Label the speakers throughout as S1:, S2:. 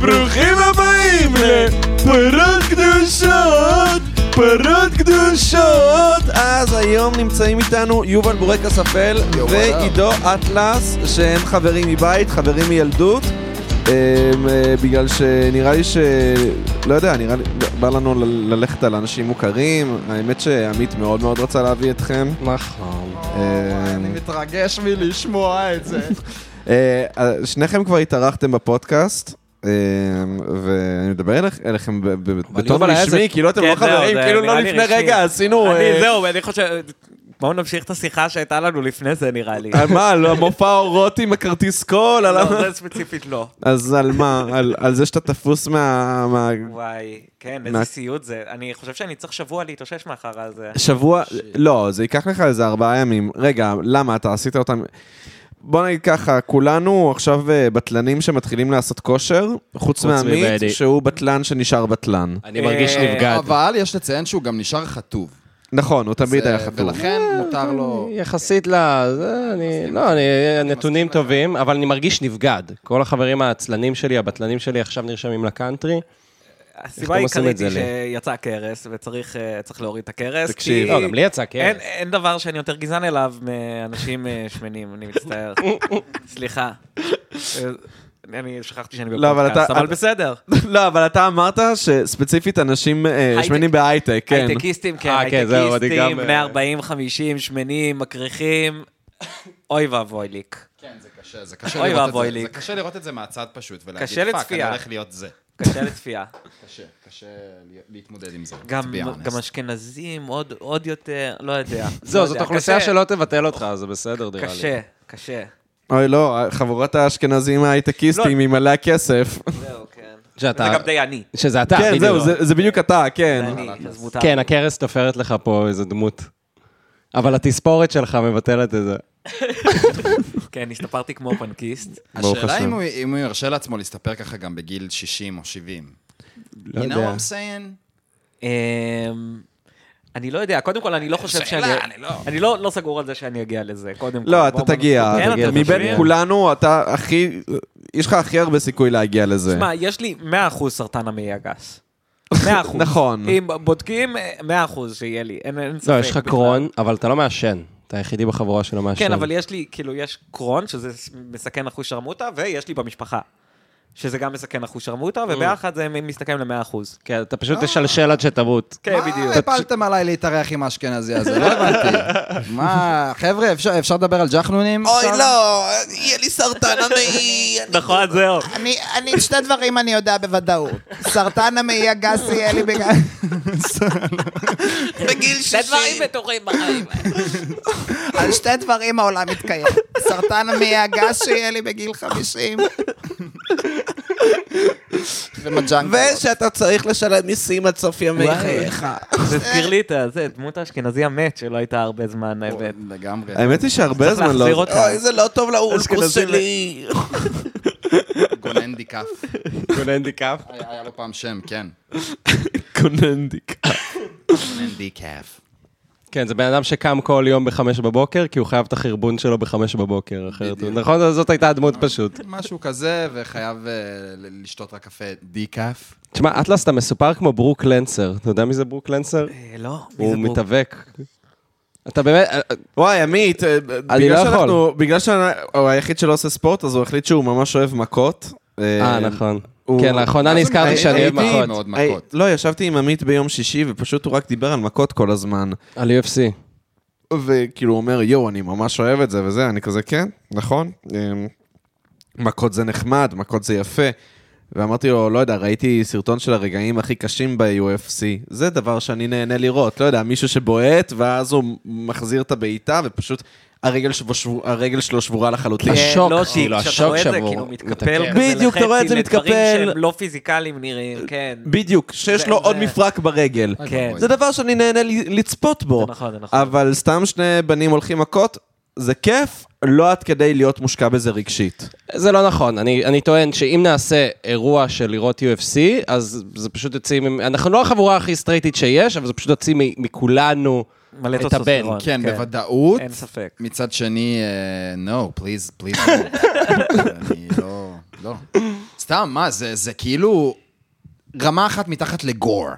S1: ברוכים הבאים לפרות קדושות, פרות קדושות. אז היום נמצאים איתנו יובל בורקס אפל
S2: יובל.
S1: ועידו אטלס, שהם חברים מבית, חברים מילדות. אמ, אה, בגלל שנראה לי ש... לא יודע, נראה לי... בא לנו ל- ללכת על אנשים מוכרים. האמת שעמית מאוד מאוד רצה להביא אתכם.
S2: נכון.
S1: אה,
S2: אני מתרגש מלשמוע את זה.
S1: אה, אה, שניכם כבר התארחתם בפודקאסט, אה, ואני מדבר אליכ- אליכם ב- ב- בתור
S3: יובל, היה
S1: רשמי,
S3: זה-
S1: כאילו אתם
S3: כן,
S1: לא
S3: זהו,
S1: חברים,
S3: זה
S1: כאילו לא
S3: נראה לי
S1: לפני
S3: רשמי.
S1: רגע עשינו... אה,
S3: אני, זהו, אני חושב... בואו נמשיך את השיחה שהייתה לנו לפני זה, נראה לי.
S1: אה, מה, לא, מופע אורות עם הכרטיס קול? על ה-
S3: לא, זה ספציפית לא.
S1: אז על מה? על- על זה שאתה תפוס מה... מה-
S3: וואי, כן,
S1: מה-
S3: איזה סיוט זה. אני חושב שאני צריך שבוע להתאושש מאחר הזה.
S1: שבוע, לא, זה ייקח לך איזה ארבעה ימים. רגע, למה אתה עשית אותם? בוא נגיד ככה, כולנו עכשיו אה, בטלנים שמתחילים לעשות כושר, חוץ
S4: חוץ
S1: מעמית,
S4: ממני.
S1: שהוא בטלן שנשאר בטלן.
S4: אני מרגיש
S3: אה,
S4: נפגע.
S2: אבל יש לציין שהוא גם נשאר חטוב.
S1: נכון, הוא תמיד היה חתום.
S2: ולכן מותר לו...
S4: יחסית ל... זה, אני... לא, אני... נתונים טובים, אבל אני מרגיש נבגד. כל החברים העצלנים שלי, הבטלנים שלי, עכשיו נרשמים לקאנטרי.
S3: הסיבה
S4: אתם עושים
S3: העיקרית
S4: את זה
S3: היא
S4: לי?
S3: שיצא קרס, וצריך אה, צריך להוריד את הקרס.
S1: תקשיב.
S3: כי
S4: לא, גם לי יצא, כן.
S3: אין- אין דבר שאני יותר גזען אליו מאנשים אה, שמנים, אני מצטער. סליחה. אה, אני שכחתי שאני
S1: לא, אבל
S3: בפודקאסט,
S1: אתה-
S3: אבל
S1: אתה-
S3: בסדר.
S1: לא, אבל אתה אמרת שספציפית אנשים אה,
S3: הייטק.
S1: שמנים בהייטק, כן.
S3: הייטקיסטים, כן,
S4: אה, כן, זהו, אני
S3: הייטקיסטים,
S4: גם,
S3: בני
S4: אה,
S3: 40, 50, שמנים, מקריחים. אוי ואבוי ליק.
S2: כן, זה קשה, זה קשה
S3: אוי
S2: לראות
S3: ואבוי
S2: את זה.
S3: לי.
S2: זה קשה לראות את זה מהצד פשוט,
S3: קשה
S2: ולהגיד, פאק, אני
S3: לצפייה."
S2: הולך להיות זה.
S3: קשה לצפייה.
S2: קשה, קשה ל- להתמודד עם זה.
S3: גם
S2: to be honest.
S3: גם אשכנזים, עוד- עוד יותר, לא יודע. לא
S4: זהו, זאת
S3: יודע,
S4: אוכלוסייה
S3: קשה,
S4: שלא תבטל אותך, זה בסדר, נראה לי.
S3: קשה, קשה.
S1: אוי, לא, חבורת האשכנזים ההייטקיסטים
S3: לא.
S1: עם מלא הכסף.
S3: זהו, כן.
S4: שאתה-
S3: זה גם די עני.
S4: שזה אתה,
S1: כן,
S4: בדיוק.
S1: זהו, זה- זה בדיוק אתה, כן.
S3: זה עני, אז מותר.
S4: כן, הכרס תופרת לך פה איזה דמות. אבל התספורת שלך מבטלת את זה.
S3: כן, הסתפרתי כמו פנקיסט.
S1: ברוך
S2: השאלה
S1: השם.
S2: אם הוא- אם הוא ירשה לעצמו להסתפר ככה גם בגיל 60 או 70.
S1: לא
S2: You know
S1: יודע.
S2: what I'm saying?
S3: אמ, אני לא יודע, קודם כל, אני לא חושב שאני...
S2: שאלה, אני לא-
S3: אני לא לא סגור על זה שאני אגיע לזה, קודם כל.
S1: לא, אתה
S3: בוא,
S1: תגיע.
S3: בוא, כן,
S1: תגיע.
S3: אתה
S1: מבין
S3: חושב?
S1: כולנו, אתה הכי... יש לך הכי הרבה סיכוי להגיע לזה.
S3: תשמע, יש לי 100% סרטן המעי הגס. 100%.
S1: נכון.
S3: אם בודקים, 100% שיהיה לי, אין, אין ספק.
S4: לא, יש לך
S3: בכלל.
S4: קרון, אבל אתה לא מעשן. אתה היחידי בחבורה שלא מעשן.
S3: כן, אבל יש לי, כאילו, יש קרון, שזה מסכן אחושרמוטה, ויש לי במשפחה. שזה גם מסכן אחושרמוטה,
S4: Mm.
S3: וביחד זה מסתכם ל-100%.
S4: כן, אתה פשוט תשלשל עד שתמות.
S3: כן, בדיוק.
S2: מה הפלתם עליי להתארח עם האשכנזי הזה? לא הבנתי. מה, חבר'ה, אפשר- אפשר לדבר על ג'חנונים? עכשיו?
S1: לא, יהיה לי סרטן המעי.
S3: נכון, זהו.
S2: אני, אני, שתי דברים אני יודע בוודאות. סרטן המעי הגס יהיה לי בגלל...
S5: בגיל 60.
S3: בטוחים בחיים.
S5: על שתי דברים העולם מתקיים. סרטן המעי הגס שיהיה לי בגיל 50,
S2: ומג'נגלות.
S5: ושאתה צריך לשלם מיסים עד סוף ימי חייך.
S3: זה הזכיר לי את זה, דמות האשכנזי המת, שלא הייתה הרבה זמן, האמת.
S2: לגמרי.
S1: האמת היא שהרבה
S3: צריך
S1: זמן לא...
S3: להחזיר אותה.
S5: אוי, זה לא טוב לאולקוס
S1: אשכנזים
S5: שלי.
S2: גונן דיקף.
S4: גונן דיקף.
S2: היה היה לו פעם שם, כן.
S1: קוננדיק.
S2: גונן דיקף.
S4: כן, זה בן אדם שקם כל יום בחמש בבוקר, כי הוא חייב את החרבון שלו בחמש בבוקר, אחרת... הוא- נכון, זאת הייתה הדמות פשוט.
S2: משהו כזה, וחייב אה, ל- לשתות רק קפה דיקף.
S4: תשמע, אטלס, אתה מסופר כמו ברוק לנסר. אתה יודע מי זה ברוק לנסר?
S3: אה, לא, מי
S4: הוא
S3: זה בור?
S4: מתאבק. אתה באמת... אה,
S1: וואי, עמית, אה, ב-
S4: אני
S1: בגלל
S4: לא
S1: שאנחנו-
S4: יכול.
S1: בגלל שהוא היחיד שלא עושה ספורט, אז הוא החליט שהוא ממש אוהב מכות.
S4: אה, נכון.
S1: הוא- אה,
S4: כן, לאחרונה נזכרתי
S1: אני-
S4: שאני אוהב
S1: הייתי
S4: מכות.
S2: מאוד מכות.
S1: היי, לא, ישבתי עם עמית ביום שישי, ופשוט הוא רק דיבר על מכות כל הזמן.
S4: על UFC.
S1: וכאילו הוא אומר, יואו, אני ממש אוהב את זה וזה, אני כזה, כן, נכון. אמ, מכות זה נחמד, מכות זה יפה. ואמרתי לו, לא יודע, ראיתי סרטון של הרגעים הכי קשים ב-UFC. זה דבר שאני נהנה לראות, לא יודע, מישהו שבועט, ואז הוא מחזיר את הבעיטה, ופשוט הרגל, שבו, שבו, הרגל שלו שבורה לחלוטין.
S3: כן,
S4: השוק,
S3: לא, כי
S4: כאילו,
S3: כשאתה
S4: השוק
S3: רואה את זה,
S4: שבור.
S3: כאילו, מתקפל
S4: מתקפל.
S3: כזה
S1: בדיוק, אתה רואה את זה
S3: לחצי, לדברים
S1: מתקפל.
S3: שהם לא פיזיקליים נראים, כן.
S1: בדיוק, שיש
S3: זה-
S1: לו
S3: זה-
S1: עוד מפרק ברגל.
S3: כן.
S1: אה, זה דבר שאני נהנה ל- לצפות בו.
S3: זה נכון, זה נכון.
S1: אבל סתם שני בנים הולכים מכות, זה כיף, לא עד כדי להיות מושקע בזה רגשית.
S4: זה לא נכון, אני, אני טוען שאם נעשה אירוע של לראות UFC, אז זה פשוט יוצאים, עם- אנחנו לא החבורה הכי סטרייטית שיש, אבל זה פשוט יוצאים מ- מכולנו
S3: מלא
S4: את הבן.
S3: טסטוסטרון.
S2: כן, בוודאות.
S3: אין ספק.
S2: מצד שני, אה, no, please, please. לא, לא. סתם, מה, זה זה כאילו רמה אחת מתחת לגור.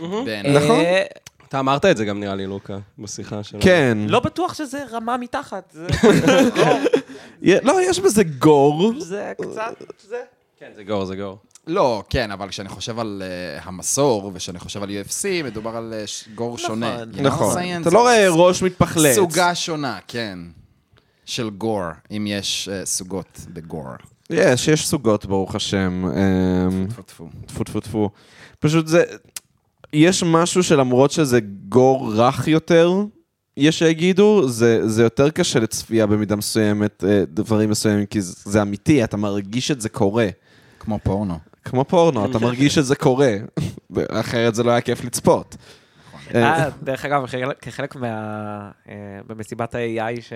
S2: בעיניי.
S1: נכון.
S3: אה,
S4: אתה אמרת את זה גם, נראה לי, לוקה, בשיחה שלנו.
S1: כן.
S3: לא בטוח שזה רמה מתחת, זה-
S1: יה- לא, יש בזה גור.
S3: זה קצת, זה...
S4: כן, זה גור, זה גור.
S2: לא, כן, אבל כשאני חושב על אה, המסור, וכשאני חושב על UFC, מדובר על אה, ש- גור שונה. You know
S1: נכון.
S2: what I'm saying?
S1: אתה לא רואה ראש
S2: זה
S1: מתפחלץ.
S2: סוגה שונה, כן. של גור, אם יש אה, סוגות בגור.
S1: יש, יש סוגות, ברוך השם. אמ,
S2: טפו, טפו.
S1: טפו טפו טפו. פשוט זה... יש משהו שלמרות שזה גור רך יותר, יש שיגידו, זה, זה יותר קשה לצפייה במידה מסוימת, אה, דברים מסוימים, כי זה, זה אמיתי, אתה מרגיש את זה קורה.
S2: כמו פורנו.
S1: כמו פורנו, אתה מרגיש את זה קורה. אחרת זה לא היה כיף לצפות. אה,
S3: אה, דרך אגב, כחלק- כחלק מה... אה, במסיבת ה-AI ש...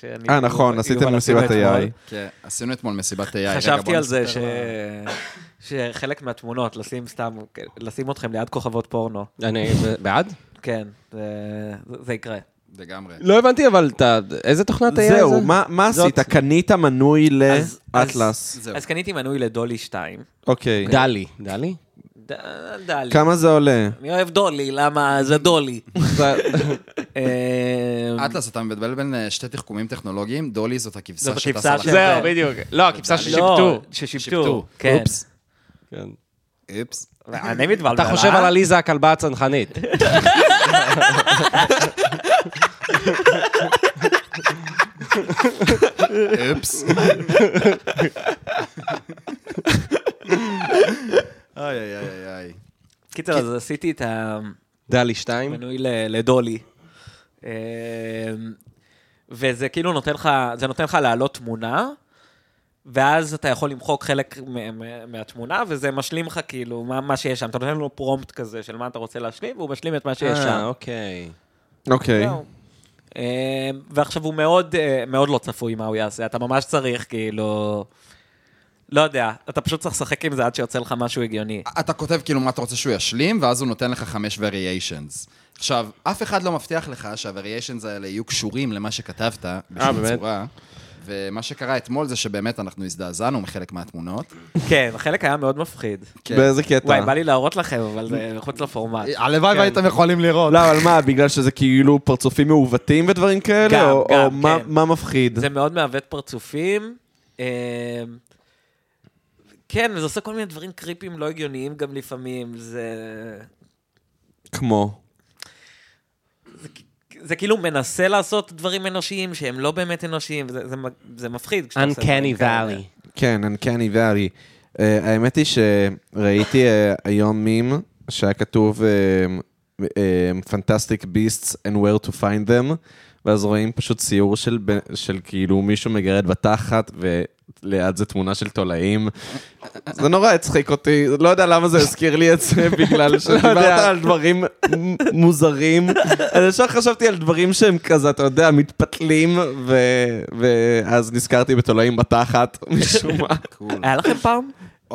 S3: שאני-
S1: אה, נכון, עשיתם
S3: יובל עשו
S1: מסיבת אה.
S3: אתמול.
S1: AI.
S2: כן, עשינו אתמול מסיבת AI. רגע,
S3: חשבתי
S2: בוא
S3: על זה ש...
S2: נספר לה.
S3: שחלק מהתמונות, לשים סתם, לשים אתכם ליד כוכבות פורנו.
S4: אני בעד?
S3: כן, זה- זה יקרה.
S2: לגמרי.
S4: לא הבנתי, אבל אתה... איזה תוכנת היה זה?
S1: זהו, מה מה
S4: זאת-
S1: עשית? קנית מנוי
S4: אוקיי.
S3: אז-
S1: לאטלס.
S2: זהו.
S3: אז קניתי מנוי לדולי 2.
S1: אוקיי.
S4: דלי. דלי?
S3: ד- דלי.
S1: כמה זה עולה?
S3: אני אוהב דולי, למה זה דולי. אמ, אה,
S2: אטלס, אתה מבלבל בין אה, שתי תחכומים טכנולוגיים, דולי זאת הכבשה
S3: זאת הכבשה
S2: שטסה לך.
S3: ש- זהו,
S4: בדיוק. לא, כן. הכבשה
S3: לא, ששיבטו. כן.
S2: אופס. אופס.
S3: אני מתבלבל.
S4: אתה חושב
S3: אה?
S4: על עליזה הכלבה הצנחנית.
S2: אופס. איי, איי, איי, איי.
S3: קיצר, אז עשיתי את המנוי
S4: דלי שתיים.
S3: ל- לדולי. אה, וזה כאילו נותן לך, זה נותן לך להעלות תמונה, ואז אתה יכול למחוק חלק מה- מה- מהתמונה, וזה משלים לך כאילו מה- מה שיש שם. אתה נותן לו פרומפט כזה של מה אתה רוצה להשלים, והוא משלים את מה שיש
S4: אה,
S3: שם.
S4: אוקיי.
S1: אוקיי.
S3: זהו. אה, ועכשיו הוא מאוד, אה, מאוד לא צפוי מה הוא יעשה, אתה ממש צריך, כאילו... לא יודע, אתה פשוט צריך לשחק עם זה עד שיוצא לך משהו הגיוני.
S2: אתה כותב כאילו מה אתה רוצה שהוא ישלים, ואז הוא נותן לך חמש וריאשנס. עכשיו, אף אחד לא מבטיח לך שהווריאשנס האלה יהיו קשורים למה שכתבת
S3: אה,
S2: בשום
S4: באמת?
S2: צורה. ומה שקרה אתמול זה שבאמת אנחנו הזדעזענו מחלק מהתמונות.
S3: כן, החלק היה מאוד מפחיד.
S2: כן.
S1: באיזה קטע?
S3: וואי, בא לי להראות לכם, אבל זה מחוץ
S2: אה,
S3: לפורמט.
S2: הלוואי והייתם יכולים לראות.
S1: לא, אבל מה, בגלל שזה כאילו פרצופים מעוותים ודברים כאלה?
S3: גם,
S1: או,
S3: גם,
S1: או מה,
S3: כן.
S1: מה מפחיד?
S3: זה מאוד מעוות פרצופים. אה, כן, וזה עושה כל מיני דברים קריפים לא הגיוניים גם לפעמים. זה...
S1: כמו.
S3: זה כאילו מנסה לעשות דברים אנושיים שהם לא באמת אנושיים, וזה- זה מ- זה מפחיד. כשאתה עושה דברים
S4: Uncanny
S3: כאלה.
S4: Valley.
S1: כן, Uncanny Valley. Uh, האמת היא שראיתי uh, היום מים שהיה כתוב um, um, Fantastic Beasts and where to find them, ואז רואים פשוט ציור של, ב- של כאילו מישהו מגרד בתחת, וליד זה תמונה של תולעים. זה נורא הצחיק אותי, לא יודע למה זה הזכיר לי את זה,
S4: לא
S1: בגלל שדיברת על דברים מ- מוזרים. אז ישר חשבתי על דברים שהם כזה, אתה יודע, מתפתלים, ו- ואז נזכרתי בתולעים בתחת, משום מה.
S3: היה לכם פעם?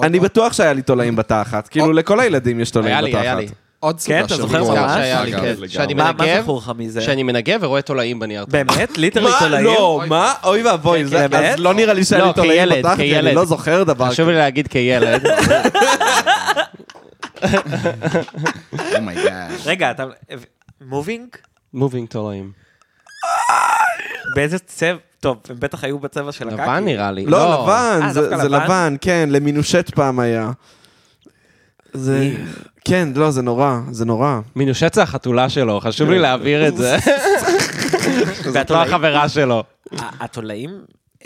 S1: אני בטוח שהיה לי תולעים בתחת, כאילו לכל הילדים יש תולעים
S4: אוקיי. היה
S1: בתחת.
S4: לי, היה לי.
S2: עוד סוגה
S3: כן, אתה
S2: של
S3: זוכר
S2: גרוע
S3: ממש?
S2: שהיה לי,
S4: שהיה
S2: כן.
S4: לי, כן. שאני
S3: מה מה
S4: מנגב,
S3: זכור לך מזה?
S4: שאני מנגב ורואה תולעים בנייר.
S3: באמת? ליטרלי
S1: מה?
S3: תולעים?
S1: לא, מה? אוי
S4: כן,
S1: ואבוי, זה-
S3: באמת?
S1: אז לא נראה לי שהיה
S4: לא,
S1: לי תולעים
S4: כילד,
S1: בתחת, כי אני
S4: כילד.
S1: לא זוכר דבר
S4: חשוב לי להגיד כילד.
S2: Oh אומייגאד.
S3: רגע, אתה... מובינג?
S4: מובינג תולעים.
S3: באיזה צבע? טוב, הם בטח היו בצבע של הקקי.
S4: לבן נראה לי.
S1: לא, לבן,
S3: אה,
S1: זה-
S3: דווקא
S1: זה
S3: לבן?
S1: לבן, כן, למינושט פעם היה. זה...
S4: אה.
S1: כן, לא, זה נורא, זה נורא.
S4: מינושט זה החתולה שלו, חשוב לי להבהיר את זה. זאת לא
S3: והתולעים-
S4: החברה שלו.
S3: ה- התולעים,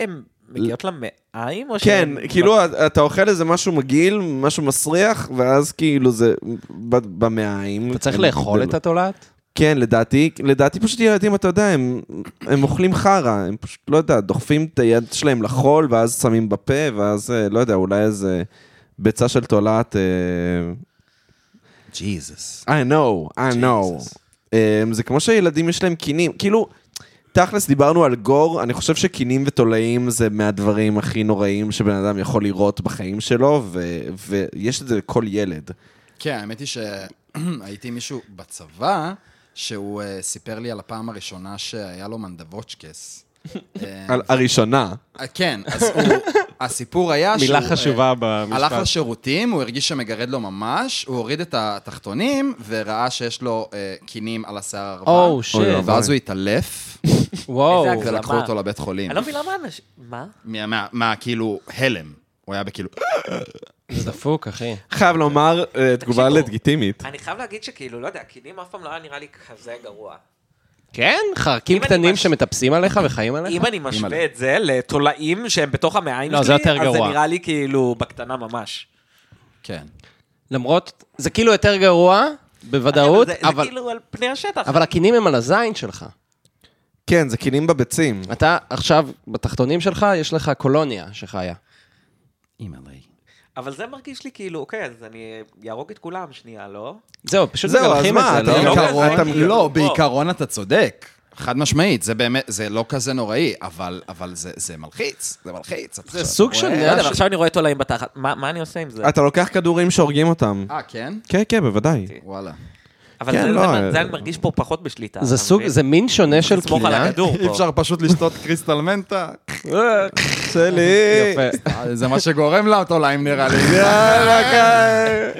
S3: הם מגיעות למעיים? או לא-
S1: כן,
S3: שהם-
S1: כאילו,
S4: נכון.
S1: אתה אוכל איזה משהו מגעיל, משהו מסריח, ואז כאילו זה ב- במעיים.
S4: אתה צריך לאכול את התולעת?
S1: כן, לדעתי, לדעתי פשוט ילדים, אתה יודע, הם, הם אוכלים חרא, הם פשוט, לא יודע, דוחפים את היד שלהם לחול, ואז שמים בפה, ואז, אה, לא יודע, אולי איזה ביצה של תולעת... אה,
S2: ג'יזוס.
S1: I know, I know. Um, זה כמו שילדים יש להם קינים, כאילו, תכלס דיברנו על גור, אני חושב שקינים ותולעים זה מהדברים הכי נוראים שבן אדם יכול לראות בחיים שלו, ו- ויש את זה לכל ילד.
S2: כן, האמת היא שהייתי עם מישהו בצבא, שהוא אה, סיפר לי על הפעם הראשונה שהיה לו מנדבוצ'קס. אה,
S1: על- הראשונה.
S2: אה, כן, אז הוא- הסיפור היה
S4: מילה
S2: שהוא,
S4: חשובה
S2: אה,
S4: במשפט.
S2: הלך לשירותים, הוא הרגיש שמגרד לו ממש, הוא הוריד את התחתונים, וראה שיש לו אה, קינים על השיער הרבה.
S4: או, שיט.
S1: אוי, אוי.
S2: ואז הוא התעלף,
S4: וואו.
S3: איזה הגזמה.
S2: ולקחו אותו לבית חולים.
S3: אני לא מבינה מה אנשים... מה?
S2: מה- מה- מה, כאילו, הלם. הוא היה בכאילו...
S4: זה דפוק, אחי.
S1: חייב לומר אה, תגובה
S3: תקשיבו.
S1: לגיטימית.
S3: אני חייב להגיד שכאילו, לא יודע, קינים אף פעם לא היה נראה לי כזה גרוע.
S4: כן, חרקים
S3: אם אני
S4: קטנים
S3: מש-
S4: שמטפסים עליך וחיים עליך?
S3: אם אני משווה את זה לתולעים שהם בתוך המעיים שלי,
S4: לא, זה יותר
S3: אז זה
S4: גרוע.
S3: נראה לי כאילו בקטנה ממש.
S2: כן.
S4: למרות, זה כאילו יותר גרוע, בוודאות,
S3: זה- זה
S4: אבל-
S3: כאילו על פני השטח.
S4: אבל הקינים הם על הזין שלך.
S1: כן, זה קינים בביצים.
S4: אתה עכשיו, בתחתונים שלך, יש לך קולוניה שחיה.
S2: אימא'לה.
S3: אבל זה מרגיש לי כאילו, אוקיי, אז אני אהרוג את כולם שנייה, לא?
S4: זהו, פשוט
S1: זהו,
S4: מגלחים
S1: אז
S4: את
S1: מה,
S4: זה,
S1: אתה לא-
S4: לא?
S2: בעיקרון,
S1: אתה-
S2: לא, בעיקרון אתה צודק. חד משמעית, זה באמת, זה לא כזה נוראי, אבל, אבל זה, זה מלחיץ, זה מלחיץ.
S4: זה סוג של...
S3: לא יודע, אבל עכשיו אני רואה תולעים בתחת, מה מה אני עושה עם זה?
S1: אתה לוקח כדורים שהורגים אותם.
S2: אה, כן?
S1: כן, כן, בוודאי.
S2: וואלה.
S3: אבל
S1: כן,
S3: זה-
S1: לא,
S3: זה-
S1: אה,
S3: זה אני מרגיש פה פחות בשליטה.
S4: זה
S3: אתה
S4: סוג,
S3: מבין?
S4: זה מין שונה של
S3: לסמוך על
S4: קינה.
S3: הכדור פה.
S2: פשוט לשתות קריסטל מנטה?
S1: שלי.
S4: יפה.
S2: אה, זה מה שגורם לתולעים נראה לי.
S1: יאללה, כן.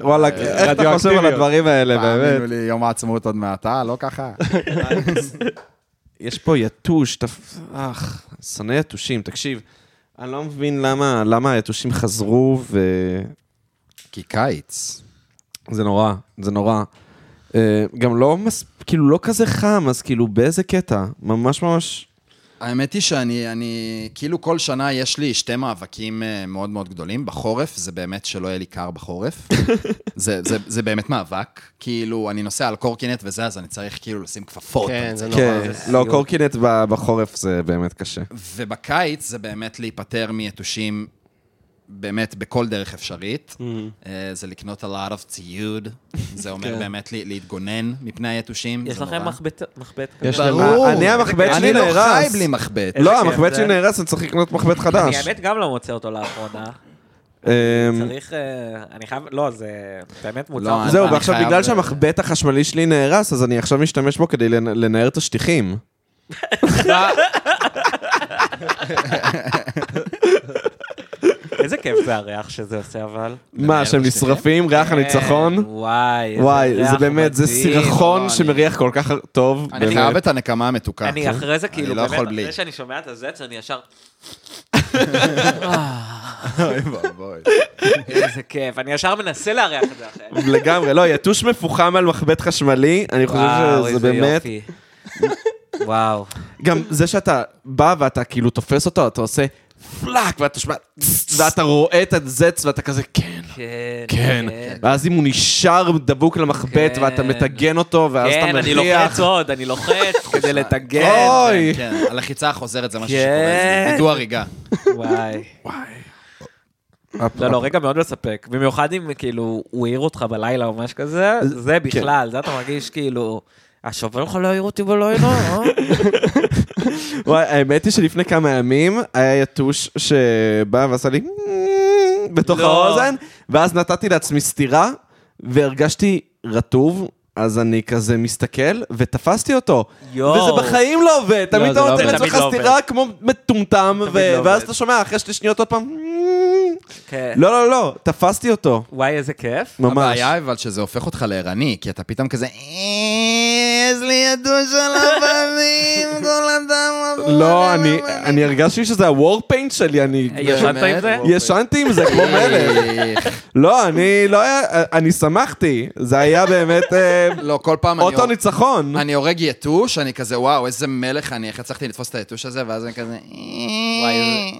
S1: וואלה, איך אתה חושב על
S4: רדיואקטיביות.
S1: הדברים האלה,
S2: תאמינו
S1: באמת?
S2: לי, יום העצמאות עוד מעט, אה? לא ככה.
S1: יש פה יתוש, תפ... אך, שונא יתושים, תקשיב. אני לא מבין למה, למה היתושים חזרו, וזה
S2: כי קיץ.
S1: נורא, זה נורא. אה, גם לא, מס... כאילו, לא כזה חם, אז כאילו, באיזה קטע? ממש ממש...
S2: האמת היא שאני, אני, כאילו כל שנה יש לי שתי מאבקים אה, מאוד מאוד גדולים. בחורף, זה באמת שלא יהיה לי קר בחורף. זה, זה, זה באמת מאבק. כאילו, אני נוסע על קורקינט וזה, אז אני צריך כאילו לשים כפפות.
S4: כן, זה נורא.
S1: כן, לא, קורקינט ב- בחורף זה באמת קשה.
S2: אה, ובקיץ זה באמת להיפטר מיתושים באמת בכל דרך
S1: Mm.
S2: אפשרית. אה, זה לקנות a lot of ציוד, זה
S1: כן.
S2: אומר באמת ל- להתגונן מפני היתושים.
S3: יש
S2: זה
S3: לכם
S2: נורא.
S3: מחבט- מחבט כזה?
S4: יש להם...
S2: ברור.
S1: אני, המחבט שלי
S2: אני לא חי
S1: נהרס.
S2: בלי מחבט.
S1: לא,
S3: כיף
S1: המחבט
S3: זה.
S1: שלי נהרס, אני צריך לקנות מחבט חדש.
S3: אני האמת גם לא מוצא אותו לאחרונה.
S1: אמ,
S3: צריך... אה, אני חייב... לא, זה באמת מוצר.
S2: לא, אני-
S1: זהו,
S2: אני
S1: ועכשיו
S2: חייב
S1: בגלל
S2: ל-
S1: שהמחבט החשמלי שלי נהרס, אז אני עכשיו משתמש בו כדי לנ- לנער את השטיחים.
S3: איזה כיף זה הריח שזה עושה, אבל.
S1: מה, שהם
S2: את השטיחים?
S1: נשרפים, ריח
S3: כן,
S1: הניצחון?
S3: וואי, איזה
S1: וואי,
S3: ריח
S1: זה באמת, זה
S3: מדהים.
S2: לא,
S1: סירחון
S2: אני-
S1: שמריח כל כך טוב.
S2: אני
S1: באמת.
S2: חייב את הנקמה המתוקה.
S3: אני אחרי זה, כאילו,
S2: לא
S3: באמת,
S2: יכול
S3: אחרי
S2: בלי.
S3: שאני שומע את הזץ, אני ישר...
S2: אוי ואבוי.
S3: איזה כיף. אני ישר מנסה לארח את זה אחרת.
S1: לגמרי, לא, יתוש מפוחם על מחבט חשמלי, אני חושב שזה באמת...
S3: וואו.
S1: גם זה שאתה בא ואתה כאילו תופס אותו, אתה עושה פלאק, ואתה שומע... צס, ואתה רואה את הזץ ואתה כזה, כן,
S3: כן.
S1: כן. ואז אם הוא נשאר דבוק למחבט
S3: כן.
S1: ואתה מטגן אותו, ואז אתה
S3: כן, אני
S1: מריח...
S3: לוחץ עוד, אני לוחץ כדי לטגן.
S1: אוי!
S2: כן, הלחיצה החוזרת זה משהו
S3: כן.
S2: שקורה. וידוא הריגה.
S3: וואי. לא, לא, רגע מאוד מספק. במיוחד אם כאילו הוא העיר אותך בלילה או משהו כזה, זה
S1: כן.
S3: בכלל, זה אתה מרגיש כאילו... השובר לך לא העיר אותי בלילה, אה?
S1: וואי, האמת היא שלפני כמה ימים היה יתוש שבא ועשה לי בתוך
S3: לא.
S1: האוזן, ואז נתתי לעצמי סטירה, והרגשתי רטוב. אז אני כזה מסתכל, ותפסתי אותו.
S3: יואו.
S1: וזה בחיים לא עובד. תמיד
S4: זה
S1: אתה
S4: לא
S1: נותן
S4: עובד.
S1: לעצמך
S3: תמיד לא
S1: סטירה
S3: עובד.
S1: כמו מטומטם, ו-
S3: תמיד לא
S1: ואז
S3: עובד.
S1: אתה שומע אחרי שתי שניות עוד פעם...
S3: כן.
S1: לא, לא, לא, תפסתי אותו.
S3: וואי, איזה כיף.
S1: ממש.
S2: הבעיה אבל שזה הופך אותך לערני, כי אתה פתאום כזה, "אה, יש לי ידוש על הפנים, כל אדם עבור
S1: לא,
S2: עליו
S1: אני-
S2: הפנים."
S1: אני הרגשתי שזה הוור פיינט שלי, אני...
S3: ישנת עם זה?
S1: ישנתי עם זה כמו מלך. לא, אני לא היה, אני שמחתי, זה היה באמת אה,
S2: לא, כל פעם אני...
S1: אוטו ניצחון.
S2: אני הורג יתוש, אני כזה, וואו, איזה מלך אני, איך הצלחתי לתפוס את היתוש הזה, ואז אני כזה... "אה."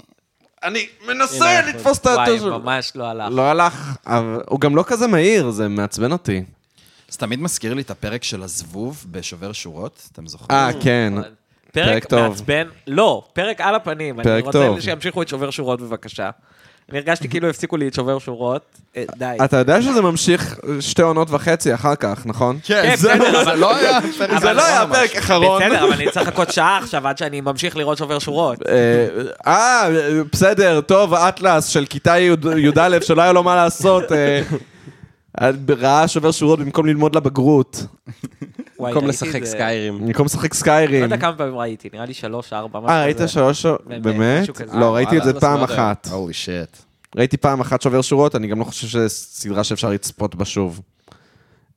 S1: אני מנסה לתפוס את היתוש.
S3: וואי, ממש לא הלך.
S1: נכון. לא הלך, אבל הוא גם לא כזה מהיר, זה מעצבן אותי.
S2: זה תמיד מזכיר לי את הפרק של הזבוב בשובר שורות, אתם זוכרים?
S1: אה, כן. פרק
S3: פרק
S1: טוב.
S3: מעצבן, לא, פרק על הפנים.
S1: פרק
S3: אני
S1: טוב.
S3: רוצה שימשיכו את שובר שורות בבקשה. אני הרגשתי כאילו הפסיקו לי את שובר שורות. אה, די.
S1: אתה יודע שזה ממשיך שתי עונות וחצי אחר כך, נכון?
S2: כן,
S3: כן, בסדר, אבל-
S2: לא היה
S3: אבל-
S2: הפרק
S1: זה לא היה
S2: ממש.
S1: הפרק האחרון.
S3: בסדר, אבל אני צריך לחכות שעה עכשיו עד שאני ממשיך לראות שובר שורות.
S1: אה, אה, בסדר, טוב, אטלס של כיתה י' י"א שלא היה לו מה לעשות. אה, ראה שובר שורות במקום ללמוד לבגרות.
S3: וואי,
S4: במקום
S3: ראיתי את
S4: לשחק
S3: זה.
S4: סקיירים.
S1: במקום לשחק
S3: לא
S1: סקיירים.
S3: יודע כמה פעמים ראיתי, נראה לי שלוש, ארבע, משהו כזה.
S1: אה, ראית שלוש...
S3: באמת,
S1: באמת?
S3: משהו כזה.
S1: לא, ראיתי את זה
S4: וואלה,
S1: פעם
S4: לא יודע.
S1: אחת.
S2: הולי שיט.
S1: ראיתי פעם אחת שובר שורות, אני גם לא חושב שזו סדרה שאפשר לצפות בה שוב.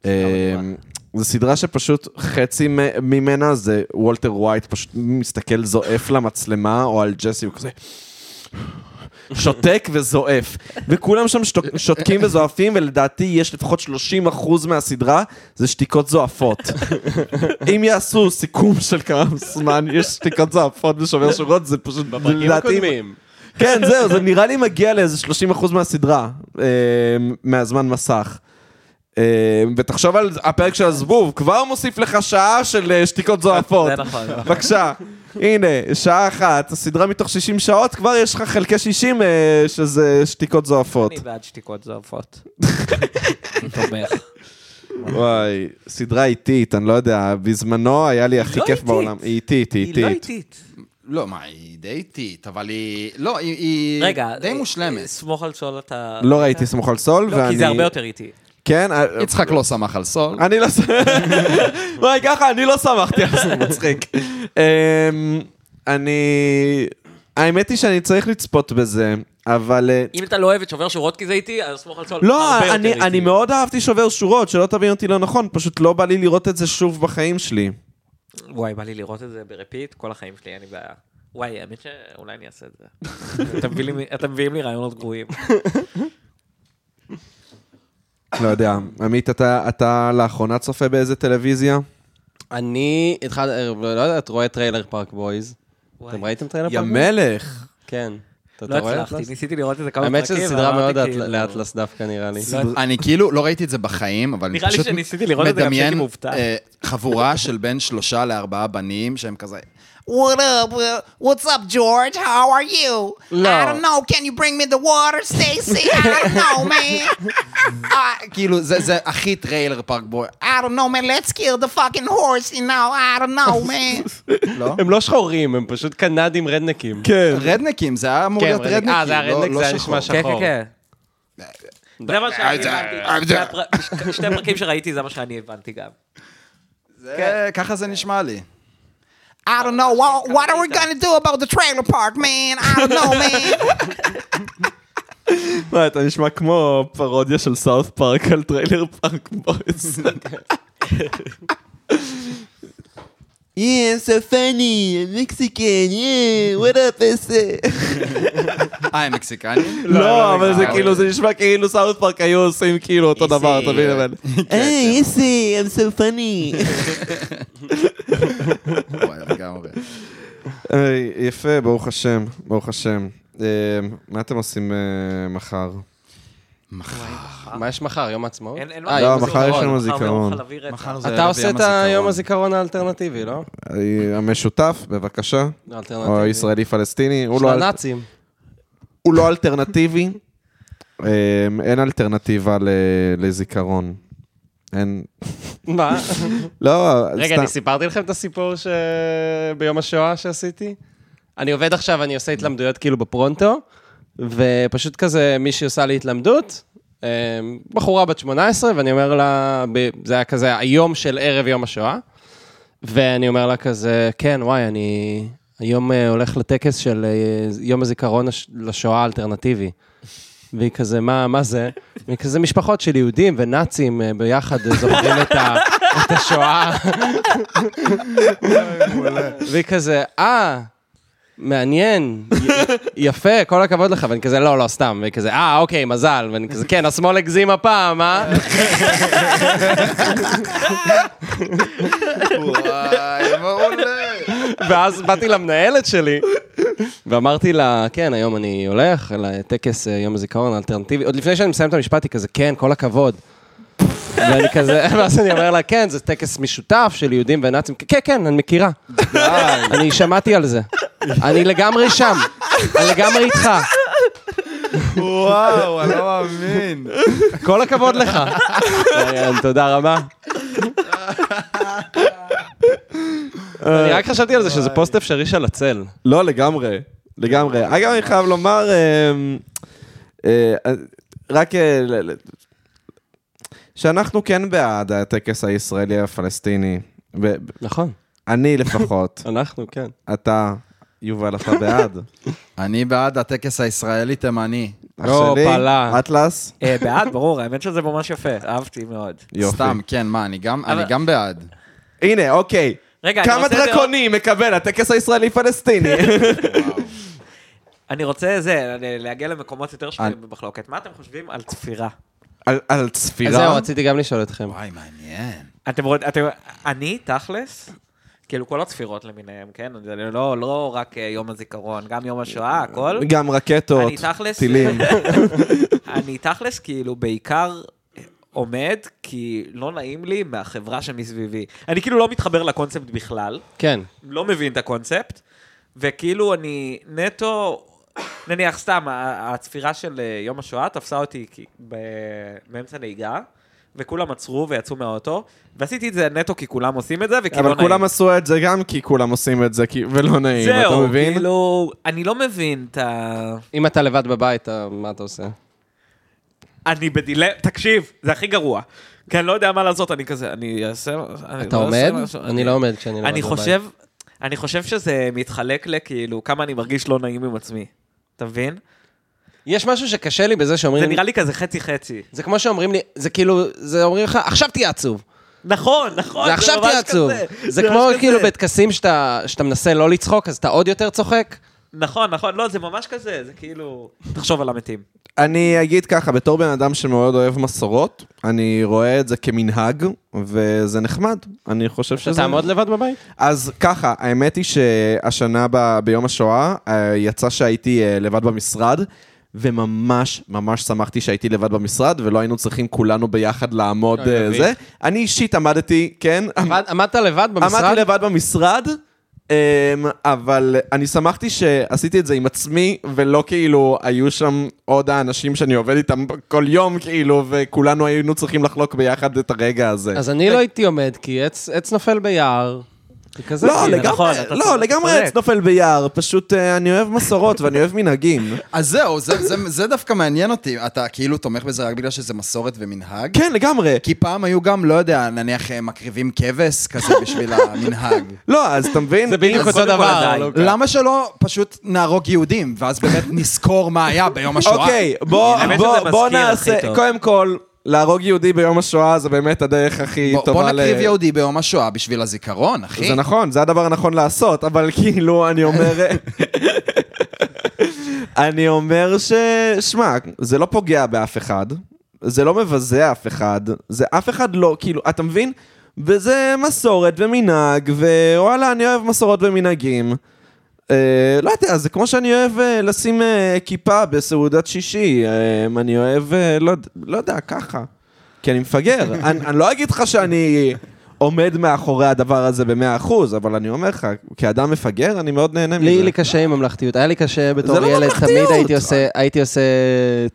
S1: אמ, זו סדרה שפשוט חצי מ- ממנה זה וולטר ווייט פשוט מסתכל זועף למצלמה, או על ג'סי, הוא כזה... שותק וזועף, וכולם שם שתוק- שותקים וזועפים, ולדעתי יש לפחות 30% מהסדרה, זה שתיקות זועפות. אם יעשו סיכום של כמה זמן, יש שתיקות זועפות בשובר שורות, זה פשוט,
S4: בפרקים
S1: לדעתי,
S4: הקודמים.
S1: כן, זהו, זה נראה לי מגיע לאיזה 30% מהסדרה, אה, מהזמן מסך. אה, ותחשוב על הפרק של הזבוב, כבר מוסיף לך שעה של אה, שתיקות זועפות.
S3: זה נכון. זה נכון.
S1: בבקשה, הנה, שעה אחת, הסדרה מתוך 60 שעות, כבר יש לך חלקי 60 אה, שזה שתיקות זועפות.
S3: אני בעד שתיקות זועפות. אני תומך.
S1: וואי, סדרה איטית, אני לא יודע, בזמנו היה לי הכי
S3: לא
S1: כיף
S3: איטית.
S1: בעולם. היא איטית, היא
S3: היא לא
S1: איטית.
S3: איטית.
S2: לא, מה, היא די איטית, אבל היא... לא, היא- היא
S3: רגע,
S2: די
S3: אה,
S2: מושלמת.
S3: סמוך על שואל אתה...
S1: לא ראיתי סמוך על סול, ואני...
S3: לא, כי זה הרבה יותר איטי.
S1: כן, אה,
S2: יצחק לא סמך על סול.
S4: אה,
S1: אני לא... ס- וואי, ככה, אני לא שמחתי על זה, מצחיק. אמ, אני... האמת היא שאני צריך לצפות בזה, אבל... אה,
S3: אם אתה לא אוהב את שובר שורות כי זה איטי, אז סמוך על סול
S1: לא,
S3: הרבה יותר
S1: אני-
S3: איטי.
S1: אני מאוד אהבתי שובר שורות, שלא תבין אותי לא נכון, פשוט לא בא לי לראות את זה שוב בחיים שלי.
S3: וואי, בא לי לראות את זה ברפיט כל החיים שלי, אין לי בעיה. וואי, האמת שאולי אני אעשה את זה. אתם מביאים לי- אתם מביאים לי רעיונות גרועים.
S1: לא יודע. עמית, אתה- אתה לאחרונה צופה באיזה טלוויזיה?
S4: אני התחלתי, לא יודע, את רואה טריילר פארק בויז? אתם ראיתם טריילר
S1: יא
S4: פארק בויז?
S1: מלך.
S4: כן. אתה-
S3: לא
S4: אתה רואה,
S3: הצלחתי,
S4: אטלס?
S3: ניסיתי לראות את זה כמה פרקים.
S4: האמת שזו סדרה
S3: ואמרתי
S4: מאוד לאט-
S3: כאילו-
S4: לאטלס דווקא נראה לי.
S3: לא-
S2: אני כאילו לא ראיתי את זה בחיים, אבל אני
S3: נראה לי
S2: פשוט
S3: שניסיתי לראות את זה, גם
S2: מדמיין,
S3: שהייתי מופתע.
S2: אה, חבורה של בין שלושה לארבעה בנים שהם כזה...
S5: What up? uh, What's up, George? How are you? I don't know. Can you bring me the water, Stacy? I don't know, man.
S2: "אה", כאילו, זה זה הכי טריילר פארק בוי.
S5: I don't know, man. Let's kill the fucking horse, you know. I don't know, man.
S2: לא?
S4: הם לא שחורים, הם פשוט קנדים רדנקים.
S1: כן.
S2: רדנקים, זה היה אמור
S4: כן,
S2: להיות
S4: רדנק.
S2: רדנקים.
S4: אה, זה היה
S2: לא-
S4: רדנק,
S2: לא
S4: זה היה
S2: שחור.
S4: נשמע ש-
S3: כן,
S4: שחור.
S3: כן, כן. זה מה שאני
S1: אה,
S3: הבנתי. שני הפר- ש- שני פרקים שראיתי, זה מה שאני הבנתי גם.
S2: זה-
S3: כן.
S2: ככה זה נשמע לי.
S5: I don't know. What, what are we going to do about the trailer park, man? I don't know, man.
S1: מה, אתה נשמע כמו פרודיה של סאוף פארק על טריילר פארק בויז. Yeah, so funny, I'm Mexican, yeah, what up, איזה...
S2: אה, הם מקסיקנים?
S1: לא, אבל זה
S2: אה,
S1: כאילו, זה נשמע כאילו סאוף פארק היו עושים כאילו אותו דבר, אתה מבין? אבל... היי, איסי, אה, I'm so funny.
S2: לא. וואי, לגמרי.
S1: היי, יפה, ברוך השם, ברוך השם. אה, מה אתם עושים אה, מחר?
S4: מה יש מחר? יום העצמאות?
S3: אין- אין
S4: אה,
S3: מה-
S1: לא,
S4: יום
S1: מחר יש
S4: הזיכרון.
S1: לנו
S3: מחר זה
S1: זיכרון.
S3: יום חלבי רצח.
S2: מחר זה
S4: אתה
S2: ערב
S4: עושה
S2: יום
S4: את היום
S2: הזיכרון.
S4: הזיכרון האלטרנטיבי, לא?
S1: אה, המשותף, בבקשה.
S4: לא אלטרנטיבי.
S1: או ישראלי-פלסטיני. הוא
S4: של
S1: לא-
S4: הנאצים.
S1: הוא לא אלטרנטיבי. אמ, אין אלטרנטיבה ל- לזיכרון. אין...
S4: מה?
S1: לא,
S4: רגע,
S1: סתם.
S4: אני סיפרתי לכם את הסיפור ש- ביום השואה שעשיתי? אני עובד עכשיו, אני עושה התלמדויות כאילו בפרונטו, ופשוט כזה מישהי עושה לי התלמדות, אה, בחורה בת 18, ואני אומר לה, ב- זה היה כזה היום של ערב יום השואה, ואני אומר לה כזה, כן, וואי, אני היום אה, הולך לטקס של אה, יום הזיכרון הש- לשואה האלטרנטיבי. והיא כזה, מה, מה זה? והיא כזה משפחות של יהודים ונאצים אה, ביחד אה, זוכרים את, ה, את השואה. והיא כזה, אה, מעניין, י- יפה, כל הכבוד לך. ואני כזה, לא, לא, סתם. והיא כזה, אה, אוקיי, מזל. ואני כזה, כן, השמאל הגזים הפעם, אה?
S2: וואי, מעולה.
S4: ואז באתי למנהלת שלי, ואמרתי לה, כן, היום אני הולך לטקס אה, יום הזיכרון האלטרנטיבי. עוד לפני שאני מסיים את המשפט, היא כזה, כן, כל הכבוד. ואני כזה, ואז אני אומר לה, כן, זה טקס משותף של יהודים ונאצים. כן, כן, אני מכירה. אני שמעתי על זה. אני לגמרי שם. אני לגמרי איתך.
S2: וואו, אני לא מאמין.
S4: כל הכבוד לך. אריאן, תודה רבה. אני רק חשבתי על זה שזה פוסט אפשרי של הצל.
S1: לא, לגמרי. לגמרי. אגב, אני חייב לומר, אמ, אה, אה, רק... אה, ל- ל- שאנחנו כן בעד הטקס הישראלי-הפלסטיני. ב- ב-
S4: נכון,
S1: אני לפחות,
S4: אנחנו, כן.
S1: אתה, יובל, אתה בעד.
S2: אני בעד הטקס הישראלי-תימני.
S1: אח
S4: לא,
S1: שלי,
S4: פעלה.
S1: אטלס,
S3: אה, בעד, ברור, האמת שזה ממש יפה, אהבתי מאוד.
S1: יופי.
S2: סתם, כן, מה, אני גם, אני
S3: אבל-
S2: גם בעד.
S1: הנה, אוקיי.
S3: רגע, אני
S1: כמה
S3: רוצה את זה
S1: דרקוני מקבל הטקס הישראלי-פלסטיני?
S3: אני רוצה זה, להגיע למקומות יותר שנויים במחלוקת. מה אתם חושבים על צפירה?
S1: על- על
S4: אז
S1: צפירה?
S4: זהו, רציתי גם לשאול אתכם.
S2: וואי, מעניין.
S3: אתם רוצים, אתם, אני, תכלס, כאילו כל הצפירות למיניהם, כן? זה לא, לא רק אה, יום הזיכרון, גם יום השואה, הכל.
S1: גם רקטות,
S3: אני תכלס- כן,
S1: טילים.
S3: אני תכלס, כאילו, בעיקר עומד, כי לא נעים לי מהחברה שמסביבי. אני כאילו לא מתחבר לקונספט בכלל.
S4: כן.
S3: לא מבין את הקונספט, וכאילו אני נטו, נניח סתם, ה- הצפירה של אה, יום השואה תפסה אותי כי- ב- באמצע נהיגה, וכולם עצרו ויצאו מהאוטו, ועשיתי את זה נטו כי כולם עושים את זה, וכאילו
S1: אבל
S3: לא
S1: כולם
S3: נעים.
S1: עשו את זה גם כי כולם עושים את זה, כי- ולא נעים, אתה
S3: זהו,
S1: מבין?
S3: כאילו, אני לא מבין את ה...
S4: אם אתה לבד בבית, אה, מה אתה עושה?
S3: אני בדילמה, תקשיב, זה הכי גרוע. כי אני לא יודע מה לעשות, אני כזה, אני אעשה... אני
S4: אתה
S3: לא אעשה
S4: עומד?
S3: משהו,
S4: אני לא עומד כשאני לבד בבית.
S3: אני חושב, אני חושב שזה מתחלק לכאילו כמה אני מרגיש לא נעים עם עצמי. אתה מבין?
S4: יש משהו שקשה לי בזה
S3: זה
S4: שאומרים...
S3: נראה לי כזה חצי-חצי.
S4: זה כמו שאומרים לי, זה כאילו, זה אומרים לך, עכשיו תהיה עצוב.
S3: נכון, נכון,
S4: זה עכשיו
S3: ממש
S4: תהיה עצוב.
S3: כזה.
S4: זה כמו
S3: ממש
S4: כאילו
S3: כזה.
S4: בטקסים שאתה שאתה מנסה לא לצחוק, אז אתה עוד יותר צוחק.
S3: נכון, נכון, לא, זה ממש כזה, זה כאילו... תחשוב על המתים.
S1: אני אגיד ככה, בתור בן אדם שמאוד אוהב מסורות, אני רואה את זה כמנהג, וזה נחמד. אני חושב
S4: אתה
S1: שזה...
S4: תעמוד לבד בבית?
S1: אז ככה, האמת היא שהשנה ב, ביום השואה, אה, יצא שהייתי אה, לבד במשרד, וממש ממש שמחתי שהייתי לבד במשרד, ולא היינו צריכים כולנו ביחד לעמוד
S4: אוי,
S1: אה,
S4: מביך.
S1: זה. אני אישית עמדתי, כן,
S4: עמד- עמדת לבד במשרד?
S1: עמדתי לבד במשרד, אמ, אבל אני שמחתי שעשיתי את זה עם עצמי, ולא כאילו היו שם עוד האנשים שאני עובד איתם כל יום, כאילו, וכולנו היינו צריכים לחלוק ביחד את הרגע הזה.
S4: אז אני לא הייתי עומד, כי עץ- עץ נופל ביער. זה כזה
S1: לא,
S4: כאילו.
S3: נכון,
S1: לגמרי,
S3: אתה צודק,
S1: לא,
S3: אתה
S1: לגמרי
S3: צודק.
S1: עץ נופל ביער, פשוט אה, אני אוהב מסורות ואני אוהב מנהגים.
S2: אז זהו, זה, זה, זה דווקא מעניין אותי. אתה כאילו תומך בזה רק בגלל שזה מסורת ומנהג?
S1: כן, לגמרי.
S2: כי פעם היו גם, לא יודע, נניח אה, מקריבים כבש כזה בשביל המנהג.
S1: לא, אז אתה מבין?
S4: זה
S1: אז-
S4: בדיוק אותו
S3: קודם כל
S4: דבר.
S3: עדיין. לא
S4: לוקה.
S2: למה שלא פשוט נהרוג יהודים, ואז באמת נזכור מה היה ביום השואה?
S1: אוקיי, בוא-
S3: האמת
S1: בוא-
S3: שזה
S1: בוא
S3: מזכיר הכי
S1: נעשה,
S3: טוב.
S1: קודם כל, להרוג יהודי ביום השואה זה באמת הדרך הכי
S2: בוא,
S1: טובה
S2: בוא
S1: ל...
S2: נקריב יהודי ביום השואה בשביל הזיכרון, אחי.
S1: זה נכון, זה הדבר הנכון לעשות, אבל כאילו, אני אומר... אני אומר ש... שמע, זה לא פוגע באף אחד, זה לא מבזה אף אחד, זה אף אחד לא, כאילו, אתה מבין? וזה מסורת ומנהג, ווואלה, אני אוהב מסורות ומנהגים. אה, לא יודע, זה כמו שאני אוהב אה, לשים אה, כיפה בסעודת שישי, אה, אני אוהב, אה, לא, יודע- לא יודע, ככה. כי אני מפגר. אני, אני לא אגיד לך שאני עומד מאחורי הדבר הזה במאה אחוז, אבל אני אומר לך, כאדם מפגר, אני מאוד נהנה מזה.
S4: לי לי קשה עם ממלכתיות, היה לי קשה בתור
S1: זה לא
S4: ילד, תמיד
S1: ממלכתיות.
S4: הייתי עושה, הייתי עושה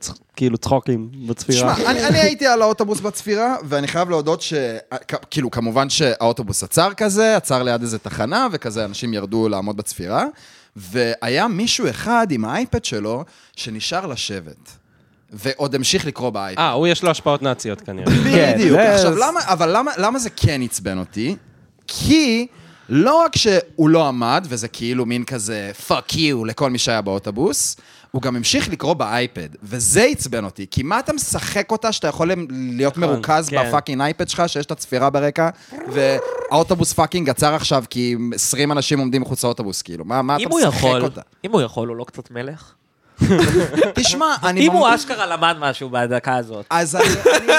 S4: צח- כאילו צחוקים בצפירה.
S2: תשמע, אני, אני הייתי על האוטובוס בצפירה, ואני חייב להודות ש... כ- כאילו, כמובן שהאוטובוס עצר כזה, עצר ליד איזה תחנה, וכזה אנשים ירדו לעמוד בצפירה, והיה מישהו אחד עם האייפד שלו, שנשאר לשבת. ועוד המשיך לקרוא באייפד.
S4: אה, הוא יש לו השפעות נאציות כנראה.
S2: בדיוק.
S1: זה-
S2: עכשיו, למה, אבל למה, למה זה כן עצבן אותי? כי לא רק שהוא לא עמד, וזה כאילו מין כזה fuck you לכל מי שהיה באוטובוס, הוא גם המשיך לקרוא באייפד, וזה עצבן אותי, כי מה אתה משחק אותה שאתה יכול להיות
S3: נכון,
S2: מרוכז
S4: כן.
S2: בפאקינג אייפד שלך, שיש את הצפירה ברקע, והאוטובוס פאקינג עצר עכשיו כי 20 אנשים עומדים מחוץ לאוטובוס, כאילו, מה, מה אתה
S3: אם הוא
S2: משחק
S3: יכול,
S2: אותה?
S3: אם הוא יכול, הוא לא קצת מלך?
S2: תשמע, אני...
S3: אם הוא
S2: ממש-
S3: אשכרה למד משהו בדקה הזאת.
S2: אז אני... אני-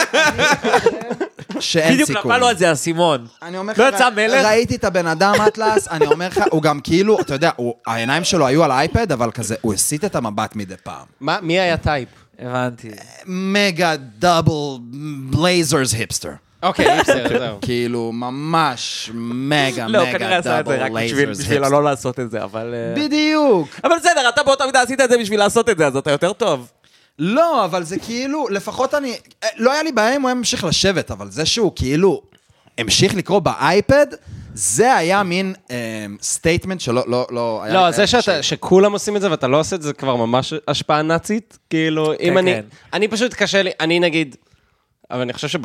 S2: אני חושב שאין סיכוי.
S3: בדיוק נפל לו על זה האסימון.
S2: אני אומר לך,
S3: לא
S2: ר-
S3: יצא מלך?
S2: ראיתי את הבן אדם אטלס, אני אומר לך, הוא גם כאילו, אתה יודע, הוא- העיניים שלו היו על האייפד, אבל כזה, הוא הסיט את המבט מדי פעם.
S4: מה- מי היה טייפ?
S3: הבנתי.
S2: מגה דאבל בלייזרס היפסטר.
S4: אוקיי, בסדר, זהו.
S2: כאילו, ממש מגה
S3: לא, כנראה
S2: מגה
S3: עשה את זה
S2: דאבל
S3: רק בשביל-
S2: לייזרס
S3: בשביל
S2: היפסטר.
S3: לא לעשות את זה, אבל... אה,
S2: בדיוק.
S3: אבל בסדר, אתה באותה מידה עשית את זה בשביל לעשות את זה, אז אתה יותר טוב.
S2: לא, אבל זה כאילו, לפחות אני, אה, לא היה לי בעיה אם הוא היה ממשיך לשבת, אבל זה שהוא כאילו המשיך לקרוא באייפד, זה היה מין אה, סטייטמנט שלא, לא, לא, היה
S1: אה,
S4: לא,
S2: לי-
S4: זה שאתה, שכולם עושים את זה ואתה לא עושה את זה, זה כבר ממש השפעה נאצית. כאילו, אם
S3: כן,
S4: אני...
S3: כן.
S4: אני פשוט קשה לי, אני נגיד... אבל אני חושב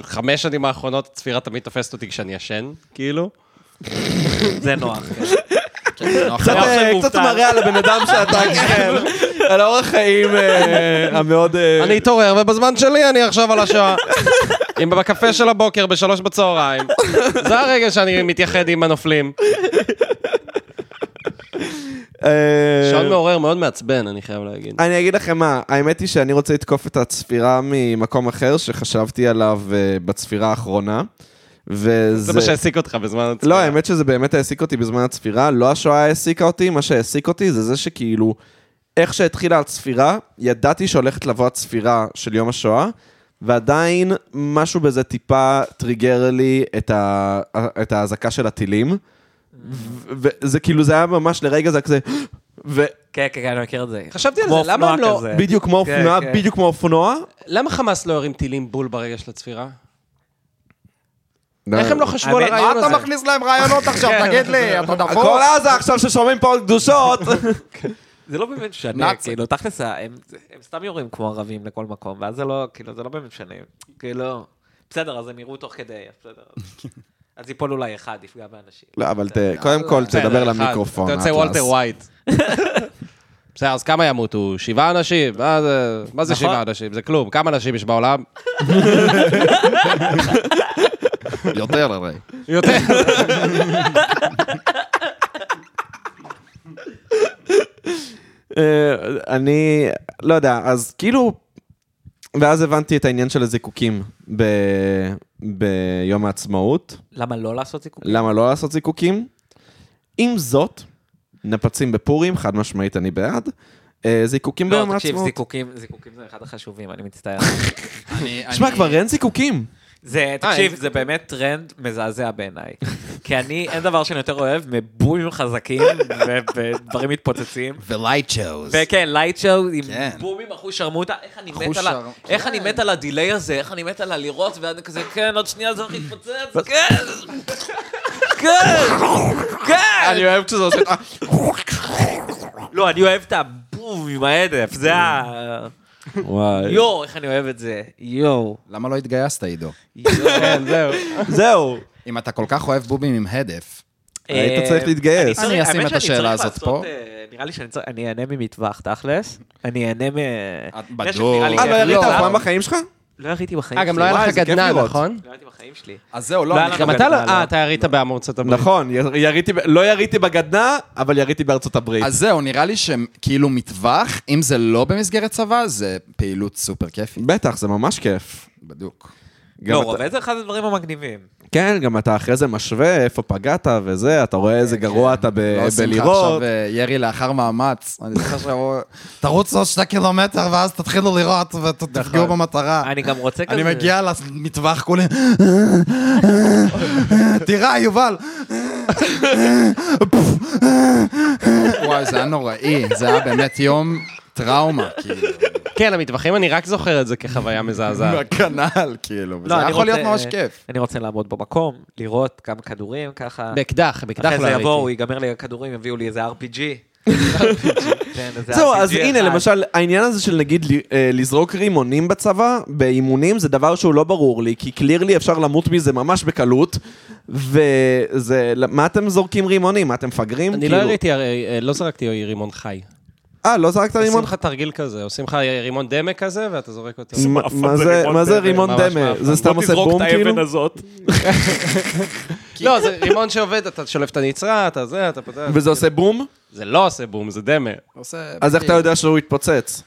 S4: בחמש שנים האחרונות הצפירה תמיד תופסת אותי כשאני ישן, כאילו.
S3: זה נוח. כן.
S2: לא,
S1: קצת,
S3: המוח של
S1: אה,
S3: מובטל.
S1: קצת מראה על הבן אדם שאתה, כן, על האורח חיים אה, המאוד... אה,
S4: אני אתעורר, ובזמן שלי אני עכשיו על השעה. אם בקפה של הבוקר בשלוש בצהריים. זה הרגע שאני מתייחד עם הנופלים.
S1: אה,
S4: שעון מעורר מאוד מעצבן, אני חייב להגיד.
S1: אני אגיד לכם מה, האמת היא שאני רוצה לתקוף את הצפירה ממקום אחר שחשבתי עליו אה, בצפירה האחרונה, וזה...
S4: זה מה שהעסיק אותך בזמן הצפירה.
S1: לא, האמת שזה באמת העסיק אותי בזמן הצפירה, לא השואה העסיקה אותי, מה שהעסיק אותי זה זה שכאילו, איך שהתחילה הצפירה, ידעתי שהולכת לבוא הצפירה של יום השואה, ועדיין משהו בזה טיפה טריגר לי את, ה... את האזעקה של הטילים. ו- וזה כאילו, זה היה ממש לרגע זה היה כזה, ו...
S3: כן, כן, אני מכיר את זה.
S4: חשבתי על
S3: כמו
S4: זה, למה הם
S3: אופנוע
S4: לא-
S3: כזה.
S1: בדיוק כמו
S3: כן,
S1: אופנוע,
S3: כן.
S1: בדיוק כמו אופנוע.
S4: למה חמאס לא הרים טילים בול ברגע של הצפירה? איך הם לא חשבו על
S3: האמת,
S4: הרעיון
S2: אתה
S4: הזה?
S2: מכניס להם רעיונות עכשיו, תגיד לי, אתה דפוק?
S1: כל עזה עכשיו ששומעים פה על קדושות.
S3: זה לא באמת משנה,
S2: נאצ-
S3: כאילו, תכלס, הם הם סתם יורים כמו ערבים לכל מקום, ואז זה לא, כאילו, זה לא באמת משנה. כאילו, בסדר, אז הם יראו תוך כדי, אז בסדר. אז ייפול אולי אחד, יפגע באנשים.
S1: לא, אבל ת- קודם כל תדבר
S4: בסדר, אחד.
S1: למיקרופון.
S4: אתה יוצא
S1: אטלס.
S4: וולטר ווייט. בסדר, אז כמה ימותו? שבעה אנשים? מה זה- מה זה
S3: נכון.
S4: שבעה אנשים? זה כלום. כמה אנשים יש בעולם?
S2: יותר הרי.
S4: יותר.
S1: אה, אני לא יודע, אז כאילו... ואז הבנתי את העניין של הזיקוקים ב... ביום העצמאות.
S3: למה לא לעשות זיקוקים?
S1: למה לא לעשות זיקוקים? עם זאת, נפצים בפורים, חד משמעית אני בעד. אה, זיקוקים
S3: לא,
S1: ביום
S3: תקשיב,
S1: העצמאות.
S3: זיקוקים, זיקוקים זה אחד החשובים, אני מצטער.
S1: תשמע, כבר אין זיקוקים.
S3: זה, תקשיב, זה באמת טרנד מזעזע בעיניי. כי אני, אין דבר שאני יותר אוהב מבומים חזקים ו- ודברים מתפוצצים.
S2: ולייט שואוז.
S3: וכן, לייט שואו עם
S2: כן.
S3: בומים, אחוז שרמוטה, איך אני מת
S2: אחוז
S3: על ה...
S2: שר-
S3: איך
S2: כן.
S3: אני מת על הדיליי הזה, איך אני מת על הלירות, ואני כזה, כן, עוד שנייה זה הולך להתפוצץ, כן! כן! כן!
S1: אוהב כשזה עושה...
S3: לא, אני אוהב את הבום עם ההדף, זה ה...
S1: וואי.
S3: יואו, איך אני אוהב את זה. יואו.
S2: למה לא התגייסת, עידו?
S4: כן, זהו.
S1: זהו.
S2: אם אתה כל כך אוהב בובים עם הדף,
S1: היית
S3: אה,
S1: צריך להתגייס.
S3: צריך-
S2: אני אשים
S3: האמת
S2: את
S3: שאני
S2: השאלה
S3: צריך
S2: הזאת
S3: לעשות,
S2: פה.
S3: אה, נראה לי שאני צריך... אני אהנה ממטווח, תכלס. אני אהנה מ...
S2: את
S3: נשק
S2: בדור.
S3: נראה לי
S1: אה,
S3: כיף
S1: לא ירית
S3: לי,
S1: אף
S3: אבל-
S1: פעם בחיים שלך?
S3: לא יריתי בחיים
S4: אה,
S3: שלי.
S4: גם לא היה
S1: וואי,
S4: לך
S1: זה כיף
S4: גדנ"ע,
S1: לראות.
S4: נכון?
S3: לא יריתי בחיים שלי.
S2: אז זהו, לא,
S3: לא,
S2: אני
S3: אנחנו
S4: גם
S3: לא
S4: אתה לא...
S3: גדנ"ע, לא.
S4: אה, אתה ירית בארצות הברית.
S1: נכון, יר- יריתי, ב- לא יריתי בגדנ"ע, אבל יריתי בארצות הברית.
S2: אז זהו, נראה לי שכאילו מטווח, אם זה לא במסגרת צבא, זה פעילות סופר כיפית.
S1: בטח, זה ממש כיף.
S2: בדוק.
S1: גם
S3: לא,
S1: אתה-
S3: רובד זה אחד הדברים המגניבים.
S1: כן, גם אתה אחרי זה משווה איפה פגעת וזה, אתה רואה איזה גרוע אתה ב-
S2: לא עושים לך עכשיו
S1: בלראות.
S2: אה, ירי לאחר מאמץ. אני זוכר שאמרו, תרוץ עוד שני קילומטר ואז תתחילו לירות ותפגעו במטרה.
S3: אני גם רוצה כזה...
S2: אני מגיע למטווח כולי, תירה, יובל. וואי, זה היה נוראי, זה היה באמת יום טראומה, כאילו.
S4: כן, המטווחים, אני רק זוכר את זה כחוויה
S2: נכון.
S4: מזעזעת.
S2: כנ"ל, כאילו,
S3: לא,
S2: זה
S3: אני
S2: יכול
S3: רוצה-
S2: להיות ממש כיף.
S3: אני רוצה לעמוד במקום, לראות כמה כדורים, ככה.
S4: באקדח, באקדח לא
S3: אחרי
S4: הייתי.
S3: זה יבואו, ייגמר לי הכדורים, יביאו לי איזה RPG. כן, איזה
S1: זהו,
S3: RPG
S1: אז הנה,
S3: אחד.
S1: למשל, העניין הזה של נגיד ל- אה, לזרוק רימונים בצבא, באימונים, זה דבר שהוא לא ברור לי, כי קלירלי אפשר למות מזה ממש בקלות, וזה, מה אתם זורקים רימונים? מה, אתם מפגרים?
S4: אני לא
S1: כאילו-
S4: יריתי, הרי, אה, לא זרקתי רימון חי.
S1: אה, לא זרקת
S4: עושים
S1: רימון?
S4: לך תרגיל כזה, עושים לך רימון דמה כזה, ואתה זורק אותו.
S1: מה- מה זה- מה זה רימון
S4: ממש
S1: דמה?
S4: מעפן.
S1: זה סתם עושה בום כאילו?
S3: הזאת.
S4: לא, זה רימון שעובד, אתה שולף את הנצרה, אתה זה, אתה פותח.
S1: וזה עושה בום?
S4: זה לא עושה בום, זה דמה.
S2: עושה-
S1: אז איך אתה יודע שהוא התפוצץ?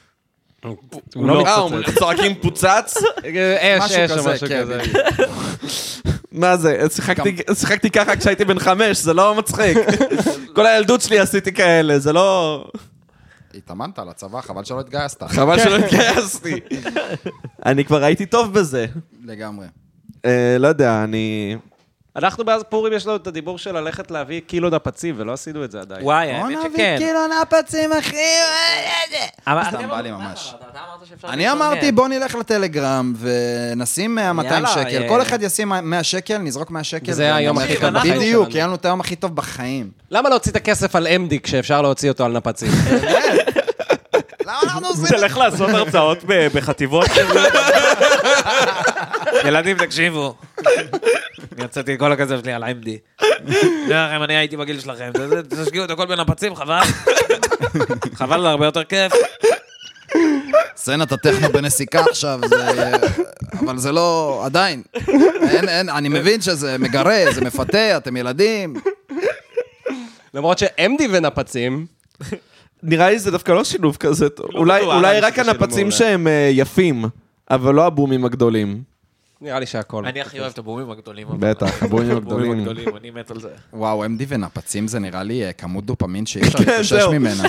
S4: הוא לא
S1: אה, הוא- צועקים פוצץ?
S4: אש,
S2: משהו
S4: אש או
S2: כזה,
S4: משהו
S2: כן,
S4: כזה.
S1: מה זה, שיחקתי, שיחקתי ככה כשהייתי בן חמש, זה לא מצחיק. כל הילדות שלי עשיתי כאלה, זה לא...
S2: התאמנת על הצבא, חבל שלא התגייסת.
S1: חבל שלא התגייסתי. כן. אני כבר הייתי טוב בזה.
S2: לגמרי.
S1: אה, לא יודע, אני...
S4: אנחנו מאז פורים יש לנו את הדיבור של ללכת להביא קילו נפצים, ולא עשינו את זה עדיין.
S3: וואי,
S2: כן,
S3: האמת שכן.
S2: כאילו נפצים, אחי.
S3: אבל
S2: סתם
S3: אתם
S2: בא לי
S3: אמרתם
S2: ממש.
S3: ככה, אתה אמרת שאפשר
S2: אני
S3: להתארגן.
S2: אמרתי, בוא נלך לטלגרם ונשים 200
S3: יאללה,
S2: שקל.
S3: אה.
S2: כל אחד ישים 100 שקל, נזרוק 100 שקל.
S4: זה היה היום
S2: ונלך
S4: הכי
S3: טוב
S2: לטלגרם.
S3: בחיים
S2: בדיוק,
S4: שלנו.
S2: היה לנו את היום הכי טוב בחיים.
S4: למה להוציא את הכסף על אמדי כשאפשר להוציא אותו על נפצים?
S2: למה אנחנו עושים את זה?
S3: לעשות הרצאות בחטיבות. ילדים, תקשיבו. אני יצאתי את כל הכסף שלי על עמדי. לא, אם אני הייתי בגיל שלכם, ת- ת- תשקיעו את הכל בין הפצים, חבל. חבל, זה הרבה יותר כיף.
S2: סצנת הטכנו בנסיקה עכשיו, זה... אה, אבל זה לא... עדיין. אין, אין, אני מבין שזה מגרה, זה מפתה, אתם ילדים.
S4: למרות שעמדי ונפצים,
S1: נראה לי זה דווקא לא שילוב כזה טוב. אולי-
S4: בטוח,
S1: אולי
S4: אני
S1: רק
S4: חושב שזה
S1: הנפצים
S4: מעולה.
S1: שהם אה, יפים, אבל לא הבומים הגדולים.
S4: נראה לי שהכל.
S3: אני הכי אוהב את הבומים הגדולים.
S1: בטח, הבומים
S3: הבומים
S1: הגדולים.
S3: הגדולים, אני מת על זה.
S2: וואו, MD ונפצים זה נראה לי אה, כמות דופמין שאי אפשר להתאושש
S1: זהו.
S2: ממנה.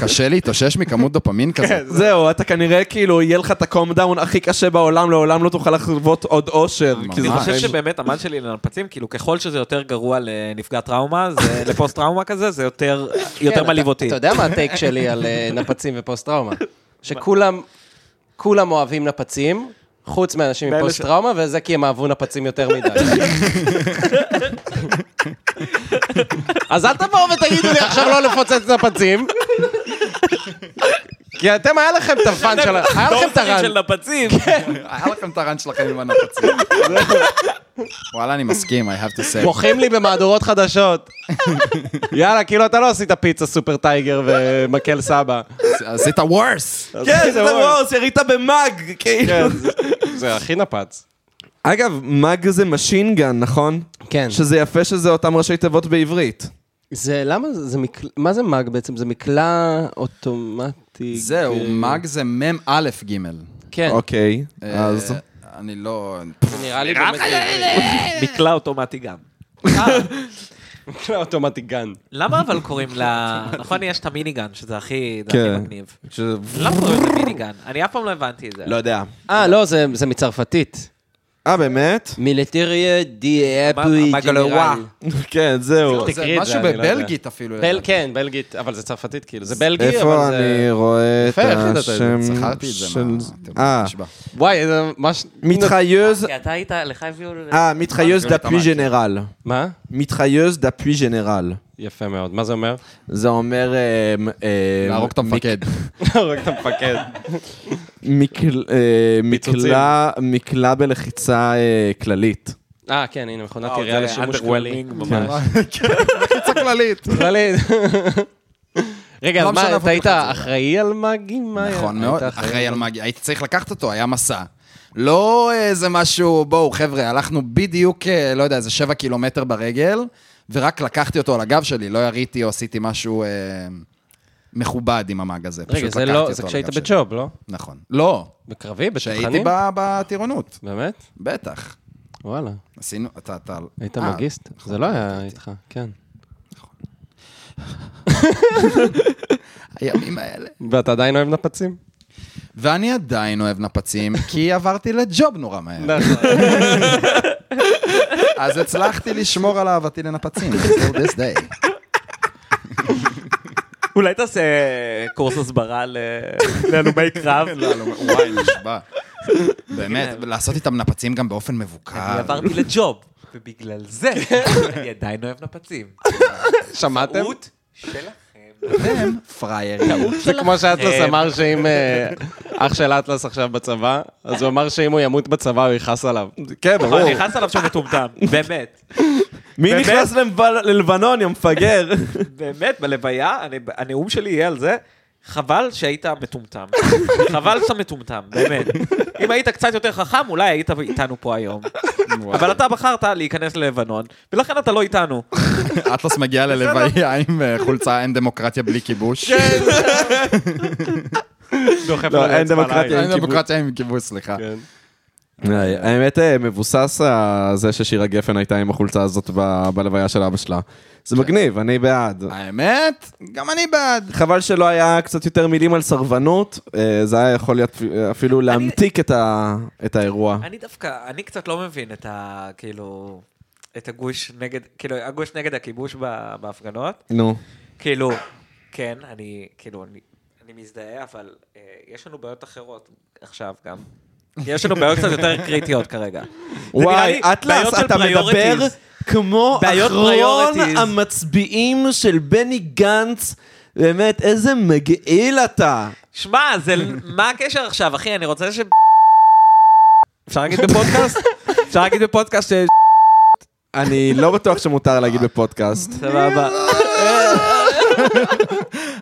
S2: קשה להתאושש מכמות דופמין כזאת.
S1: זהו, אתה כנראה כאילו, יהיה לך את הקום דאון הכי קשה בעולם, לעולם לא תוכל לחוות עוד אושר. כי זה
S3: אני חושב
S1: חיים-
S3: שבאמת המד שלי לנפצים, כאילו ככל שזה יותר גרוע לנפגע טראומה, זה- לפוסט טראומה כזה, זה יותר יותר
S4: כן,
S3: מעליב
S4: אתה-
S3: אותי.
S4: אתה יודע מה הטייק שלי על אה, נפצים ופוסט-טראומה? שכולם כולם אוהבים נפצים, חוץ מאנשים עם
S3: ואלה ש-
S4: פוסט-טראומה, וזה כי הם אהבו נפצים יותר מדי. אז אל תבואו ותגידו לי עכשיו לא לפוצץ נפצים. כי אתם, היה לכם את הפאן של ה... היה לכם את
S3: דורסרים
S4: הרן.
S3: של נפצים.
S4: כן.
S2: היה לכם את הרן שלכם עם הנפצים. וואלה, אני מסכים, I have to say.
S4: בוכים לי במהדורות חדשות. יאללה, כאילו אתה לא עשית פיצה סופר טייגר ומקל סבא.
S2: עשית worse.
S1: כן, זה
S4: וואו.
S1: וורס, ירית במאג, כאילו.
S4: כן, זה- זה הכי נפץ.
S1: אגב, מאג זה משין גן, נכון?
S4: כן.
S1: שזה יפה שזה אותם ראשי תיבות בעברית.
S4: זה, למה זה, זה מקל... מה זה מאג בעצם? זה מקלע אוטומטי.
S2: זהו,
S4: אה,
S2: מאג זה מ"ם א' ג'.
S4: כן.
S1: אוקיי,
S2: אה,
S1: אז...
S2: אני לא...
S4: נראה לי באמת...
S3: מקלע אוטומטי גם.
S4: מקלע אוטומטי גן.
S3: למה אבל קוראים לה... נכון, יש את המיניגן, שזה הכי
S1: כן.
S3: דעתי מגניב. למה קוראים לזה מיניגן? אני אף פעם לא הבנתי את זה.
S1: לא יודע.
S4: אה, לא, זה, זה מצרפתית.
S1: אה, באמת?
S4: מיליטריה די אפוי
S3: המגלואה.
S1: כן, זהו.
S4: תקריא
S2: זה
S4: את זה,
S2: משהו
S4: אני לא יודע.
S2: בבלגית אפילו.
S4: בל,
S2: לדעתי.
S4: כן, בלגית, אבל זה צרפתית כאילו. זה בלגי,
S1: איפה
S4: אבל זה...
S1: אני רואה את
S2: יפה, איך ידעת את זה?
S1: השם
S2: זכרתי את זה.
S1: של...
S2: מה-
S1: אה,
S2: אתם- נשבע.
S4: וואי, זה ממש... אה,
S1: מתחייז...
S3: כי אתה היית, לך הביאו...
S4: כן.
S1: אה, מתחייז
S2: זה
S1: דפוי
S2: אוטומטי.
S1: ג'נרל.
S4: מה?
S1: מתחייז דפוי ג'נרל.
S4: יפה מאוד. מה זה אומר?
S1: זה אומר... אמ, אמ,
S2: להרוג את המפקד.
S4: הורג את המפקד.
S1: מקל- אה,
S4: פיצוצים.
S1: מקלע- מקלע בלחיצה אה, כללית.
S4: אה, כן, הנה, מכונת
S3: וואו,
S4: ירייה
S3: זה
S4: לשימוש כללי. כן.
S3: underwhelming ממש.
S2: חיצה כללית.
S4: כללי. רגע,
S2: לא
S4: אז
S2: משנה
S4: מה,
S2: איפה
S4: אתה היית
S2: תלחץ את זה.
S4: אחראי על מאגים? מה היה?
S2: נכון
S4: היית
S2: מאוד. אחראי על מאגי. הייתי צריך לקחת אותו, היה מסע. לא איזה משהו, בואו חבר'ה, הלכנו בדיוק, אה, לא יודע, איזה שבע קילומטר ברגל, ורק לקחתי אותו על הגב שלי, לא יריתי או עשיתי משהו אה, מכובד עם המאג הזה.
S4: רגע,
S2: פשוט
S4: זה
S2: לקחתי
S4: לא,
S2: אותו
S4: זה
S2: על
S4: כשהיית
S2: הגב שלי.
S4: בג'וב, לא?
S2: נכון. לא,
S4: בקרבי?
S2: כשהייתי
S4: בצנחנים?
S2: ב- בטירונות,
S4: באמת?
S2: בטח.
S4: וואלה.
S2: עשינו, אתה... אתה-
S4: היית
S2: אה,
S4: מאגיסט? זה לא היה איתך, כן.
S2: הימים האלה.
S4: ואתה עדיין אוהב נפצים?
S2: ואני עדיין אוהב נפצים, כי עברתי לג'וב נורא מהר. אז הצלחתי לשמור על אהבתי לנפצים, until this day.
S3: אולי תעשה קורס הסברה ל- להלומי קרב.
S1: לא.
S2: לא, וואי, נשבע. באמת, לעשות איתם נפצים גם באופן מבוקר.
S3: אני עברתי לג'וב, ובגלל זה אני עדיין אוהב נפצים.
S4: שמעתם?
S3: טעות שלכם.
S2: אתם פריירים.
S4: אה, זה כמו שאטלס אמר שאם אה, אח של אטלס עכשיו בצבא, אז הוא אמר שאם הוא ימות בצבא הוא יכעס עליו.
S1: כן,
S3: נכון, אני נכנס עליו שהוא מטומטם, באמת.
S1: מי
S3: באמת?
S1: נכנס ללבנ- ללבנון, יא מפגר?
S3: באמת, בלוויה, אני- הנאום שלי יהיה על זה. חבל שהיית מטומטם. חבל שאתה מטומטם, באמת. אם היית קצת יותר חכם, אולי היית איתנו פה היום. אבל אתה בחרת להיכנס ללבנון, ולכן אתה לא איתנו.
S2: אטלס מגיע ללוויה עם אה, חולצה אין דמוקרטיה בלי כיבוש.
S4: דוחף
S1: לא,
S4: לו
S1: אין
S4: אצבע
S1: דמוקרטיה.
S4: לעין.
S2: אין דמוקרטיה עם כיבוש, סליחה.
S4: כן.
S1: האמת, אה, מבוסס ה- זה ששירה גפן הייתה עם החולצה הזאת ב- בלוויה של אבא שלה. זה מגניב, אני בעד.
S2: האמת, גם אני בעד.
S1: חבל שלא היה קצת יותר מילים על סרבנות, אה, זה היה יכול להיות אה, אפילו להמתיק את ה- את האירוע.
S3: אני דווקא, אני קצת לא מבין את ה... כאילו... את הגוש נגד, כאילו, הגוש נגד הכיבוש ב- בהפגנות.
S1: נו.
S3: כאילו, כן, אני, כאילו, אני, אני מזדהה, אבל אה, יש לנו בעיות אחרות עכשיו גם. יש לנו בעיות קצת יותר קריטיות כרגע. זה נראה
S1: וואי,
S3: לי בעיות
S1: אטלס,
S3: של
S1: אתה מדבר
S3: priorities.
S1: כמו
S3: בעיות
S1: אחרון
S3: priorities.
S1: המצביעים של בני גנץ. באמת, איזה מגעיל אתה.
S3: שמע, זה, מה הקשר עכשיו, אחי? אני רוצה ש...
S1: אפשר להגיד בפודקאסט? אפשר להגיד בפודקאסט ש... אני לא בטוח שמותר להגיד בפודקאסט.
S3: סבבה.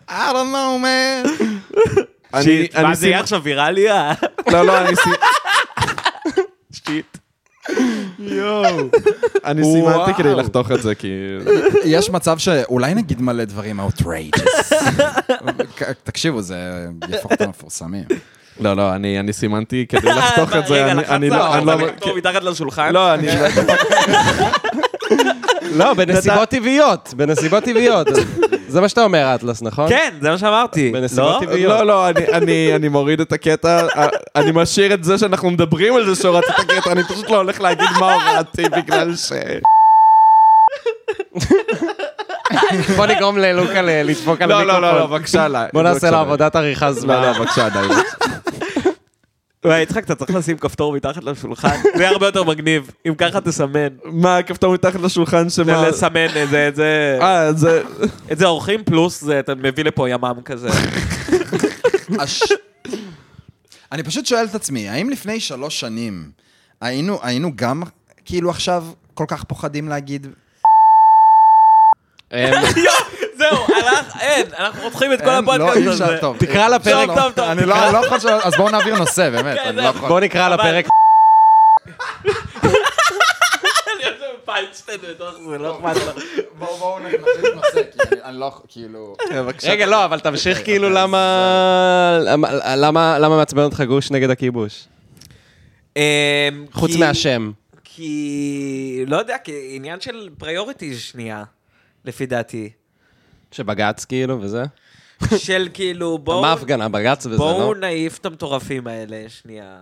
S2: I don't know, man.
S1: אני-
S3: שיט,
S1: אני
S3: מה זה יהיה
S1: סימ-
S3: עכשיו ויראלי? אה?
S1: לא, לא, אני סי-
S3: שיט.
S1: אני סימנתי
S2: וואו.
S1: כדי לחתוך את זה, כי...
S2: יש מצב שאולי נגיד מלא דברים outrageous. תקשיבו, זה יהפוך אותם מפורסמים.
S1: לא, לא, אני אני סימנתי כדי לחתוך את זה.
S3: רגע,
S1: אני-
S3: לחצת
S1: אני לא...
S3: עליו,
S1: אני לא-
S3: אתה מכתוב מתחת לשולחן?
S1: לא, אני...
S4: לא, בנסיבות טבעיות, בנסיבות טבעיות. זה מה שאתה אומר, אטלס, נכון?
S3: כן, זה מה שאמרתי.
S4: בנסיבות
S3: לא?
S4: טבעיות.
S1: לא, לא, אני- אני- אני מוריד את הקטע, אה, אני משאיר את זה שאנחנו מדברים על זה שהורדתי את הקטע, אני פשוט לא הולך להגיד מה הורדתי בגלל ש...
S4: בוא נגרום ללוקה ל- לדפוק על
S1: לא,
S4: המיקרופון.
S1: לא, לא, לא, בבקשה, לא.
S4: בוא
S1: בבקשה,
S4: נעשה
S1: לא.
S4: לה עבודת עריכה זמן.
S1: לא, לא, בבקשה, די.
S3: וואי, יצחק, אתה צריך לשים כפתור מתחת לשולחן. זה יהיה הרבה יותר מגניב. אם ככה תסמן.
S1: מה, הכפתור מתחת לשולחן שמה...
S3: לסמן את זה, את זה...
S1: אה, זה...
S3: את זה עורכים פלוס, זה אתה מביא לפה ימ"מ כזה.
S2: הש- אני פשוט שואל את עצמי, האם לפני שלוש שנים היינו, היינו גם כאילו עכשיו כל כך פוחדים להגיד...
S3: זהו, הלך, אין, אנחנו חותכים את כל
S2: אין, לא,
S3: הפודקאסט
S2: אי אפשר,
S3: הזה.
S2: טוב.
S4: תקרא לפרק,
S3: טוב, טוב, טוב. כן,
S2: אני לא לא יכול... שלא- אז בואו נעביר נושא, באמת. אני לא יכול.
S4: בוא נקרא לפרק.
S3: אני עושה פיינשטיין בתוך זה, לא אכפת לך.
S2: בואו בואו נחליף נושא, כי אני- אני לא יכול, כאילו...
S4: רגע, לא, אבל תמשיך כאילו למה... למה- למה למה מעצבן אותך גוש נגד הכיבוש?
S3: אמ,
S4: חוץ
S3: כי-
S4: מהשם.
S3: כי, לא יודע, כי עניין של פריוריטי שנייה, לפי דעתי.
S4: שבג"ץ כאילו וזה?
S3: של כאילו, בואו...
S4: מה ההפגנה? בג"ץ וזה, לא?
S3: בואו נעיף את המטורפים האלה שנייה,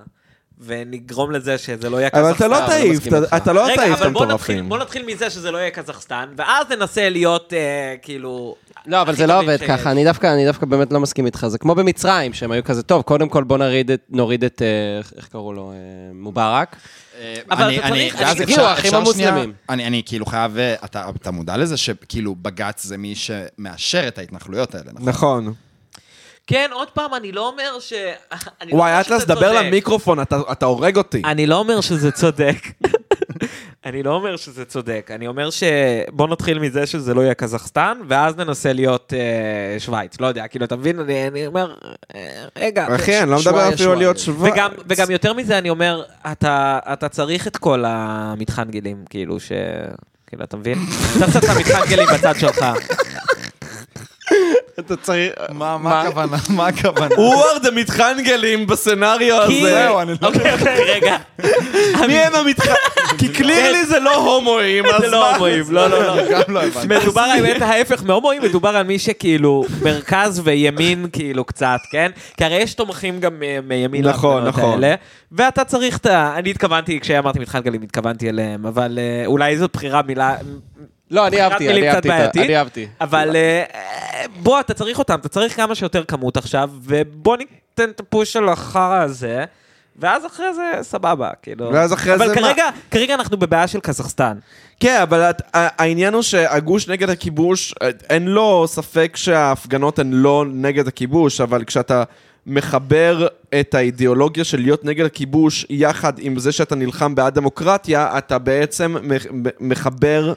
S3: ונגרום לזה שזה לא יהיה
S1: אבל
S3: קזחסטן.
S1: אתה לא תעיף,
S4: מסכים
S1: אתה-
S4: איתך.
S1: אתה לא
S3: רגע,
S1: תעיף את
S3: אבל בוא נתחיל,
S1: המטורפים.
S3: בוא נתחיל מזה שזה לא יהיה קזחסטן, ואז ננסה להיות אה, כאילו...
S4: לא, אבל
S3: הכי
S4: זה לא
S3: טובים
S4: עובד
S3: שיש.
S4: ככה, אני דווקא, אני דווקא באמת לא מסכים איתך. זה כמו במצרים, שהם היו כזה, טוב, קודם כל בוא נוריד את, נוריד את, אה, איך- איך קראו לו, אה, מובארק.
S3: אבל
S2: אני-
S3: אתה
S2: אני-
S3: צריך-
S2: ואז
S4: אני-
S2: אפשר-
S4: כאילו, האחים
S2: אפשר שנייה-
S4: המוסלמים.
S2: אני אני כאילו חייב... אה, אתה אתה מודע לזה שכאילו בג"ץ זה מי שמאשר את ההתנחלויות האלה, נכון?
S1: נכון.
S3: כן, עוד פעם, אני לא אומר ש... אני לא אומר
S1: וואי,
S3: שזה
S1: אטלס, דבר
S3: צודק.
S1: למיקרופון, אתה אתה הורג אותי.
S3: אני לא אומר שזה צודק. אני לא אומר שזה צודק, אני אומר ש... בוא נתחיל מזה שזה לא יהיה קזחסטן, ואז ננסה להיות אה, שווייץ. לא יודע, כאילו, אתה מבין? אני, אני אומר, אה, רגע.
S1: אחי, אני לא
S2: שוואיה,
S1: מדבר אפילו על
S2: שוואיה.
S1: להיות שווה.
S3: וגם, וגם יותר מזה, אני אומר, אתה, אתה צריך את כל המתחן גילים, כאילו, ש... כאילו, אתה מבין? אתה צריך את המתחן גילים בצד שלך.
S4: אתה צריך...
S2: מה- מה הכוונה? מה הכוונה?
S1: הוא ארד המתחנגלים בסצנריו
S3: כי-
S1: הזה.
S2: זהו, אני לא-
S3: אוקיי, אוקיי, רגע.
S1: מי הם המתחנ... כי קלירלי זה לא הומואים, אז
S3: זה לא
S1: מה?
S3: הומואים, לא, לא, לא.
S2: גם לא הבנתי.
S3: מדובר האמת ההפך מהומואים, מדובר על מי שכאילו מרכז וימין כאילו קצת, כן? כי הרי יש תומכים גם אה, מימין
S1: נכון,
S3: להפגנות
S1: נכון.
S3: האלה, ואתה צריך את ה... אני התכוונתי, כשאמרתי מתחן גלים התכוונתי אליהם, אבל אה, אולי זאת בחירה מילה...
S4: לא, אני
S3: בחירת
S4: אהבתי,
S3: מילים
S4: אני
S3: קצת
S4: אהבתי, את ה-
S3: בעייתית.
S4: אני אהבתי.
S3: אבל אה, אה, בוא, אתה צריך אותם, אתה צריך כמה שיותר כמות עכשיו, ובוא ניתן את הפוש של החרא הזה. ואז אחרי זה סבבה, כאילו.
S1: ואז אחרי זה
S3: אבל
S1: מה?
S3: כרגע, כרגע אנחנו בבעיה של קזחסטן.
S1: כן, אבל את- ה- העניין הוא שהגוש נגד הכיבוש, אה, אין לו ספק שההפגנות הן לא נגד הכיבוש, אבל כשאתה מחבר את האידיאולוגיה של להיות נגד הכיבוש יחד עם זה שאתה נלחם בעד דמוקרטיה, אתה בעצם מח- מ- מחבר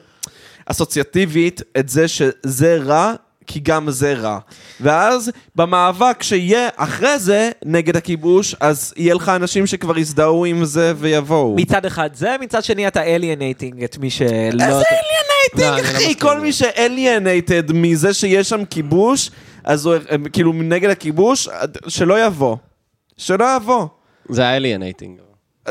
S1: אסוציאטיבית את זה שזה רע. כי גם זה רע. ואז במאבק שיהיה אחרי זה נגד הכיבוש, אז יהיה לך אנשים שכבר יזדהו עם זה ויבואו.
S3: מצד אחד זה, מצד שני אתה alienating את מי שלא...
S1: איזה
S4: לא, אני
S1: alienating,
S4: לא
S1: אחי?
S4: מסכים
S1: כל
S4: לזה.
S1: מי ש-alienated מזה שיש שם כיבוש, אז הוא הם כאילו נגד הכיבוש, שלא יבוא. שלא יבוא.
S4: זה האליינייטינג.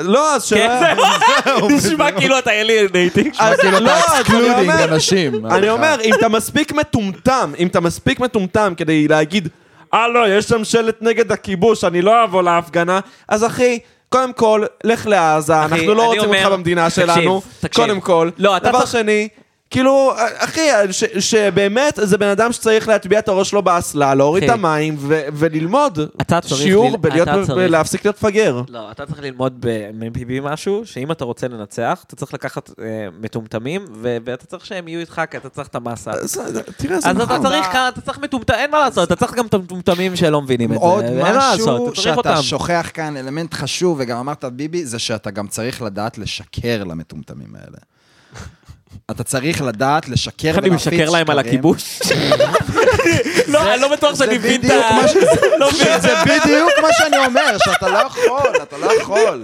S1: לא, אז שלא
S3: כן,
S1: יבוא.
S3: זהו. נשמע כאילו אתה alienating.
S1: אז-
S2: כאילו
S1: לא,
S2: אתה
S1: אז אני
S2: אקסקלודינג
S1: אומר-
S2: אנשים.
S1: אני אומר, אם אתה מספיק מטומטם, אם אתה מספיק מטומטם כדי להגיד, אה לא, יש שם שלט נגד הכיבוש, אני לא אבוא להפגנה, אז אחי... קודם כל, לך לעזה, אנחנו
S3: אני
S1: לא רוצים
S3: אומר-
S1: אותך במדינה
S3: תקשיב,
S1: שלנו.
S3: תקשיב.
S1: קודם כל.
S3: לא, אתה
S1: דבר
S3: צריך-
S1: שני, כאילו, אחי, ש, שבאמת זה בן אדם שצריך להטביע את הראש שלו באסלה, להוריד את
S3: אחי.
S1: המים ו, וללמוד
S3: אתה צריך
S1: שיעור
S3: ל-
S1: בלהיות-
S3: אתה צריך.
S1: ולהפסיק להיות מפגר.
S3: לא, אתה צריך ללמוד ב-MPB משהו, שאם אתה רוצה לנצח, אתה צריך לקחת אה, מטומטמים, ו- ואתה צריך שהם יהיו איתך, כי אתה צריך את המאסה.
S1: אז- תראה, זה
S3: אז אתה
S1: נכון.
S3: צריך כאן, אתה צריך מטומטם, אין מה לעשות, אתה צריך גם את המטומטמים שלא מבינים את זה.
S2: עוד
S3: אין מה לעשות,
S2: משהו
S3: אתה צריך אותם.
S2: שאתה שוכח כאן, אלמנט חשוב, וגם אמרת, ביבי, זה שאתה גם צריך לדעת לשקר למטומטמים האלה. אתה צריך לדעת לשקר
S3: איך אני
S2: ולהפיץ
S3: משקר להם על
S2: שקרים.
S3: הכיבוש? לא, אני לא בטוח שאני מבין את
S2: בדיוק מה
S3: ה... לא מבין.
S2: זה בדיוק מה שאני אומר, שאתה לא יכול, אתה לא יכול.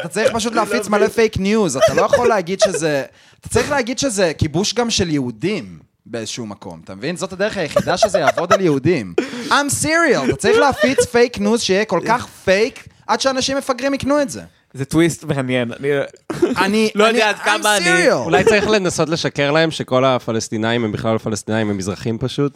S2: אתה צריך פשוט
S3: לא
S2: להפיץ מלא פייק ניוז, אתה לא יכול להגיד שזה... אתה צריך להגיד שזה כיבוש גם של יהודים באיזשהו מקום, אתה מבין? זאת הדרך היחידה שזה יעבוד על יהודים. I'm serial, אתה צריך להפיץ פייק ניוז שיהיה כל כך פייק, עד שאנשים מפגרים יקנו את זה.
S3: זה טוויסט מעניין. אני-
S2: אני...
S3: לא יודע עד
S2: אני-
S3: כמה
S2: I'm
S3: אני-
S2: serial.
S4: אולי צריך לנסות לשקר להם שכל הפלסטינאים הם בכלל לא פלסטינאים, הם מזרחים פשוט.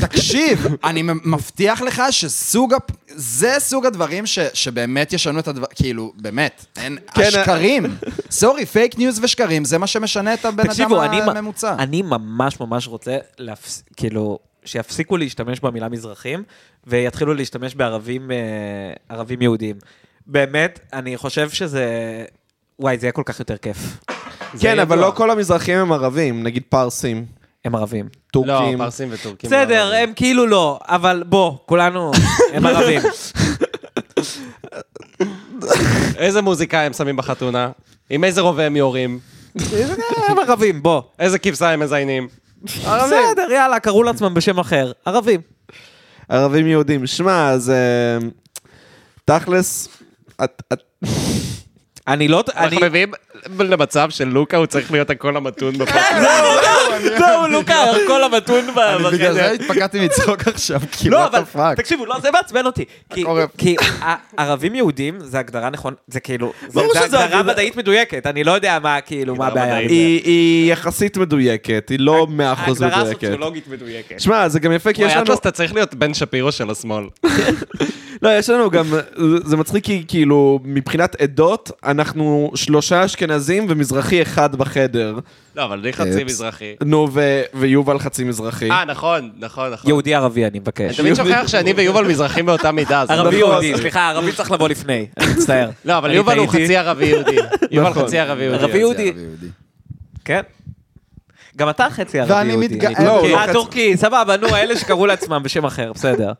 S2: תקשיב, אני מ- מבטיח לך שסוג, הפ- זה סוג הדברים ש, שבאמת ישנו את הדבר, כאילו, באמת, אין,
S3: אה,
S1: כן,
S2: השקרים. סורי, פייק ניוז ושקרים, זה מה שמשנה את הבן אדם אה,
S3: תקשיבו, אני מ-
S2: הממוצע.
S3: אני ממש ממש רוצה, להפס- כאילו, שיפסיקו להשתמש במילה מזרחים, ויתחילו להשתמש בערבים אה, ערבים יהודים. באמת, אני חושב שזה... וואי, זה יהיה כל כך יותר כיף. זה
S1: כן,
S3: ידוע.
S1: אבל לא כל המזרחים הם ערבים, נגיד פרסים,
S3: הם ערבים.
S4: לא,
S1: טורקים.
S4: פרסים וטורקים. לא
S3: בסדר,
S4: ערבים.
S3: הם כאילו לא, אבל בוא, כולנו, הם ערבים.
S4: אה, איזה מוזיקה הם שמים בחתונה? עם איזה רובה הם יורים?
S3: הם ערבים, בוא.
S4: איזה כבשה הם מזיינים?
S3: בסדר, יאללה, קראו לעצמם בשם אחר. ערבים.
S1: ערבים יהודים. שמע, אז... אה, תכלס, את- את-
S3: אני לא... אני...
S4: אנחנו מביאים למצב של לוקה, הוא צריך להיות הקול המתון בפרק.
S3: כן. זהו, לא, לוקה, כל המתון
S2: בגלל זה
S3: בחדר.
S2: התפקעתי מצחוק עכשיו, כי
S3: כן, אה. לא,
S2: what
S3: אבל
S2: the fuck.
S3: תקשיבו, לא, זה מעצבן אותי. כי-
S2: הקורב.
S3: כי ה- ערבים יהודים, זה הגדרה נכון, זה כאילו, זה
S1: ברור
S3: זה
S1: שזה
S3: הגדרה
S1: הגדרה-
S3: מדעית מדויקת, אני לא יודע מה, כאילו, מה
S4: הגדרה
S3: הבעיה.
S4: מדעית.
S3: היא-
S1: היא- היא יחסית מדויקת, היא לא 100%
S3: ההגדרה
S1: מדויקת.
S3: הסוציולוגית מדויקת.
S1: שמע, זה גם יפה, כי יש
S4: וואי,
S1: לנו...
S4: אטלס, אתה צריך להיות בן שפירו של השמאל.
S1: לא, יש לנו גם... זה מצחיק כי כאילו, מבחינת עדות, אנחנו שלושה אשכנזים ומזרחי אחד בחדר.
S4: לא, אבל לי
S1: אופס.
S3: אה,
S4: חצי מזרחי.
S1: נו, ו- ויובל חצי מזרחי.
S4: אה, נכון, נכון, נכון.
S3: יהודי ערבי, אני מבקש.
S4: אני תמיד שוכח שאני ויובל מזרחים באותה מידה. אז-
S3: ערבי
S1: נכון.
S3: יהודי, סליחה, ערבי צריך לבוא לפני, אני מצטער.
S4: לא, אבל
S3: אני
S4: יובל הוא
S3: טעיתי.
S4: חצי ערבי יהודי. יובל
S1: נכון.
S4: חצי ערבי יהודי.
S3: ערבי יהודי.
S2: ערבי יהודי.
S3: כן. גם אתה חצי ערבי
S2: ואני
S3: יהודי.
S2: מתגאה-
S1: לא, הוא לא
S3: אה,
S1: חצי-
S3: טורקי, סבבה, נו, אלה שקראו לעצמם בשם אחר, בסדר.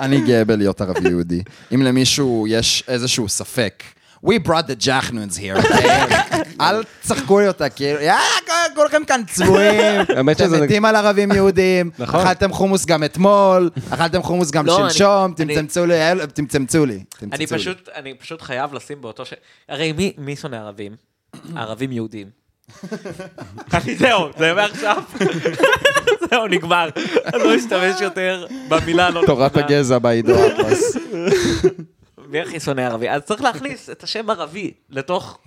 S2: אני גאה בלהיות ערבי יהודי. אם למישהו יש איזשהו ספק. We brought the jacknuns here, okay? אל תשחקו לי אותה, כאילו, יאללה, כל- כולכם כאן צבועים.
S4: האמת
S2: אתם
S4: שזה-
S2: מתים על ערבים יהודים.
S4: נכון.
S2: אכלתם חומוס גם אתמול, אכלתם חומוס גם
S3: לא, אני-
S2: שלשום,
S3: אני-
S2: תמצמצו לי, אל- תמצמצו לי. תמצמצו
S3: אני
S2: לי.
S3: פשוט, אני פשוט חייב לשים באותו ש... הרי מי, מי שונא ערבים? ערבים יהודים. אני זהו, זה מעכשיו. זהו, נגמר. אני לא אשתמש יותר במילה לא
S2: תורת
S3: נכונה.
S2: הגזע בעידו אטלס.
S3: מי הכי שונא ערבי? אז צריך להכניס את השם ערבי לתוך...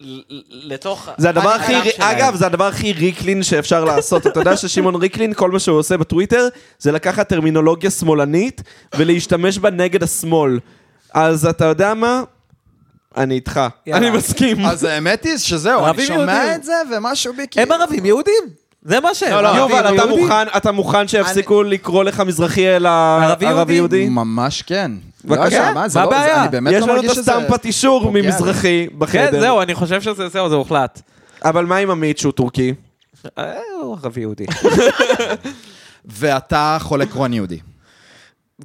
S3: ל- ל- לתוך...
S1: זה הדבר הכי,
S3: העולם שלהם.
S1: אגב, זה הדבר הכי ריקלין שאפשר לעשות. אתה יודע ששמעון ריקלין, כל מה שהוא עושה בטוויטר, זה לקחת טרמינולוגיה שמאלנית ולהשתמש בה נגד השמאל. אז אתה יודע מה? אני איתך.
S3: יאללה.
S1: אני מסכים.
S2: אז האמת היא שזהו, אני
S3: ערבים יהודים.
S2: שומע את זה ומשהו בי
S3: הם
S2: כאילו-
S3: ערבים יהודים? זה מה שהם.
S4: לא,
S3: ערבים
S1: יובל, אתה
S3: יהודים.
S1: מוכן- אתה מוכן שיפסיקו לקרוא לך מזרחי אלא ערבי יהודי?
S2: ממש כן.
S1: בבקשה.
S2: לא יודע, מה זה
S3: מה
S2: לא- זה-
S3: הבעיה?
S2: אני באמת
S1: יש
S2: לא
S1: לנו את
S2: מרגיש שזה...
S1: הסטמפת אישור
S2: פוגע.
S1: ממזרחי
S3: כן,
S1: בחדר.
S3: זהו, אני חושב שזה, זהו, זה הוחלט.
S1: אבל מה עם עמית שהוא טורקי?
S3: אה, הוא ערבי יהודי.
S2: ואתה חולה קרון יהודי.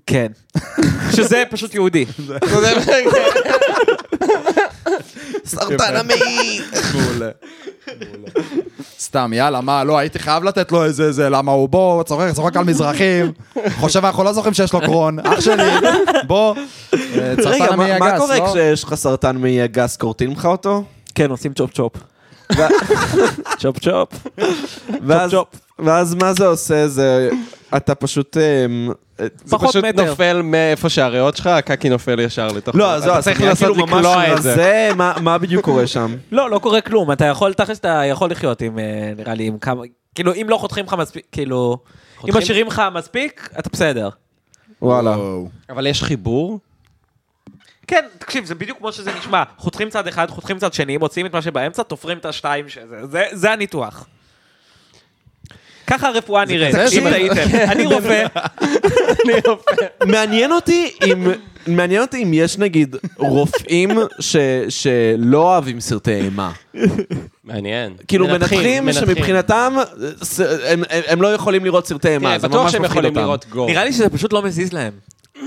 S3: כן. שזה פשוט יהודי.
S1: סרטן המעי!
S2: סתם, יאללה, מה, לא, הייתי חייב לתת לו איזה, זה, למה הוא בוא, צוחק, צוחק על מזרחים, חושב, אנחנו לא זוכרים שיש לו קרון, אח שלי, בוא. אה,
S1: רגע,
S2: צרפן
S1: מה-
S2: המעי
S1: מה
S2: הגס,
S1: קורה
S2: לא?
S1: כשיש לך סרטן מעי הגס, כורתים לך אותו?
S3: כן, עושים צ'ופ צ'ופ. צ'ופ צ'ופ.
S1: ואז- ואז מה זה עושה? זה... אתה פשוט... אמ, אה,
S4: זה
S3: פחות
S4: פשוט
S3: מטר.
S4: נופל מאיפה שהריאות שלך, הקקי נופל ישר לתוך...
S1: לא, אז זהו,
S4: אתה
S1: אז אתה
S4: צריך
S1: נהיה
S4: לנסות
S1: כאילו ממש
S4: לקלוע את זה.
S1: רזה, מה- מה בדיוק קורה שם?
S3: לא, לא קורה כלום. אתה יכול, תכלס אתה יכול לחיות עם, אה, נראה לי, עם כמה... כאילו, אם לא חותכים לך מספיק, כאילו... אם משאירים לך מספיק, אתה בסדר.
S1: וואלה.
S2: וואו.
S4: אבל יש חיבור?
S3: כן, תקשיב, זה בדיוק כמו שזה נשמע. חותכים צד אחד, חותכים צד שני, מוציאים את מה שבאמצע, תופרים את השתיים שזה. זה- זה הניתוח. ככה הרפואה נראית,
S4: כזה
S3: אם
S4: שבא-
S3: טעיתם. אני רופא,
S1: מעניין אותי אם... מעניין אותי אם יש נגיד רופאים ש, שלא אוהבים סרטי אימה.
S4: מעניין.
S1: כאילו מנתחים, שמבחינתם אה, ס- הם, הם, הם לא יכולים לראות סרטי אימה,
S4: תראה,
S1: זה
S4: בטוח
S1: ממש
S4: שהם
S1: מפחיד
S4: יכולים
S1: אותם.
S4: לראות גו.
S3: נראה לי שזה פשוט לא מזיז להם.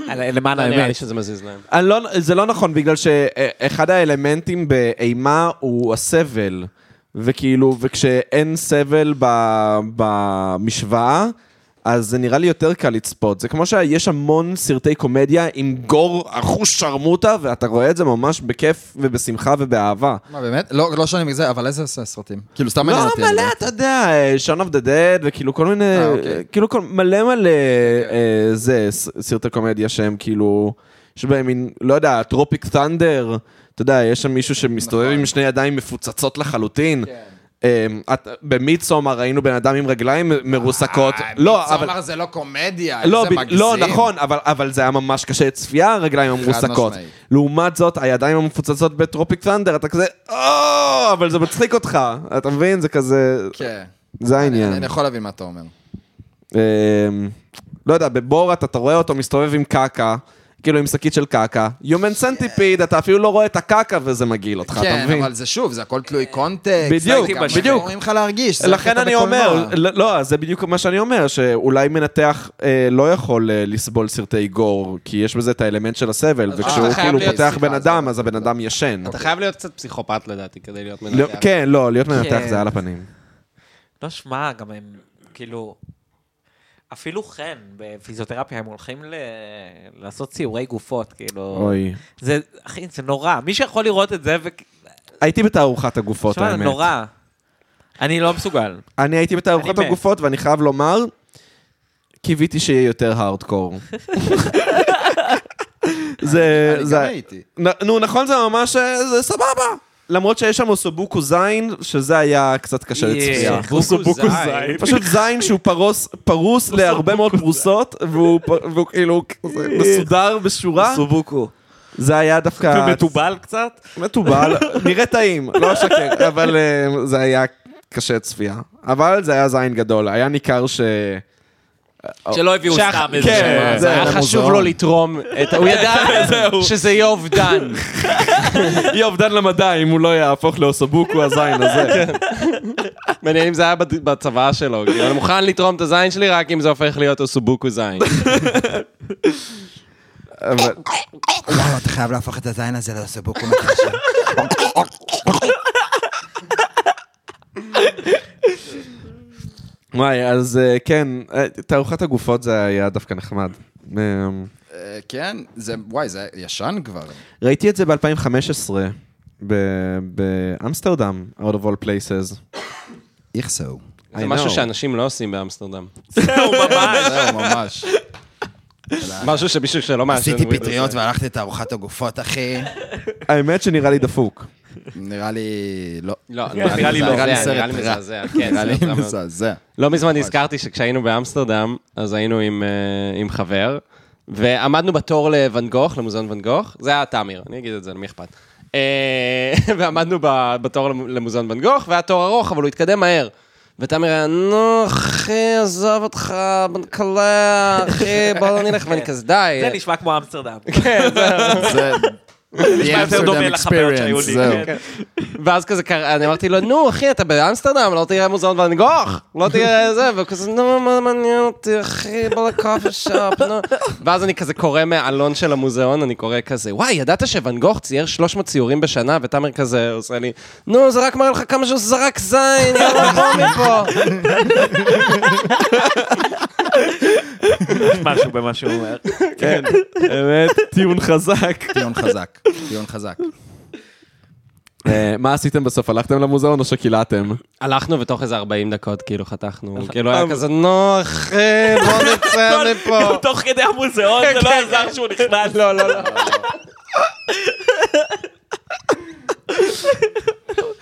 S3: על- למען
S4: לא, נראה לי
S3: האמת.
S4: שזה מזיז להם.
S1: אני לא, זה לא נכון, בגלל שאחד האלמנטים באימה הוא הסבל. וכאילו, וכשאין סבל ב, במשוואה, אז זה נראה לי יותר קל לצפות. זה כמו שיש המון סרטי קומדיה עם גור אחוש שרמוטה, ואתה רואה את זה ממש בכיף ובשמחה ובאהבה.
S2: מה, באמת? לא, לא שאני מזה, אבל איזה ס- סרטים? כאילו, סתם
S1: לא
S2: מעניין אותי.
S1: מלא, אתה יודע, אה, Shaun of the Dead, וכאילו כל מיני,
S2: אה, אוקיי.
S1: כאילו כל- מלא מלא אה, זה, ס- סרטי קומדיה שהם כאילו, יש בהם מין, לא יודע, טרופיק תנדר, אתה יודע, יש שם מישהו שמסתובב
S2: נכון.
S1: עם שני ידיים מפוצצות לחלוטין.
S2: כן.
S1: אה, את- במידסומר ראינו בן אדם עם רגליים מרוסקות. לא, אבל...
S2: מיצומר אה, זה לא קומדיה,
S1: לא,
S2: איזה
S1: ב-
S2: מגזים.
S1: לא, נכון, אבל, אבל זה היה ממש קשה לצפייה, הרגליים המרוסקות.
S2: משמעית.
S1: לעומת זאת, הידיים המפוצצות בטרופיק תנדר, אתה כזה, "אה, אבל זה מצחיק אותך, אתה מבין? זה כזה,
S2: כן.
S1: זה
S2: אני
S1: העניין.
S2: אני יכול להבין מה אתה
S1: אה,
S2: אומר.
S1: אמ, לא יודע, בבורת אתה רואה אותו מסתובב עם קקה, כאילו עם שקית של קקה. Human Centipede, אתה אפילו לא רואה את הקקה וזה מגעיל אותך, אתה
S2: כן,
S1: מבין?
S2: אבל זה שוב, זה הכל תלוי קונטקסט.
S1: בדיוק,
S2: גם
S1: בדיוק.
S2: אומרים לך להרגיש. זה
S1: לכן
S2: הקטע
S1: אני
S2: בקולנוע.
S1: אומר, לא, לא, זה בדיוק מה שאני אומר, שאולי מנתח אה, לא יכול אה, לסבול סרטי גור, כי יש בזה את האלמנט של הסבל,
S4: אתה
S1: וכשהוא
S4: חייב
S1: כאילו
S4: להיות-
S1: פותח
S2: סליחה,
S1: בן
S2: זה-
S1: אדם, אז הבן אדם ישן.
S4: אתה חייב להיות קצת פסיכופת לדעתי כדי להיות
S1: לא,
S4: מנתח.
S1: כן, לא, להיות מנתח
S3: כן.
S1: זה על הפנים.
S3: לא שמע, גם הם, כאילו, אפילו חן, בפיזיותרפיה, הם הולכים ל... לעשות ציורי גופות, כאילו.
S1: אוי.
S3: זה, אחי, זה נורא. מי שיכול לראות את זה, ו...
S1: הייתי בתערוכת הגופות,
S3: שמע, זה
S1: האמת.
S3: נורא. אני לא מסוגל.
S1: אני הייתי בתערוכת
S3: אני מת.
S1: הגופות, ואני חייב לומר, קיוויתי שיהיה יותר הארדקור. זה...
S2: אני גם
S1: זה-
S2: הייתי.
S1: נ- נו, נכון, זה ממש... אה, זה סבבה. למרות שיש שם אוסובוקו זין, שזה היה קצת קשה
S3: יהיה.
S1: לצפייה.
S4: בוקו
S1: זין. פשוט זין שהוא פרוס, פרוס להרבה מאוד פרוסות, והוא, פ- והוא כאילו כזה מסודר בשורה.
S3: סובוקו.
S1: זה היה דווקא...
S3: ומתובל קצת.
S1: מתובל, נראה טעים, לא אשקר, אבל אה, זה היה קשה צפייה. אבל זה היה זין גדול, היה ניכר ש...
S3: שלא הביאו
S4: שח-
S3: סתם איזה...
S1: כן,
S4: זה היה
S1: למוזיאון.
S4: חשוב לו לתרום, את- הוא ידע שזה יהיה אובדן.
S1: יהיה אובדן למדע אם הוא לא יהפוך לאוסובוקו הזין הזה.
S4: מעניין אם זה היה בד- בצבא שלו, כאילו, אני מוכן לתרום את הזין שלי רק אם זה הופך להיות אוסובוקו זין.
S1: אבל-
S2: וואו, אתה חייב להפוך את הזין הזה לסבוקו.
S1: וואי, אז אה, כן, אה, תערוכת הגופות זה היה דווקא נחמד. אה,
S2: כן, זה, וואי, זה ישן כבר.
S1: ראיתי את זה ב-2015 באמסטרדם, out of all places.
S2: איכסו.
S1: I
S4: זה משהו
S1: know.
S4: שאנשים לא עושים באמסטרדם.
S3: זהו, ממש.
S2: זהו, ממש.
S4: משהו שמישהו שלא מעשן.
S2: עשיתי
S4: הוא יעשה.
S2: פטריות והלכתי את ארוחת הגופות, אחי.
S1: האמת שנראה לי דפוק.
S2: נראה לי... לא.
S4: לא,
S3: נראה לי לא.
S4: נראה לי
S2: סרט
S4: סרט
S2: רע.
S4: מזעזע, כן,
S2: נראה לי
S4: סרט רע מאוד.
S2: מזעזע.
S4: לא מזמן נזכרתי שכשהיינו באמסטרדם, אז היינו עם, אה, עם חבר, ועמדנו בתור לוואן גוך, למוזיאון ואן גוך, זה היה תמיר, אני אגיד את זה, למי אכפת. אה, ועמדנו ב- בתור למוזיאון ואן גוך, והיה תור ארוך, אבל הוא התקדם מהר. ותמיר היה, נו, אחי, עזוב אותך, בנקלה, אחי, בוא לא נלך, ואני כזה, די.
S1: כן.
S3: זה נשמע כמו אמסטרדם.
S2: זה...
S3: נשמע יותר דומה לחוויות שהיו לי. כן.
S4: ואז כזה קרה, אני אמרתי לו, נו, אחי, אתה באמסטרדם, לא תראה מוזיאון ואן גוך, לא תראה זה, והוא כזה, נו, מה מעניין אותי, אחי, בוא לקופי שופ, נו. ואז אני כזה קורא מהעלון של המוזיאון, אני קורא כזה, וואי, ידעת שוואן גוך צייר 300 ציורים בשנה, ותאמר כזה עושה לי, נו, זה רק מראה לך כמה שהוא זרק זין, יאללה, בוא מפה.
S3: כן. משהו במה שהוא אומר.
S1: כן, באמת, טיעון חזק.
S2: טיעון חזק, טיעון חזק.
S1: אה, מה עשיתם בסוף? הלכתם למוזיאון או שקילעתם?
S4: הלכנו ותוך איזה 40 דקות, כאילו, חתכנו. הוא כאילו היה כזה, נו, אחי, אה, בוא נצא
S3: כל-
S4: מפה.
S3: גם תוך כדי המוזיאון,
S1: כן,
S3: זה לא עזר שהוא נכנס.
S4: לא, לא, לא.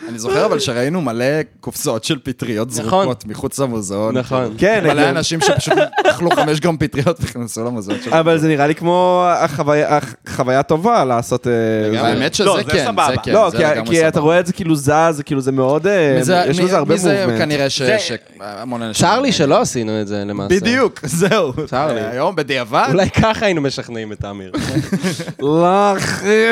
S2: אני זוכר אבל שראינו מלא קופסאות של פטריות
S4: נכון.
S2: זרוקות מחוץ למוזיאון.
S4: נכון.
S1: כן,
S2: מלא
S1: הגיוני.
S2: אנשים שפשוט אכלו חמש גרם פטריות ונכנסו למוזיאון שלהם.
S1: אבל זה נראה לי כמו החוויה- הח- חוויה טובה לעשות... אה, זה.
S2: האמת שזה
S3: לא, זה
S2: כן,
S3: סבבה.
S2: זה כן.
S1: לא,
S2: זה
S1: כי-
S2: לגמרי
S1: כי אתה
S2: סבבה.
S1: רואה את זה כאילו זז, זה כאילו זה מאוד... אה,
S2: מי זה-
S1: יש
S2: מי-
S1: לזה הרבה
S2: מי זה
S1: מובמנט.
S2: כנראה ש-
S4: זה-
S2: שהמון אנשים...
S4: צר לי שלא עשינו את זה למעשה.
S2: בדיוק, זהו.
S4: צר לי.
S2: אה, היום בדיעבד.
S4: אולי ככה היינו משכנעים את אמיר.
S1: לא, אחי.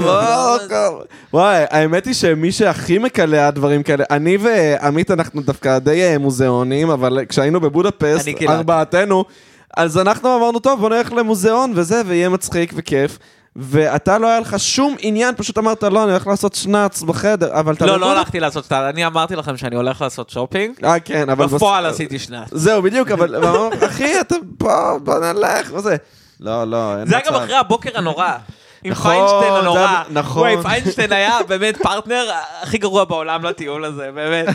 S1: לא,
S3: לא,
S1: וואי, האמת היא שמי שהכי מקלע דברים כאלה, אני ועמית אנחנו דווקא די אה, מוזיאונים, אבל כשהיינו בבודפסט,
S3: אני קיללתי.
S1: ארבעתנו, אז אנחנו אמרנו, טוב, בוא נלך למוזיאון וזה, ויהיה מצחיק וכיף. ואתה לא היה לך שום עניין, פשוט אמרת, לא, אני הולך לעשות שנץ בחדר, אבל אתה...
S3: לא, לא
S1: בבודפסט-
S3: הלכתי לעשות שטר, אני אמרתי לכם שאני הולך לעשות שופינג,
S1: אה, כן, אבל... בס- אה,
S3: בפועל עשיתי שנץ.
S1: זהו, בדיוק, אבל אמרנו, אחי, אתה פה, בוא נלך, וזה. לא, לא, אין מצב.
S3: זה היה גם אחרי הבוקר הנורא. עם
S1: נכון,
S3: פיינשטיין
S1: זה
S3: הנורא.
S1: היה- נכון.
S3: וואי, פיינשטיין היה באמת פרטנר הכי גרוע בעולם לטיול הזה, באמת.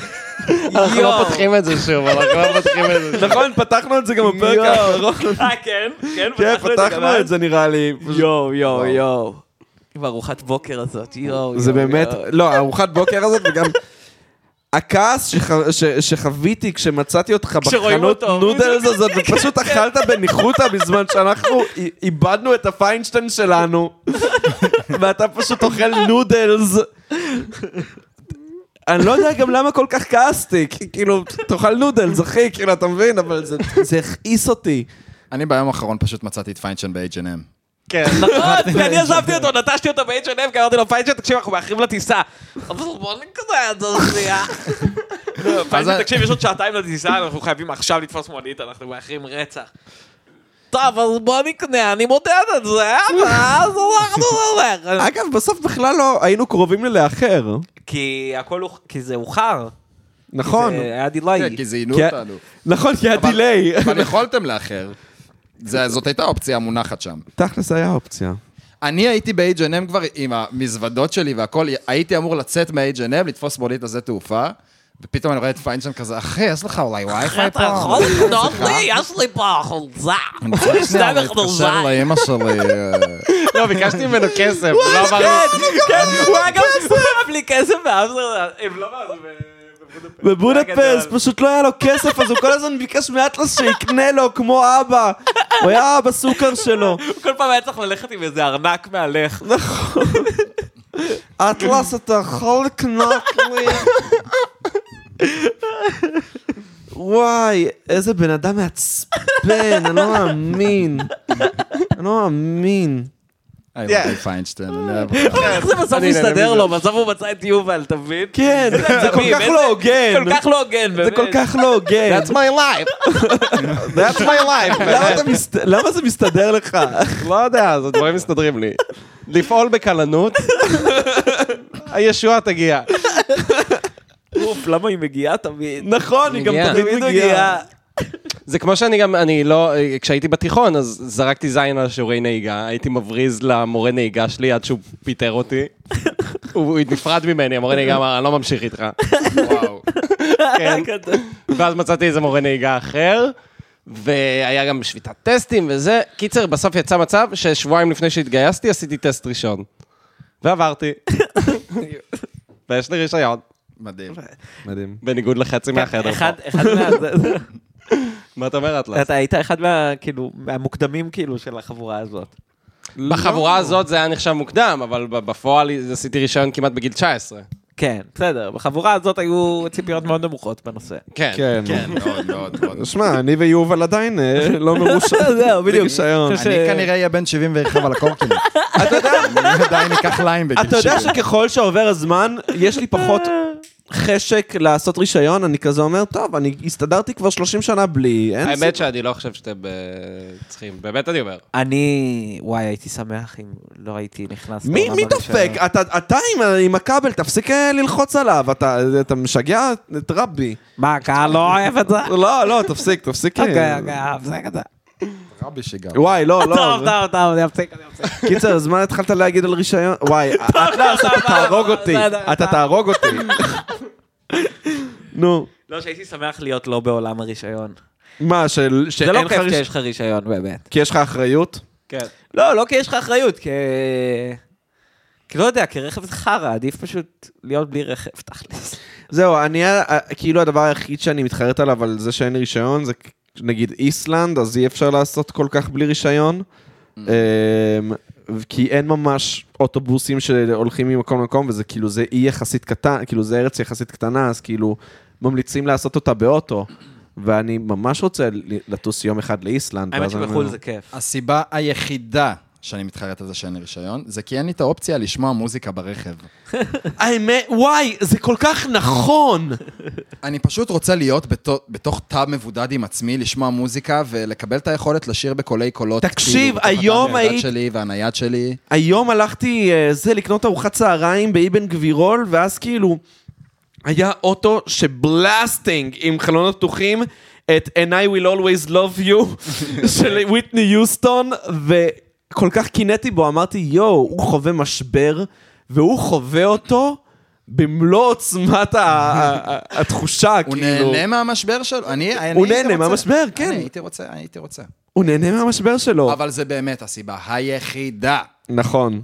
S4: אנחנו לא
S3: יואו.
S4: פותחים את זה שוב, אנחנו לא פותחים את זה שוב.
S1: נכון, פתחנו את זה גם בפרק האחרון.
S3: אה, כן? כן,
S1: כן, פתחנו
S3: גם
S1: את זה נראה לי.
S3: אז. יואו, יואו, יואו. עם ארוחת בוקר הזאת, יואו, יואו.
S1: זה באמת,
S3: יואו.
S1: לא, הארוחת בוקר הזאת, וגם הכעס שח- ש- שחוויתי כשמצאתי אותך
S3: כשרואים
S1: בחנות
S3: אותו. "אוקיי."
S1: נודלס הזאת, ופשוט אכלת בניחותא בזמן שאנחנו א- איבדנו את הפיינשטיין שלנו, ואתה פשוט אוכל נודלס. אני לא יודע גם למה כל כך כעסתי, כי כאילו, תאכל נודלס, אחי, כאילו, אתה מבין, אבל זה- זה הכעיס אותי.
S2: אני ביום האחרון פשוט מצאתי את פיינשטיין ב-H&M.
S3: נכון, ואני עזבתי אותו, נטשתי אותו ב-H&M, כי אמרתי לו, פיינשטיין, תקשיב, אנחנו מאחרים לטיסה. אבל בוא נקרא את זה שנייה. לא, פיינשטיין, תקשיב, יש עוד שעתיים לטיסה, אנחנו חייבים עכשיו לתפוס מונית, אנחנו מאחרים רצח. טוב, אז בוא נקנה, אני מודד את זה, ואז אנחנו נלך.
S1: אגב, בסוף בכלל לא היינו קרובים ללאחר,
S3: כי הכל, הוכ- כי זה אוחר.
S1: נכון?
S3: זה היה דיליי.
S2: כן, כי זיינו
S1: כן.
S2: אותנו.
S1: נכון, כי היה
S2: אבל-
S1: דיליי.
S2: אבל יכולתם לאחר. זה- זאת הייתה האופציה המונחת שם.
S1: תכלס היה אופציה.
S2: אני הייתי ב-H&M כבר עם המזוודות שלי והכל, הייתי אמור לצאת מה-H&M, לתפוס מונית לזה תעופה, ופתאום אני רואה את פיינשטיין כזה, אחי, יש לך אולי וי-פיי
S3: אתה
S2: פה?
S3: יכול לקנות לי? יש לי פה חולצה.
S2: אני צריך שנייה
S3: שתיים
S2: להתקשר
S3: מכנזיים.
S2: לאמא שלי. אה,
S4: לא, ביקשתי ממנו כסף, הוא לא אמר לי...
S3: כן, כן, הוא היה גם מסתובב בלי כסף באמסטרדם. הם לא באו, זה בבודפשט.
S1: בבודפסט פשוט לא היה לו כסף, אז הוא כל הזמן ביקש מאטלס שיקנה לו כמו אבא. הוא היה אבא סוכר שלו.
S3: כל פעם היה צריך ללכת עם איזה ארנק מהלך.
S1: אטלס, אתה יכול לקנות לי? וואי, איזה בן אדם מעצבן, אני לא מאמין. אני לא מאמין.
S2: I love you, פיינשטיין, אני אוהב אותך.
S3: איך זה בסוף
S4: אני נהנה
S3: מסתדר
S4: מזה.
S3: לו? בסוף הוא מצא את יובל, אתה מבין?
S1: כן, זה כל
S3: עצבים,
S1: כך
S3: איזה-
S1: לא הוגן.
S3: כל כך לא הוגן, באמת.
S1: זה כל כך לא הוגן.
S4: That's my life.
S1: That's my life. למה אתה מסת- למה זה מסתדר לך?
S4: לא יודע, אז הדברים מסתדרים לי. לפעול בקלנות, הישועה תגיע.
S3: אוף, למה היא מגיעה תמיד?
S1: נכון, היא גם
S3: כן.
S4: מגיעה.
S1: תמיד מגיעה.
S4: זה כמו שאני גם, אני לא, כשהייתי בתיכון, אז זרקתי זין על שיעורי נהיגה, הייתי מבריז למורה נהיגה שלי עד שהוא פיטר אותי. הוא נפרד ממני, המורה נהיגה אמר, אני לא ממשיך איתך.
S2: וואו.
S4: כן. ואז מצאתי איזה מורה נהיגה אחר, והיה גם שביתת טסטים וזה. קיצר, בסוף יצא מצב ששבועיים לפני שהתגייסתי עשיתי טסט ראשון. ועברתי. ויש לי רישיון,
S2: מדהים.
S1: מדהים.
S4: בניגוד לחצי מהחדר פה.
S3: אחד, אחד מה... זה- זה-
S4: מה אתה אומר, אטלס?
S3: אתה היית אחד מה... כאילו, מהמוקדמים כאילו של החבורה הזאת.
S4: בחבורה הזאת זה היה נחשב מוקדם, אבל ב- בפועל עשיתי רישיון כמעט בגיל 19.
S3: כן, בסדר. בחבורה הזאת היו ציפיות מאוד נמוכות בנושא.
S4: כן.
S1: כן.
S2: כן, מאוד מאוד מאוד.
S1: שמע, אני ויובל עדיין אה, לא מרושעים.
S3: זהו, בדיוק.
S1: רישיון.
S3: אני חושב
S2: אני
S3: ש-
S2: כנראה אהיה בן 71 על הקורקינט. אתה יודע? אני עדיין אקח ליים בגיל 70.
S1: אתה יודע שככל שעובר הזמן, יש לי פחות חשק לעשות רישיון, אני כזה אומר, טוב, אני הסתדרתי כבר 30 שנה בלי, אין
S4: האמת שאני לא חושב שאתם אה, צריכים, באמת אני אומר.
S3: אני, וואי, הייתי שמח אם לא הייתי נכנס...
S1: מי,
S2: לא
S3: לעולם
S1: מי
S3: הזה
S1: דופק?
S3: של-
S1: אתה, אתה עם, ה- עם הכבל, תפסיק אה, ללחוץ עליו, אתה, אתה משגע את רבי.
S3: מה, הקהל לא אוהב את זה?
S1: לא, לא, תפסיק, תפסיק. אה,
S3: אוקיי, אוקיי, תפסיק את זה.
S2: רבי שיגר.
S1: וואי, לא, לא.
S3: טוב, טוב, טוב, אני אפסיק, אני אפסיק.
S1: קיצר, אז מה התחלת להגיד על רישיון? וואי, אטלס, אתה תהרוג אותי.
S3: לא, בסדר,
S1: אתה תהרוג אותי. נו,
S3: לא, שהייתי שמח להיות לא בעולם הרישיון.
S1: מה, של- שאין
S3: זה
S1: לך
S3: לא כיף
S1: ריש-
S3: שיש לך רישיון, באמת.
S1: כי יש לך אחריות?
S4: כן.
S3: לא, לא כי יש לך אחריות, כי... כי לא יודע, כי רכב זה חרא, עדיף פשוט להיות בלי רכב, תכלס.
S1: זהו, אני, אה, כאילו הדבר היחיד שאני מתחרט עליו על זה שאין לי רישיון, זה נגיד איסלנד, אז אי אפשר לעשות כל כך בלי רישיון.
S3: Mm.
S1: אמ, כי אין ממש אוטובוסים שהולכים ממקום למקום, וזה כאילו, זה אי יחסית קטן, כאילו זה ארץ יחסית קטנה, אז כאילו, ממליצים לעשות אותה באוטו. ואני ממש רוצה ל- לטוס יום אחד לאיסלנד.
S3: האמת
S1: ואז אני
S3: שבחו"ל
S1: אומר,
S3: זה כיף.
S2: הסיבה היחידה שאני מתחרט על זה שאין לי רישיון, זה כי אין לי את האופציה לשמוע מוזיקה ברכב.
S6: האמת, וואי, זה כל כך נכון.
S2: אני פשוט רוצה להיות בתו- בתוך תא מבודד עם עצמי, לשמוע מוזיקה ולקבל את היכולת לשיר בקולי קולות.
S6: תקשיב,
S2: כאילו, בתוך
S6: היום
S2: הנייד
S6: היית-
S2: שלי והנייד שלי.
S6: היום הלכתי, אה, זה, לקנות ארוחת צהריים באבן גבירול, ואז כאילו, היה אוטו שבלאסטינג עם חלונות פתוחים את And I will always love you של וויטני יוסטון, וכל כך קינאתי בו, אמרתי, יואו, הוא חווה משבר, והוא חווה אותו במלוא עוצמת ה- ה- ה- התחושה,
S2: הוא
S6: כאילו.
S2: נהנה מהמשבר שלו. אני, אני
S6: הוא
S2: הייתי
S6: נהנה
S2: רוצה.
S6: מהמשבר, כן.
S2: אני הייתי רוצה, הייתי רוצה.
S6: הוא נהנה מהמשבר שלו.
S2: אבל זה באמת הסיבה היחידה,
S1: נכון.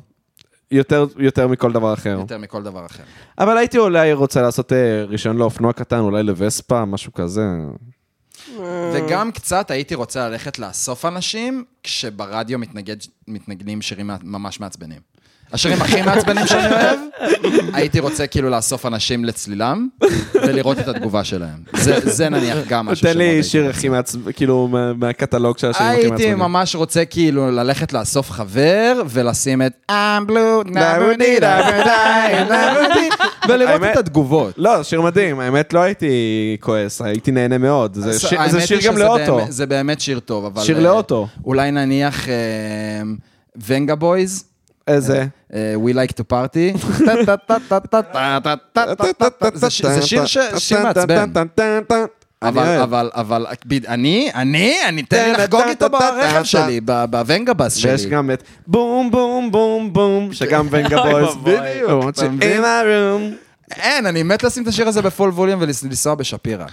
S1: יותר, יותר מכל דבר אחר.
S2: יותר מכל דבר אחר.
S1: אבל הייתי אולי רוצה לעשות אה, רישיון לאופנוע קטן, אולי לווספה, משהו כזה.
S2: וגם קצת הייתי רוצה ללכת לאסוף אנשים, כשברדיו מתנגד, מתנגנים שירים מה- ממש מעצבנים. השירים הכי מעצבנים שאני אוהב, הייתי רוצה כאילו לאסוף אנשים לצלילם, ולראות את התגובה שלהם. זה, זה נניח גם משהו
S1: תן
S2: שמאוד
S1: לי
S2: הייתי
S1: שיר
S2: רוצה.
S1: הכי מעצבן, כאילו, מה- מהקטלוג של השירים הכי
S2: הייתי
S1: מעצבנים.
S2: ממש רוצה כאילו ללכת לאסוף חבר, ולשים את I'm blue, נבודי, נבודי, ולראות
S1: האמת-
S2: את התגובות.
S1: לא, שיר מדהים, האמת לא הייתי כועס, הייתי נהנה מאוד. זה
S2: אז
S1: שיר- זה
S2: האמת
S1: שיר
S2: היא
S1: גם
S2: שזה
S1: לאוטו.
S2: באמת- זה באמת שיר טוב, אבל...
S1: שיר
S2: אה,
S1: לאוטו.
S2: אולי נניח אה, ונגה בויז. אה,
S1: איזה?
S2: We like to party. זה ש- זה שיר ש- שיר מעצבן.
S1: אני
S2: אבל,
S1: אוהב.
S2: אבל, אבל, ב- אני, אני, אני, תן לי לחגוג איתו ברכב שלי, ב- בוונגבס שלי.
S1: ויש גם את בום בום בום בום, שגם ונגה בויז, בדיוק,
S2: אתה
S1: in my
S2: מבין?
S1: room.
S2: אין, אני מת לשים את השיר הזה בפול ווליום ולנסוע בשפירא.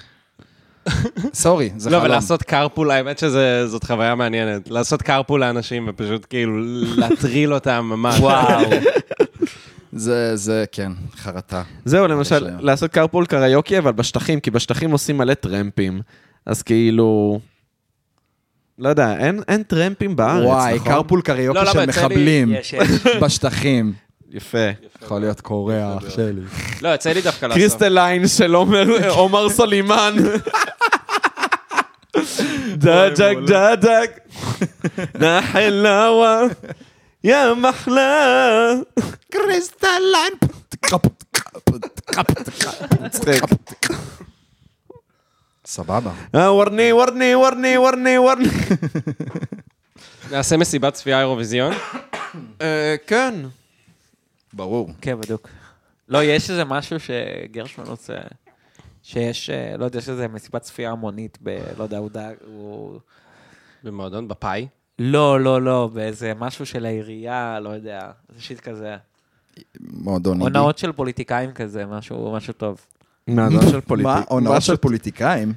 S2: סורי,
S4: לא,
S2: זה חלום.
S4: אבל לעשות carpool, האמת שזאת חוויה מעניינת. לעשות carpool לאנשים ופשוט כאילו להטריל אותם ממש. וואו.
S2: זה, זה, כן, חרטה.
S1: זהו, למשל,
S2: להם.
S1: לעשות carpool קריוקי, אבל בשטחים, כי בשטחים עושים מלא טרמפים. אז כאילו... לא יודע, אין- אין טרמפים בארץ, נכון?
S2: וואי, קרפול קריוקי
S4: לא, למה,
S2: של
S4: יצא לי-
S2: מחבלים
S3: יש, יש.
S2: בשטחים.
S1: יפה.
S2: יכול להיות קורע, אח שלי.
S4: לא, יצא לי דווקא לעשות.
S1: קריסטליין של עומר- עומר סולימן. דג'ק דג'ק, נחלאווה, יא מחלה.
S2: קריסטליין.
S1: מצחיק.
S2: סבבה.
S1: אה, וורני, וורני, וורני, וורני, וורני.
S4: נעשה מסיבת צפייה אירוויזיון.
S3: אה,
S1: כן.
S2: ברור.
S3: כן, בדיוק. לא, יש איזה משהו שגרשמן רוצה... שיש, אה, לא יודע, יש איזה מסיבת צפייה המונית ב... לא יודע, הוא דאג... הוא...
S4: במועדון, בפאי.
S3: לא, לא, לא, באיזה משהו של העירייה, לא יודע, איזה שיט כזה.
S2: מועדון אידי.
S3: הונאות של פוליטיקאים כזה, משהו, משהו טוב.
S1: מעדון של
S2: מה?
S1: פוליטיקה.
S2: הונאות של פוליטיקאים?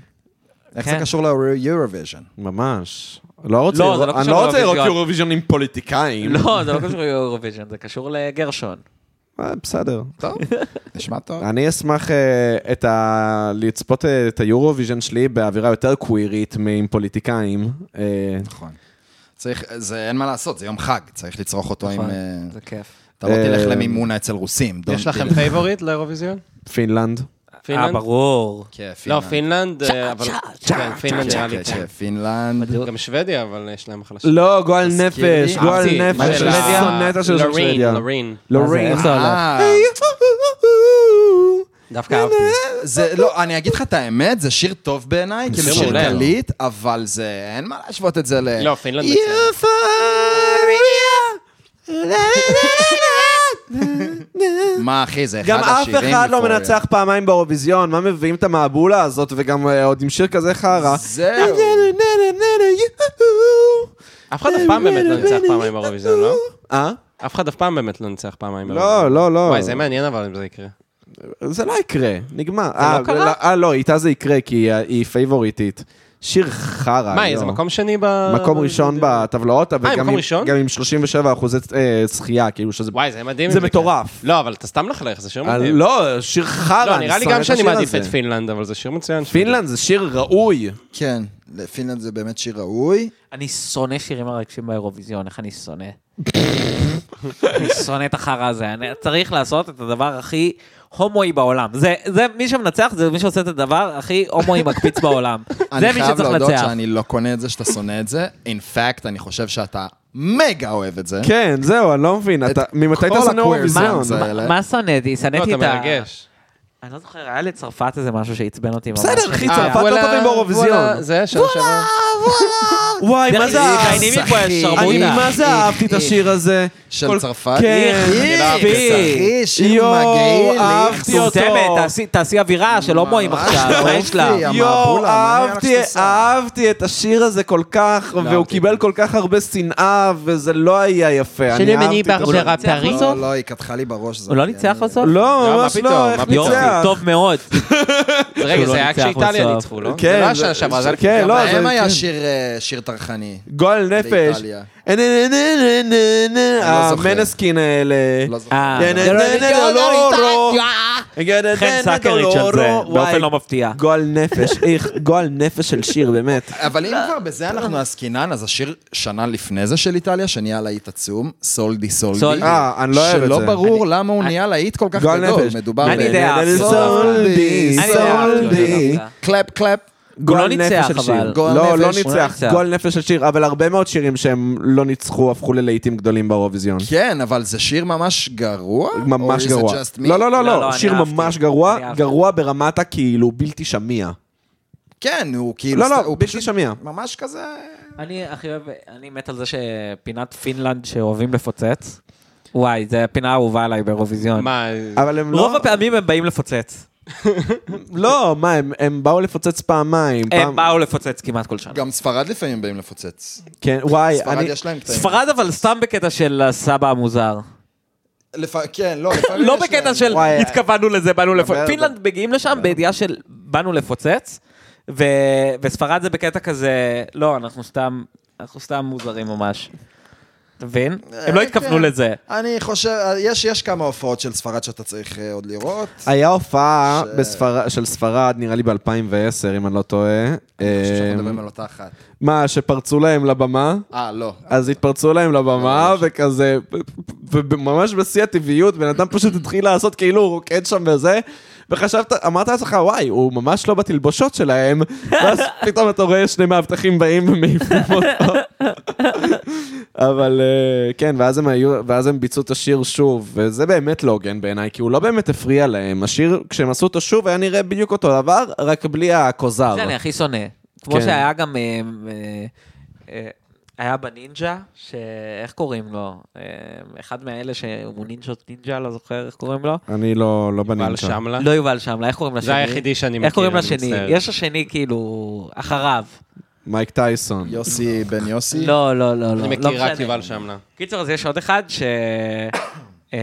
S2: איך זה
S3: כן.
S2: קשור לאירוויז'ן?
S1: ממש. לא רוצה,
S3: לא, זה לא
S1: אני
S3: קשור
S1: לא רוצה לראות
S3: לאירוויזיון.
S1: יורוויזיון עם פוליטיקאים.
S3: לא, זה לא קשור לאירוויז'ן, זה קשור לגרשון.
S1: אה, בסדר.
S2: טוב, נשמע טוב.
S1: אני אשמח אה, את ה... לצפות אה, את היורוויז'ן שלי באווירה יותר קווירית מעם פוליטיקאים. אה,
S2: נכון. צריך, זה אין מה לעשות, זה יום חג, צריך לצרוך אותו עם... אה,
S3: זה כיף.
S2: אתה לא תלך
S1: אה,
S2: למימונה אצל רוסים. don't
S4: יש לכם
S2: do it.
S4: פייבוריט לאירוויזיון?
S1: פינלנד.
S3: אה,
S4: כאילו. פינלנד?
S3: ברור.
S2: כן,
S4: לא, פינלנד,
S2: פינלנד.
S4: אה, אבל... כן, פינלנד נראה לי.
S2: כן, כן, פינלנד.
S4: כן. גם שוודיה, אבל יש להם החלשה.
S1: לא, גועל
S2: תזכיר
S1: נפש,
S2: לי.
S1: גועל
S4: אהבתי,
S1: נפש.
S2: מה
S1: אני
S2: של
S4: ה-
S1: שונא את השיר של
S4: אה, לורין,
S1: שוודיה.
S4: לורין.
S3: לא
S1: לורין.
S3: איך זה הולך?
S4: לא,
S2: אה,
S4: דווקא אהבתי.
S2: זה לא, אני אגיד לך את האמת, זה שיר טוב בעיניי, כאילו שיר
S4: מעולה.
S2: קליט, אבל זה, אין מה להשוות את זה ל...
S4: לא, פינלנד מצוין.
S1: יופוריה.
S2: מה, אחי, זה אחד
S1: גם אף
S2: השירים...
S1: אחד לא
S2: מפוריה.
S4: אה.
S1: מנצח פעמיים באירוויזיון, מה מביאים את המעבולה הזאת וגם אה, עוד עם שיר כזה חרא.
S2: זהו.
S4: אף אחד אף פעם באמת לא ניצח פעמיים באירוויזיון, לא?
S1: אה?
S4: אף אחד אף פעם באמת לא ניצח פעמיים
S1: לא, לא, לא.
S4: וואי, זה מעניין אבל אם זה יקרה.
S1: זה לא יקרה, נגמר. אה,
S3: קרה?
S1: אה, לא, איתה זה יקרה, כי היא- היא פייבוריטית שיר חרא.
S4: מה, זה
S1: יואו.
S4: מקום שני ב...
S1: מקום ראשון בטבלאות, אבל גם
S4: מקום
S1: עם-
S4: ראשון?
S1: גם עם 37 אחוזי אה, זכייה, כאילו שזה...
S4: וואי, זה מדהים.
S1: זה
S4: אם ככה.
S1: מטורף.
S4: לא, אבל אתה סתם לחלך, זה שיר
S1: אה,
S4: מדהים.
S1: לא, שיר חרא,
S4: לא, נראה לי
S1: שונא
S4: גם שאני
S1: השיר
S4: מעדיף
S1: הזה.
S4: את פינלנד, אבל זה שיר מצוין.
S1: פינלנד זה שיר ראוי.
S2: כן, לפינלנד זה באמת שיר ראוי.
S3: אני שונא שירים מרגשים באירוויזיון, איך אני שונא. אני שונא את החרא הזה. אני צריך לעשות את הדבר הכי הומואי בעולם. זה, זה, מי שמנצח זה מי שעושה את הדבר הכי הומואי מקפיץ בעולם. זה
S2: אני
S3: מי
S2: חייב
S3: שצריך
S2: להודות
S3: לנצח.
S2: שאני לא קונה את זה שאתה שונא את זה. אינפאקט, אני חושב שאתה מגה אוהב את זה.
S1: כן, זהו, אני לא מבין. אתה- ממתי אתה
S2: כל
S1: שונא
S2: הקווירס
S3: מה-
S1: אירוויזיון?
S2: זה
S3: מה-
S2: האלה.
S3: מה שונאתי?
S4: לא,
S3: שנאתי
S4: אתה
S3: את ה...
S4: מרגש.
S3: אני לא זוכר, היה לצרפת איזה משהו שעצבן אותי ממש.
S1: בסדר, אחי,
S4: אה,
S1: צרפת לא
S4: וואלה,
S1: טובים
S4: וואלה,
S1: באירוויזיון.
S4: זה, שנה שעברה.
S1: וואי, מה זה ה-
S3: דיינים פה יש
S1: אני
S3: שרמוטה.
S1: מה זה אהבתי את השיר הזה.
S2: של
S1: כל-
S2: צרפת.
S1: כן.
S2: איך, אחי, שיר
S1: יואו,
S2: מגעיל.
S1: אהבתי אותו.
S3: מטומטמת, תעשי- תעשי אווירה של הומואים
S2: ממש
S3: עכשיו, מה
S2: לא
S3: יש לה?
S2: הופיע.
S1: יואו,
S2: המבול, המנה
S1: אהבתי,
S2: הלך שתסע.
S1: אהבתי את השיר הזה כל כך, והוא קיבל כל כך הרבה שנאה, וזה לא היה יפה. אני אהבתי את השיר.
S2: לא, לא, היא קטחה לי בראש. זה
S3: הוא לא
S2: אני-
S3: ניצח
S2: אני-
S3: בסוף?
S1: לא,
S4: לא, מה
S1: ממש
S4: פתאום,
S1: לא, איך
S4: מה
S3: יופי,
S1: ניצח?
S3: טוב מאוד.
S4: רגע,
S3: לא
S4: זה היה
S3: ניצח
S4: כשאיטליה
S3: בסוף.
S4: ניצחו, לא?
S1: כן,
S4: זה לא היה
S1: זה-
S4: שנה שעברה, זה היה
S1: כן, לא,
S2: גם
S1: זה-
S2: להם
S1: כן.
S2: היה שיר, אה, שיר טרחני.
S1: גועל נפש.
S2: באיטליה.
S1: אה, נה, נה, נה, נה, נה, נה,
S2: לא זוכר.
S1: המנסקין האלה.
S2: לא זוכר.
S3: אה.
S1: נה, נה, נה, נה, דולורו. נה, נה,
S3: לא, חן
S1: נה,
S3: סקריץ' על זה,
S1: דולורו.
S3: באופן
S1: לא, וואי,
S3: לא מפתיע.
S1: גועל נפש, איך, גועל נפש של שיר, באמת.
S2: אבל אם כבר בזה אנחנו עסקינן, אז השיר שנה לפני זה של איטליה, שנהיה להיט עצום, סולדי סולדי.
S3: סולדי.
S1: אה, אני לא אוהב את
S2: שלא
S1: זה. לא,
S2: ברור למה הוא נהיה להיט כל כך
S1: גועל
S2: גדול.
S1: נפש.
S2: מדובר
S3: אני די אהבתי.
S1: סולדי,
S3: אני יודע,
S1: סולדי.
S3: אתה יודע.
S2: קלאפ קלאפ.
S3: הוא לא
S1: גועל נפש
S3: ניצח,
S1: של
S3: אבל.
S1: שיר.
S2: גועל
S1: לא, לא
S2: נפש.
S1: ניצח.
S3: הוא לא
S1: גועל נפש של שיר, אבל הרבה מאוד שירים שהם לא ניצחו הפכו ללהיטים גדולים באירוויזיון.
S2: כן, אבל זה שיר ממש גרוע?
S1: ממש
S2: Or is it
S1: גרוע.
S2: just me?
S1: לא, לא, לא,
S3: לא, לא,
S1: לא,
S3: אני
S1: שיר
S3: אהבתי.
S1: ממש גרוע,
S3: אני אהבתי.
S1: גרוע ברמת הכאילו בלתי שמיע.
S2: כן, הוא כאילו...
S1: לא, לא,
S2: הוא
S1: בלתי
S2: פשוט
S1: שמיע.
S2: ממש כזה...
S3: אני הכי אוהב, אני מת על זה שפינת פינלנד שאוהבים לפוצץ. וואי, זו הפינה האהובה עליי באירוויזיון.
S4: מה,
S1: אבל הם
S3: רוב
S1: לא,
S3: הפעמים הם באים לפוצץ.
S1: לא, מה, הם- הם באו לפוצץ פעמיים.
S3: הם
S1: פעם-
S3: באו לפוצץ כמעט כל שנה.
S2: גם ספרד לפעמים באים לפוצץ.
S1: כן, וואי,
S2: ספרד
S1: אני...
S2: יש להם קטעים.
S3: אה, ספרד אבל סתם בקטע של הסבא המוזר.
S2: לפ- כן, לא, לפעמים
S3: לא
S2: יש
S3: בקטע
S2: להם.
S3: של
S1: וואי,
S3: התכוונו לזה, באנו
S1: דבר,
S3: לפוצץ. פינלנד מגיעים לשם
S2: כן.
S3: בידיעה של באנו לפוצץ, ו- וספרד זה בקטע כזה, לא, אנחנו סתם, אנחנו סתם מוזרים ממש. אתה מבין? הם לא
S2: אה,
S3: התכוונו
S2: כן.
S3: לזה.
S2: אני חושב, יש, יש כמה הופעות של ספרד שאתה צריך אה, עוד לראות.
S1: היה הופעה
S2: ש-
S1: בספר- של ספרד, נראה לי ב-2010, אם אני לא טועה.
S2: אני חושב
S1: אה,
S2: שאנחנו מדברים על אותה אחת.
S1: מה, שפרצו להם לבמה?
S2: אה, לא.
S1: אז התפרצו להם לבמה, וכזה, וממש בשיא הטבעיות, בן אדם פשוט התחיל לעשות כאילו הוא רוקד שם וזה, וחשבת, אמרת לעצמך, וואי, הוא ממש לא בתלבושות שלהם, ואז פתאום אתה רואה שני מאבטחים באים ומעיפים אותו. אבל אה, כן, ואז הם היו, ואז הם ביצעו את השיר שוב, וזה באמת לא הוגן בעיניי, כי הוא לא באמת הפריע להם. השיר, כשהם עשו אותו שוב, היה נראה בדיוק אותו דבר, רק בלי הכוזר.
S3: זה אני הכי שונא. כמו
S1: כן.
S3: שהיה גם... אה, אה, אה, היה בנינג'ה, שאיך קוראים לו? אה, אחד מאלה שהוא נינג'ות נינג'ה, לא זוכר איך קוראים לו.
S1: אני לא, לא
S4: בעל
S1: בנים שם.
S4: שמלה?
S3: לא יובל שמלה, איך קוראים לשני?
S4: זה היחידי שאני מכיר,
S3: איך קוראים
S4: אני
S3: לשני?
S4: מצטער.
S3: יש השני כאילו, אחריו.
S1: מייק טייסון.
S2: יוסי בן יוסי.
S3: לא, לא, לא, לא.
S4: אני
S3: לא
S4: מכיר רק
S3: משנה.
S4: יובל שמלה.
S3: קיצר, אז יש עוד אחד ש... אמ,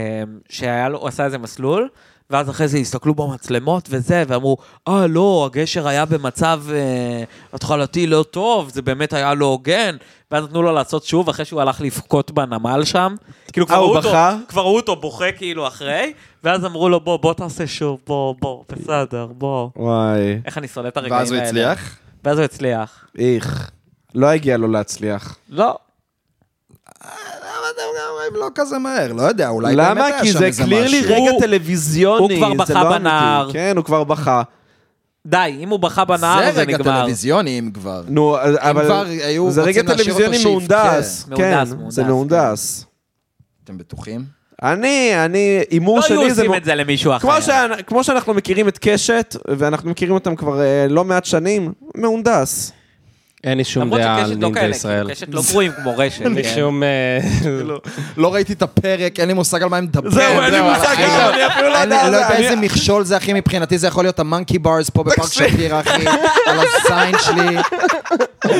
S3: שהיה לו, הוא עשה איזה מסלול, ואז אחרי זה הסתכלו במצלמות וזה, ואמרו, אה, לא, הגשר היה במצב אה, התחלתי לא טוב, זה באמת היה לא הוגן. ואז נתנו לו לעשות שוב, אחרי שהוא הלך לבכות בנמל שם. כאילו, כבר
S1: אה,
S3: ראו
S1: הוא
S3: אותו,
S1: בכה?
S3: כבר ראו אותו בוכה כאילו אחרי, ואז אמרו לו, בוא, בוא תעשה שוב, בוא, בוא, בסדר, בוא.
S1: וואי.
S3: איך אני שונא את הרגעים האלה.
S2: ואז הוא הצליח.
S3: ואז הוא הצליח.
S1: איך. לא הגיע לו להצליח.
S3: לא.
S2: למה אתם גם לא כזה מהר? לא יודע, אולי באמת
S1: למה?
S2: היה
S1: כי
S2: שם
S1: זה
S2: איזה
S1: קלירלי
S2: משהו.
S1: רגע
S3: הוא-
S1: טלוויזיוני.
S3: הוא כבר
S1: זה
S3: בכה
S1: לא
S3: בנהר.
S1: אמיתי. כן, הוא כבר בכה.
S3: די, אם הוא בכה בנהר, זה
S2: זה רגע
S3: נגמר.
S2: טלוויזיוני, אם כבר.
S1: נו,
S2: כבר
S1: אבל...
S2: היו
S1: זה רגע
S2: רוצים להשאיר אותו
S1: טלוויזיוני
S2: שיבכה.
S1: מהונדס. כן,
S3: מהונדס, מהונדס, כן.
S1: זה מהונדס.
S2: אתם בטוחים?
S1: אני, אני, הימור
S3: לא היו
S1: שלי זה...
S3: עושים
S1: מו-
S3: את זה למישהו אחר.
S1: כמו שאנ- כמו שאנחנו מכירים את קשת, ואנחנו מכירים אותם כבר אה, לא מעט שנים, מהונדס.
S2: כן,
S4: אין לי שום
S3: למרות
S4: דעה על
S3: שקשת לא
S4: נינג'ה
S3: כאלה,
S4: ישראל.
S3: כאילו, קשת לא גרועים כמו רשת.
S4: אין לי
S3: כן.
S4: שום... אה,
S2: לא ראיתי את הפרק, אין לי מושג על מה הם מדברים.
S1: זהו, אין לי
S2: אבל-
S1: מושג,
S2: אני-
S1: אני אפילו לא
S2: אני
S1: יודע.
S2: לא יודע
S1: אני-
S2: איזה מכשול זה, אחי, מבחינתי זה יכול להיות המאנקי ברס פה בפארק
S1: תקשיב.
S2: שפירא, אחי, על הזין שלי.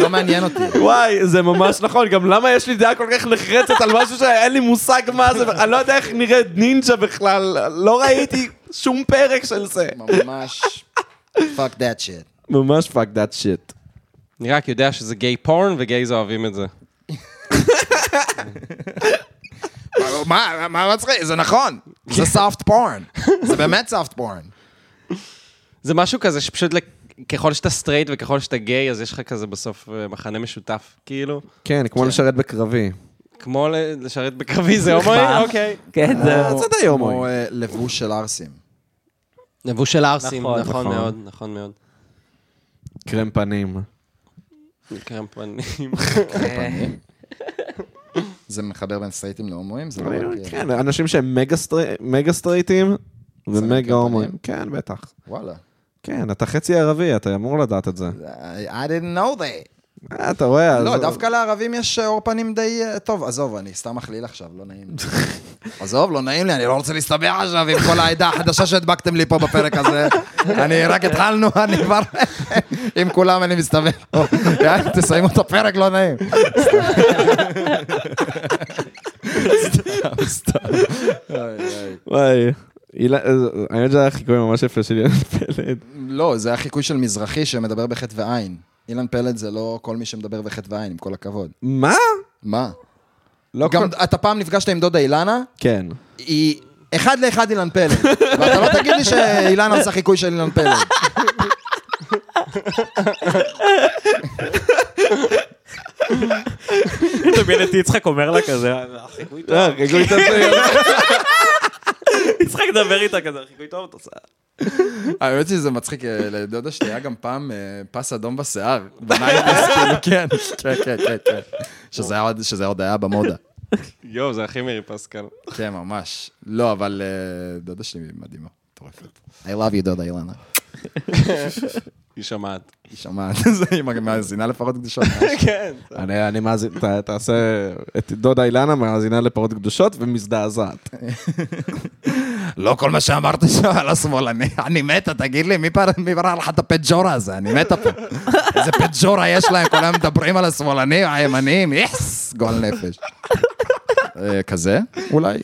S2: לא מעניין אותי.
S1: וואי, זה ממש נכון, גם למה יש לי דעה כל כך נחרצת על משהו שאין לי מושג מה זה, אני לא יודע איך נראית נינג'ה בכלל, לא ראיתי שום פרק של זה.
S2: ממש, fuck that shit.
S1: ממש fuck that shit.
S4: אני רק יודע שזה גיי פורן וגייז אוהבים את זה.
S2: מה, מה מצחיק? זה נכון. זה סאפט פורן. זה באמת סאפט פורן.
S4: זה משהו כזה שפשוט לכ- ככל שאתה סטרייט וככל שאתה גיי, אז יש לך כזה בסוף אה, מחנה משותף, כאילו.
S1: כן, כמו לשרת בקרבי.
S4: כמו ל- לשרת בקרבי זה הומואי? אוקיי.
S7: כן,
S1: זה
S7: זהו.
S1: די
S2: כמו
S1: הומואי.
S2: אה, לבוש של ערסים.
S4: לבוש של ערסים,
S7: נכון,
S4: נכון
S1: נכון.
S4: מאוד, נכון מאוד.
S1: קרם פנים.
S4: קרם פנים.
S2: זה מחבר בין סטרייטים להומואים? זה לא רק... אה,
S1: כן, אנשים שהם מגה סטרי- מגה סטרייטים ומגה
S2: קרם
S1: הומואים.
S2: פנים?
S1: כן, בטח.
S2: וואלה.
S1: כן, אתה חצי ערבי, אתה אמור לדעת את זה.
S2: I I didn't know that.
S1: אה, אתה רואה?
S2: לא,
S1: אז-
S2: דווקא לערבים יש עור פנים די... אה, טוב, עזוב, אני סתם מכליל עכשיו, לא נעים לי. עזוב, לא נעים לי, אני לא רוצה להסתבך עכשיו עם כל העדה החדשה שהדבקתם לי פה בפרק הזה. אני רק התחלנו, אני כבר... עם כולם אני מסתבך. יאללה, תסיימו את הפרק, לא נעים.
S1: וואי. הילה- אה, האמת שזה היה חיקוי ממש יפה של ילד פלד.
S2: לא, זה החיקוי של מזרחי שמדבר בחטא ועין. אילן פלד זה לא כל מי שמדבר בחטא ועין, עם כל הכבוד.
S1: מה?
S2: מה?
S1: לא
S2: גם
S1: כל-
S2: אתה פעם נפגשת עם דודה אילנה,
S1: כן.
S2: היא אחד לאחד אילן פלד. ואתה לא תגיד לי שאילנה עושה חיקוי של אילן פלד.
S3: דמיין את יצחק אומר לה כזה, החיקוי טוב.
S1: אה, חיקוי טוב של ילד.
S3: יצחק מדבר איתה כזה, החיקוי טוב, אתה עושה.
S2: האמת שזה מצחיק, אה, לדודה שלי היה גם פעם אה, פס אדום בשיער. בנייטיז, כאילו, כן, כן, כן, כן, כן. שזה היה עוד- שזה עוד היה במודה.
S4: יואו, זה הכי מירי פסקל.
S2: כן, ממש. לא, אבל אה, דודה שלי היא מדהימה, מטורפת. I love you, דודה אילנה.
S4: היא שומעת.
S2: היא שומעת את זה, היא מאזינה לפרות קדושות.
S4: כן.
S1: אני אני מאזין, ת- תעשה את דודה אילנה מאזינה לפרות קדושות ומזדעזעת.
S2: לא כל מה שאמרת שם על השמאלני, אני מתה, תגיד לי, מי פר- מי ברא לך את הפג'ורה הזה? אני מתה פה. איזה פג'ורה יש להם, כולם מדברים על השמאלנים, הימנים, איחס, גועל נפש. אה, כזה? אולי.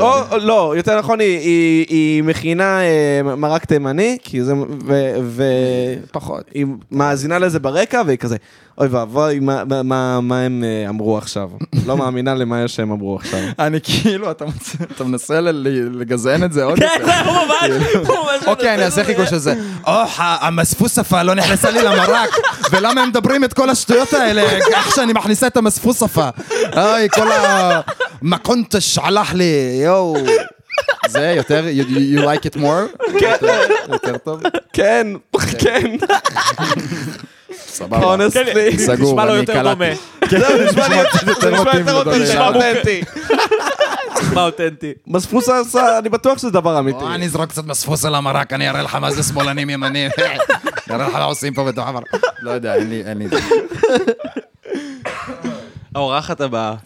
S1: או, או לא, יותר נכון, היא- היא היא מכינה אה, מרק תימני, כי זה... ו- ו-
S2: פחות.
S1: היא מאזינה לזה ברקע, והיא כזה, אוי ואבוי, מה- מה- מה- מה הם אה, אמרו עכשיו? לא מאמינה למה שהם אמרו עכשיו.
S2: אני כאילו, אתה מוצא- אתה מנסה ל- ל- לגזען את זה עוד יותר.
S7: הוא ממש, הוא ממש...
S2: אוקיי, אני
S1: לא
S2: אעשה חיקוי של זה. אוח, המספוספה לא נכנסה לי למרק, ולמה הם מדברים את כל השטויות האלה, איך שאני מכניסה את המספוספה. אוי, כל ה... מקונטש הלך לי, יואו. זה יותר, you- you like it more? יותר- יותר טוב? אוקיי.
S1: כן, כן,
S2: סבבה.
S1: אונסטלי.
S2: סגור,
S3: כן, נשמע לו
S2: אני
S3: יותר
S2: קלטתי.
S3: דומה,
S2: כן.
S1: זהו, נשמע לי יותר
S2: מתאים לדודה
S1: נשמע
S2: שלנו.
S1: אותנטי.
S3: נשמע אותנטי.
S1: מספוס עשה, אני בטוח שזה דבר אמיתי.
S2: בוא, אוקיי. אני אזרוק קצת מספוס על המרק, אני אראה לך מה זה שמאלנים ימנים. אני אראה לך מה עושים פה בתוך המרק. לא יודע, אין לי, אין לי.
S4: האורחת הבאה.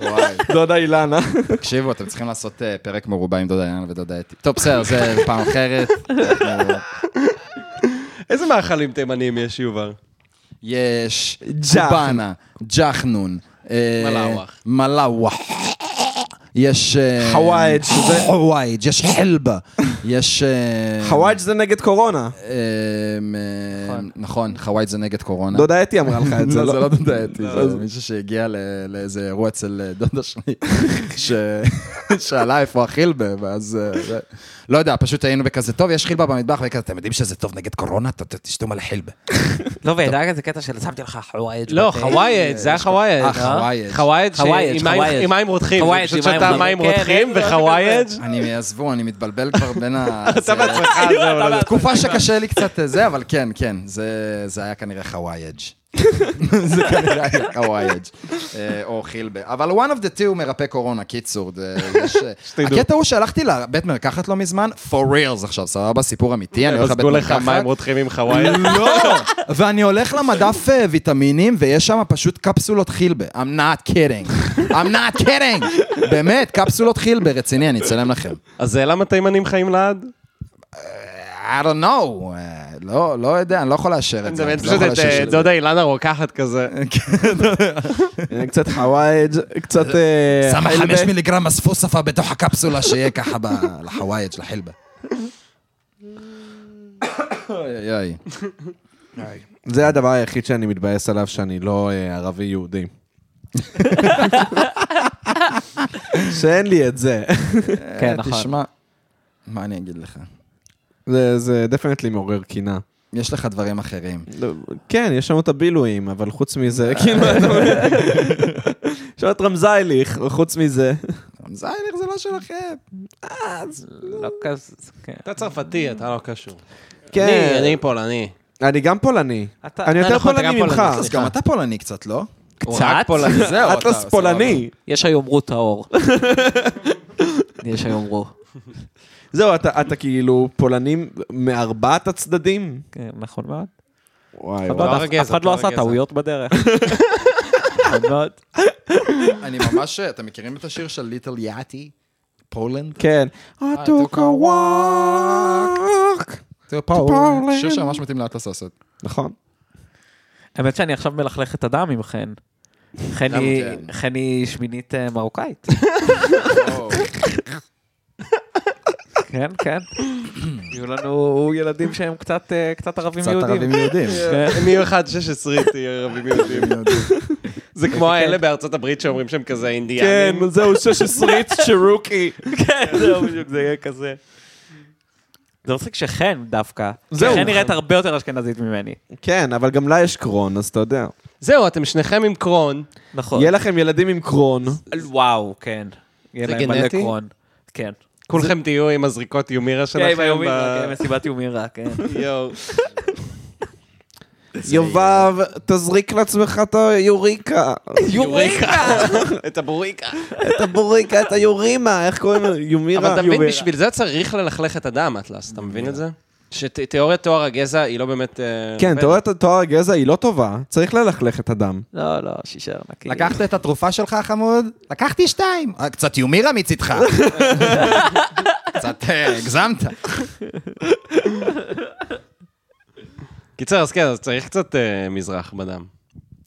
S2: וואי.
S1: דודה אילנה.
S2: אה. תקשיבו, אתם צריכים לעשות אה, פרק מרובע עם דודה ינן ודודה אתי. טוב, בסדר, זה פעם אחרת. אנחנו-
S4: איזה מאכלים תימניים יש, יובל?
S2: יש
S1: ג'חנון.
S2: צ'ובאנה, ג'חנון. אה,
S4: מלאווח.
S2: מלאווח. יש... אה,
S1: חוואג' שזה-
S2: חוואג', יש חלבה. יש... אה,
S1: חוואג' זה נגד קורונה.
S2: אה, אה, נכון, חוואג' זה נגד קורונה.
S1: דודה אתי אמרה לך את זה.
S2: לא, זה לא דודה אתי, זה מישהו שהגיע ל- לאיזה אירוע אצל אה, דודה שלי, ש- שאלה איפה החילבה, ואז... אה, זה- לא יודע, פשוט היינו בכזה, טוב, יש חילבה במטבח, וכזה, אתם יודעים שזה טוב נגד קורונה? ת- ת- תשתו מלא חילבה.
S7: לא, וידע כזה קטע של שמתי לך חוואייג'.
S4: לא,
S7: בתה.
S4: חווייג', זה היה
S2: אה,
S4: חווייג'. חווייג'
S2: חוואייג'.
S7: חווייג', חווייג'.
S4: עם מים רותחים.
S7: חווייג'
S4: פשוט
S7: עם מים
S4: שתה
S7: רותחים.
S4: מים
S7: כן,
S4: רותחים
S7: כן,
S4: וחווייג'.
S2: אני, עזבו, אני מתבלבל כבר בין ה... זה-
S4: אה, זהו, לא, לא.
S2: תקופה שקשה לי קצת אה, זה, אבל כן, כן, זה זה היה כנראה חוואייג'. זה כנראה היה חוואייג', אה, או חילבה. אבל one of the two מרפא קורונה, קיצור. זה- יש, אה, הקטע הוא שהלכתי לבית מרקחת לא מזמן, for reals עכשיו, סבבה? סיפור אמיתי, אני הולך לבית
S4: בזגו לך
S2: מרקחת.
S4: מים רותחים עם חווייג'.
S2: לא, ואני הולך למדף אה, ויטמינים, ויש שם פשוט קפסולות חילבה. I'm not kidding. I'm not kidding. באמת, קפסולות חילבה, רציני, אני אצלם לכם.
S4: אז זה למה תימנים חיים לעד?
S2: I don't know, אה, לא, לא יודע, אני לא יכול לאשר את
S4: זה
S2: זה.
S4: באמת
S2: אני לא
S4: פשוט
S2: יכול
S4: את
S2: לאשר
S4: אה,
S2: שזה-
S4: דודה אילנה רוקחת כזה.
S1: אה, קצת חוואג', קצת... אה,
S2: שמה
S1: חלבה.
S2: חמש מיליגרם מספוספה בתוך הקפסולה שיהיה ככה ב- לחווייג' לחילבה. אוי אוי אוי.
S1: זה הדבר היחיד שאני מתבאס עליו, שאני לא אה, ערבי-יהודי. שאין לי את זה.
S7: כן,
S2: אה,
S7: נכון.
S2: תשמע, מה אני אגיד לך?
S1: זה- זה דפנטלי מעורר קינה.
S2: יש לך דברים אחרים.
S1: לא, כן, יש שם את הבילויים, אבל חוץ מזה, כאילו, אתה אומר... יש שם את רמזייליך, חוץ מזה.
S2: זיינר זה לא שלכם.
S7: לא כזה, כן.
S4: אתה צרפתי, אתה לא קשור. אני,
S1: כן,
S4: אני פולני.
S1: אני גם פולני.
S7: אתה-
S1: אני
S4: אה,
S1: יותר
S4: נכון, אתה גם
S1: פולני ממך.
S4: פולני.
S2: אז גם אתה פולני קצת, לא?
S4: הוא רק
S7: קצת?
S4: פולני.
S2: זהו, אתה-
S1: אטלס
S2: סבבה.
S1: פולני.
S7: יש היאמרו טהור. יש היאמרו.
S1: זהו, אתה אתה כאילו פולני מארבעת הצדדים?
S7: כן, נכון מאוד.
S2: אה,
S1: וואי,
S7: אף
S1: וואי.
S7: אחד-
S4: טהור הגזע,
S7: אף אחד
S4: טהור
S7: לא עשה
S4: הגזע.
S7: טעויות בדרך. נכון מאוד.
S2: אני ממש, אתם מכירים את השיר של ליטל יאטי? פולנד?
S1: כן. I took a walk.
S2: זה
S1: פולנד.
S2: שיר שממש מתאים לאטלס לעשות.
S1: נכון.
S7: האמת שאני עכשיו מלכלך את הדם עם חן. חן
S2: גם
S7: היא-
S2: כן.
S7: חן היא שמינית אה, מרוקאית. כן, כן. יהיו לנו ילדים שהם קצת אה, קצת ערבים
S2: קצת
S7: יהודים.
S2: ערבים יהודים.
S4: הם יהיו 1.16 תהיה כן. ערבים יהודים. זה כמו האלה בארצות הברית שאומרים שהם כזה
S6: כן,
S4: אינדיאנים.
S6: זהו, 16 צ'רוקי.
S7: כן, זהו, בדיוק, זה יהיה כזה. זה מצחיק שחן דווקא.
S1: זהו.
S7: חן נראית הרבה יותר אשכנזית ממני.
S1: כן, אבל גם לה יש קרון, אז אתה יודע.
S4: זהו, אתם שניכם עם קרון.
S7: נכון.
S1: יהיה לכם ילדים עם קרון.
S7: וואו, כן. יהיה
S4: זה
S7: להם מלא
S4: גנטי?
S7: קרון. כן.
S4: כולכם תהיו עם הזריקות יומירה
S7: כן, עם
S4: שלכם.
S7: היומירה,
S4: ב-
S7: כן, מסיבת יומירה, כן.
S4: יואו.
S1: יובב, תזריק לעצמך את היוריקה.
S4: יוריקה! את הבוריקה.
S1: את הבוריקה, את היורימה, איך קוראים לזה? יומירה.
S4: אבל אתה מבין,
S1: יומירה.
S4: בשביל זה צריך ללכלך את הדם, אטלס, אתה מבין את זה? שתיאוריית תואר הגזע היא לא באמת... אה,
S1: כן,
S4: עובדת.
S1: תיאוריית התואר הגזע היא לא טובה, צריך ללכלך את הדם.
S3: נכון,
S7: לא, לא, שישר נקי.
S2: לקחת את התרופה שלך, חמוד? לקחתי שתיים. אה, קצת יומירה מצידך. קצת אה, הגזמת.
S4: קיצר, אז כן, אז צריך קצת אה, מזרח בדם.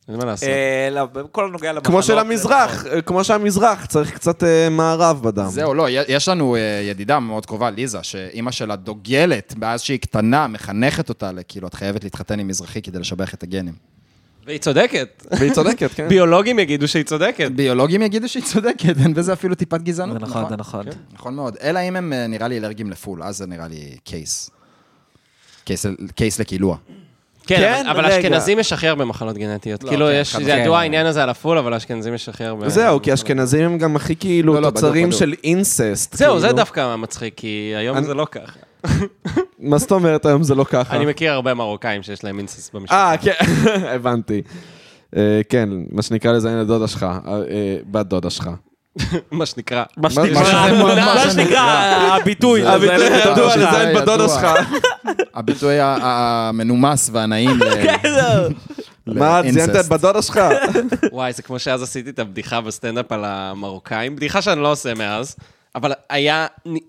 S4: אין מה לעשות.
S3: אה, לא, בכל הנוגע למחלות.
S1: כמו של
S3: זה
S7: נכון.
S1: המזרח, אה, כמו שהמזרח, צריך קצת אה, מערב בדם.
S2: זהו, לא, יש לנו אה, ידידה מאוד קרובה, ליזה, שאימא שלה דוגלת, מאז שהיא קטנה, מחנכת אותה, לכאילו, את חייבת להתחתן עם מזרחי כדי לשבח את הגנים.
S4: והיא צודקת.
S1: והיא צודקת, כן.
S4: ביולוגים יגידו שהיא צודקת.
S2: ביולוגים יגידו שהיא צודקת, אין בזה אפילו טיפת גזענות,
S7: זה נכון, זה נכון.
S2: נכון מאוד. אלא אם הם, אה, נראה לי, אלרגיים לפול, אז זה נראה לי קייס. קייס- קייס לקילוע.
S4: כן,
S1: כן,
S4: אבל
S1: רגע.
S4: אשכנזים יש הכי הרבה מחלות גנטיות.
S2: לא,
S4: כאילו,
S2: כן,
S4: יש,
S2: חד
S4: זה
S2: משמעית.
S4: ידוע העניין הזה על הפול, אבל אשכנזים יש הכי
S6: אה,
S4: הרבה...
S1: זהו, כי אשכנזים הם גם הכי
S2: לא, לא,
S1: כאילו תוצרים
S2: בדוק,
S1: של אינססט.
S4: זהו, זה
S1: כאילו.
S4: דווקא מצחיק, כי היום
S1: אני-
S4: זה לא ככה.
S1: מה זאת אומרת היום זה לא ככה?
S4: אני מכיר הרבה מרוקאים שיש להם אינסס במשפחה.
S1: אה, כן, הבנתי. אה, כן, מה שנקרא לזיין לדודה שלך, אה, אה, בת דודה שלך.
S4: מה שנקרא.
S7: מה
S1: מה שזה-
S7: מה שנקרא הביטוי.
S2: זה-
S7: לזיין
S2: זה-
S7: את
S2: ידוע,
S7: הדודה
S1: ידוע,
S7: שלך.
S1: לזיין
S2: ידוע.
S1: אה, בת דודה שלך.
S2: הביטוי ה- ה- המנומס והנעים ל- ל-
S1: אוקיי. מה, את ציינת
S2: incest.
S1: את בת דודה שלך?
S4: וואי, זה כמו שאז עשיתי את הבדיחה בסטנדאפ על המרוקאים, בדיחה שאני לא עושה מאז, אבל היה,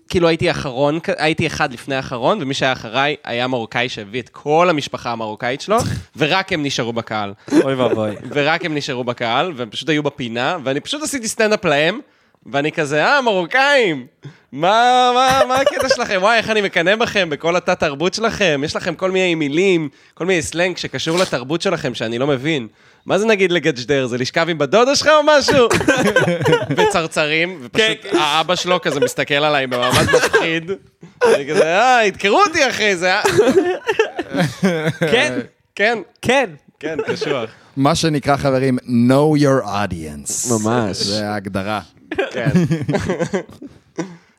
S4: כאילו הייתי אחרון, כ- הייתי אחד לפני האחרון, ומי שהיה אחריי היה מרוקאי שהביא את כל המשפחה המרוקאית שלו, ורק הם נשארו בקהל.
S7: אוי ואבוי.
S4: ורק הם נשארו בקהל, והם פשוט היו בפינה, ואני פשוט עשיתי סטנדאפ להם, ואני כזה, אה, מרוקאים, מה, מה, מה הקטע שלכם? וואי, איך אני מקנא בכם בכל התת-תרבות שלכם, יש לכם כל מיני מילים, כל מיני סלנג שקשור לתרבות שלכם שאני לא מבין. מה זה נגיד לגג'דר? זה לשכב עם בדודה שלך או משהו? וצרצרים, ופשוט האבא שלו כזה מסתכל עליי במעמד מפחיד. אני כזה, אה, ידקרו אותי אחרי זה, אה?
S7: כן,
S4: כן,
S7: כן.
S4: כן, קשוח.
S2: מה שנקרא, חברים, know your audience.
S1: ממש.
S2: זה ההגדרה.
S4: כן.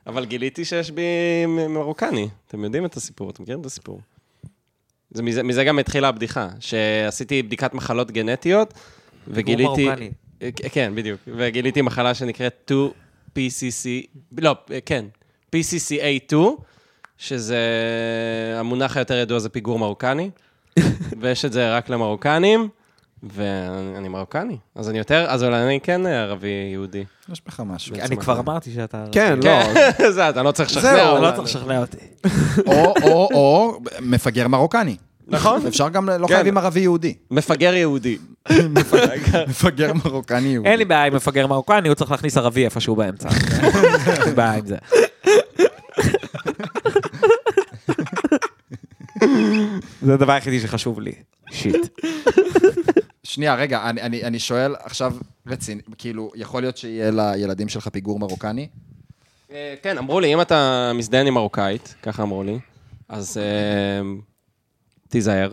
S4: אבל גיליתי שיש בי מ- מרוקני. אתם יודעים את הסיפור, אתם מכירים את הסיפור. זה מזה, מזה גם התחילה הבדיחה, שעשיתי בדיקת מחלות גנטיות, וגיליתי...
S7: מרוקני.
S4: אה, כן, בדיוק. וגיליתי מחלה שנקראת 2PCC... לא, אה, כן. PCCA2, שזה... המונח היותר ידוע זה פיגור מרוקני, ויש את זה רק למרוקנים, ואני מרוקני. אז אני יותר... אז אולי אני כן ערבי-יהודי.
S2: יש בך משהו.
S7: אני כבר אמרתי שאתה...
S1: כן, לא.
S4: כן, זה אתה לא צריך לשכנע.
S7: זהו,
S4: אבל-
S7: לא צריך לשכנע אותי.
S2: או, או, או, מפגר מרוקני.
S4: נכון.
S2: אפשר גם, לא חייבים ערבי יהודי.
S4: מפגר יהודי.
S2: מפגר מרוקני יהודי.
S7: אין לי בעיה עם מפגר מרוקני, הוא צריך להכניס ערבי איפשהו באמצע. אין לי בעיה עם זה.
S3: זה הדבר היחידי שחשוב לי. שיט.
S2: שנייה, רגע, אני, אני, אני שואל עכשיו רציני, כאילו, יכול להיות שיהיה לילדים שלך פיגור מרוקני?
S4: אה, כן, אמרו לי, אם אתה מזדיין עם מרוקאית, ככה אמרו לי, אז אה, תיזהר.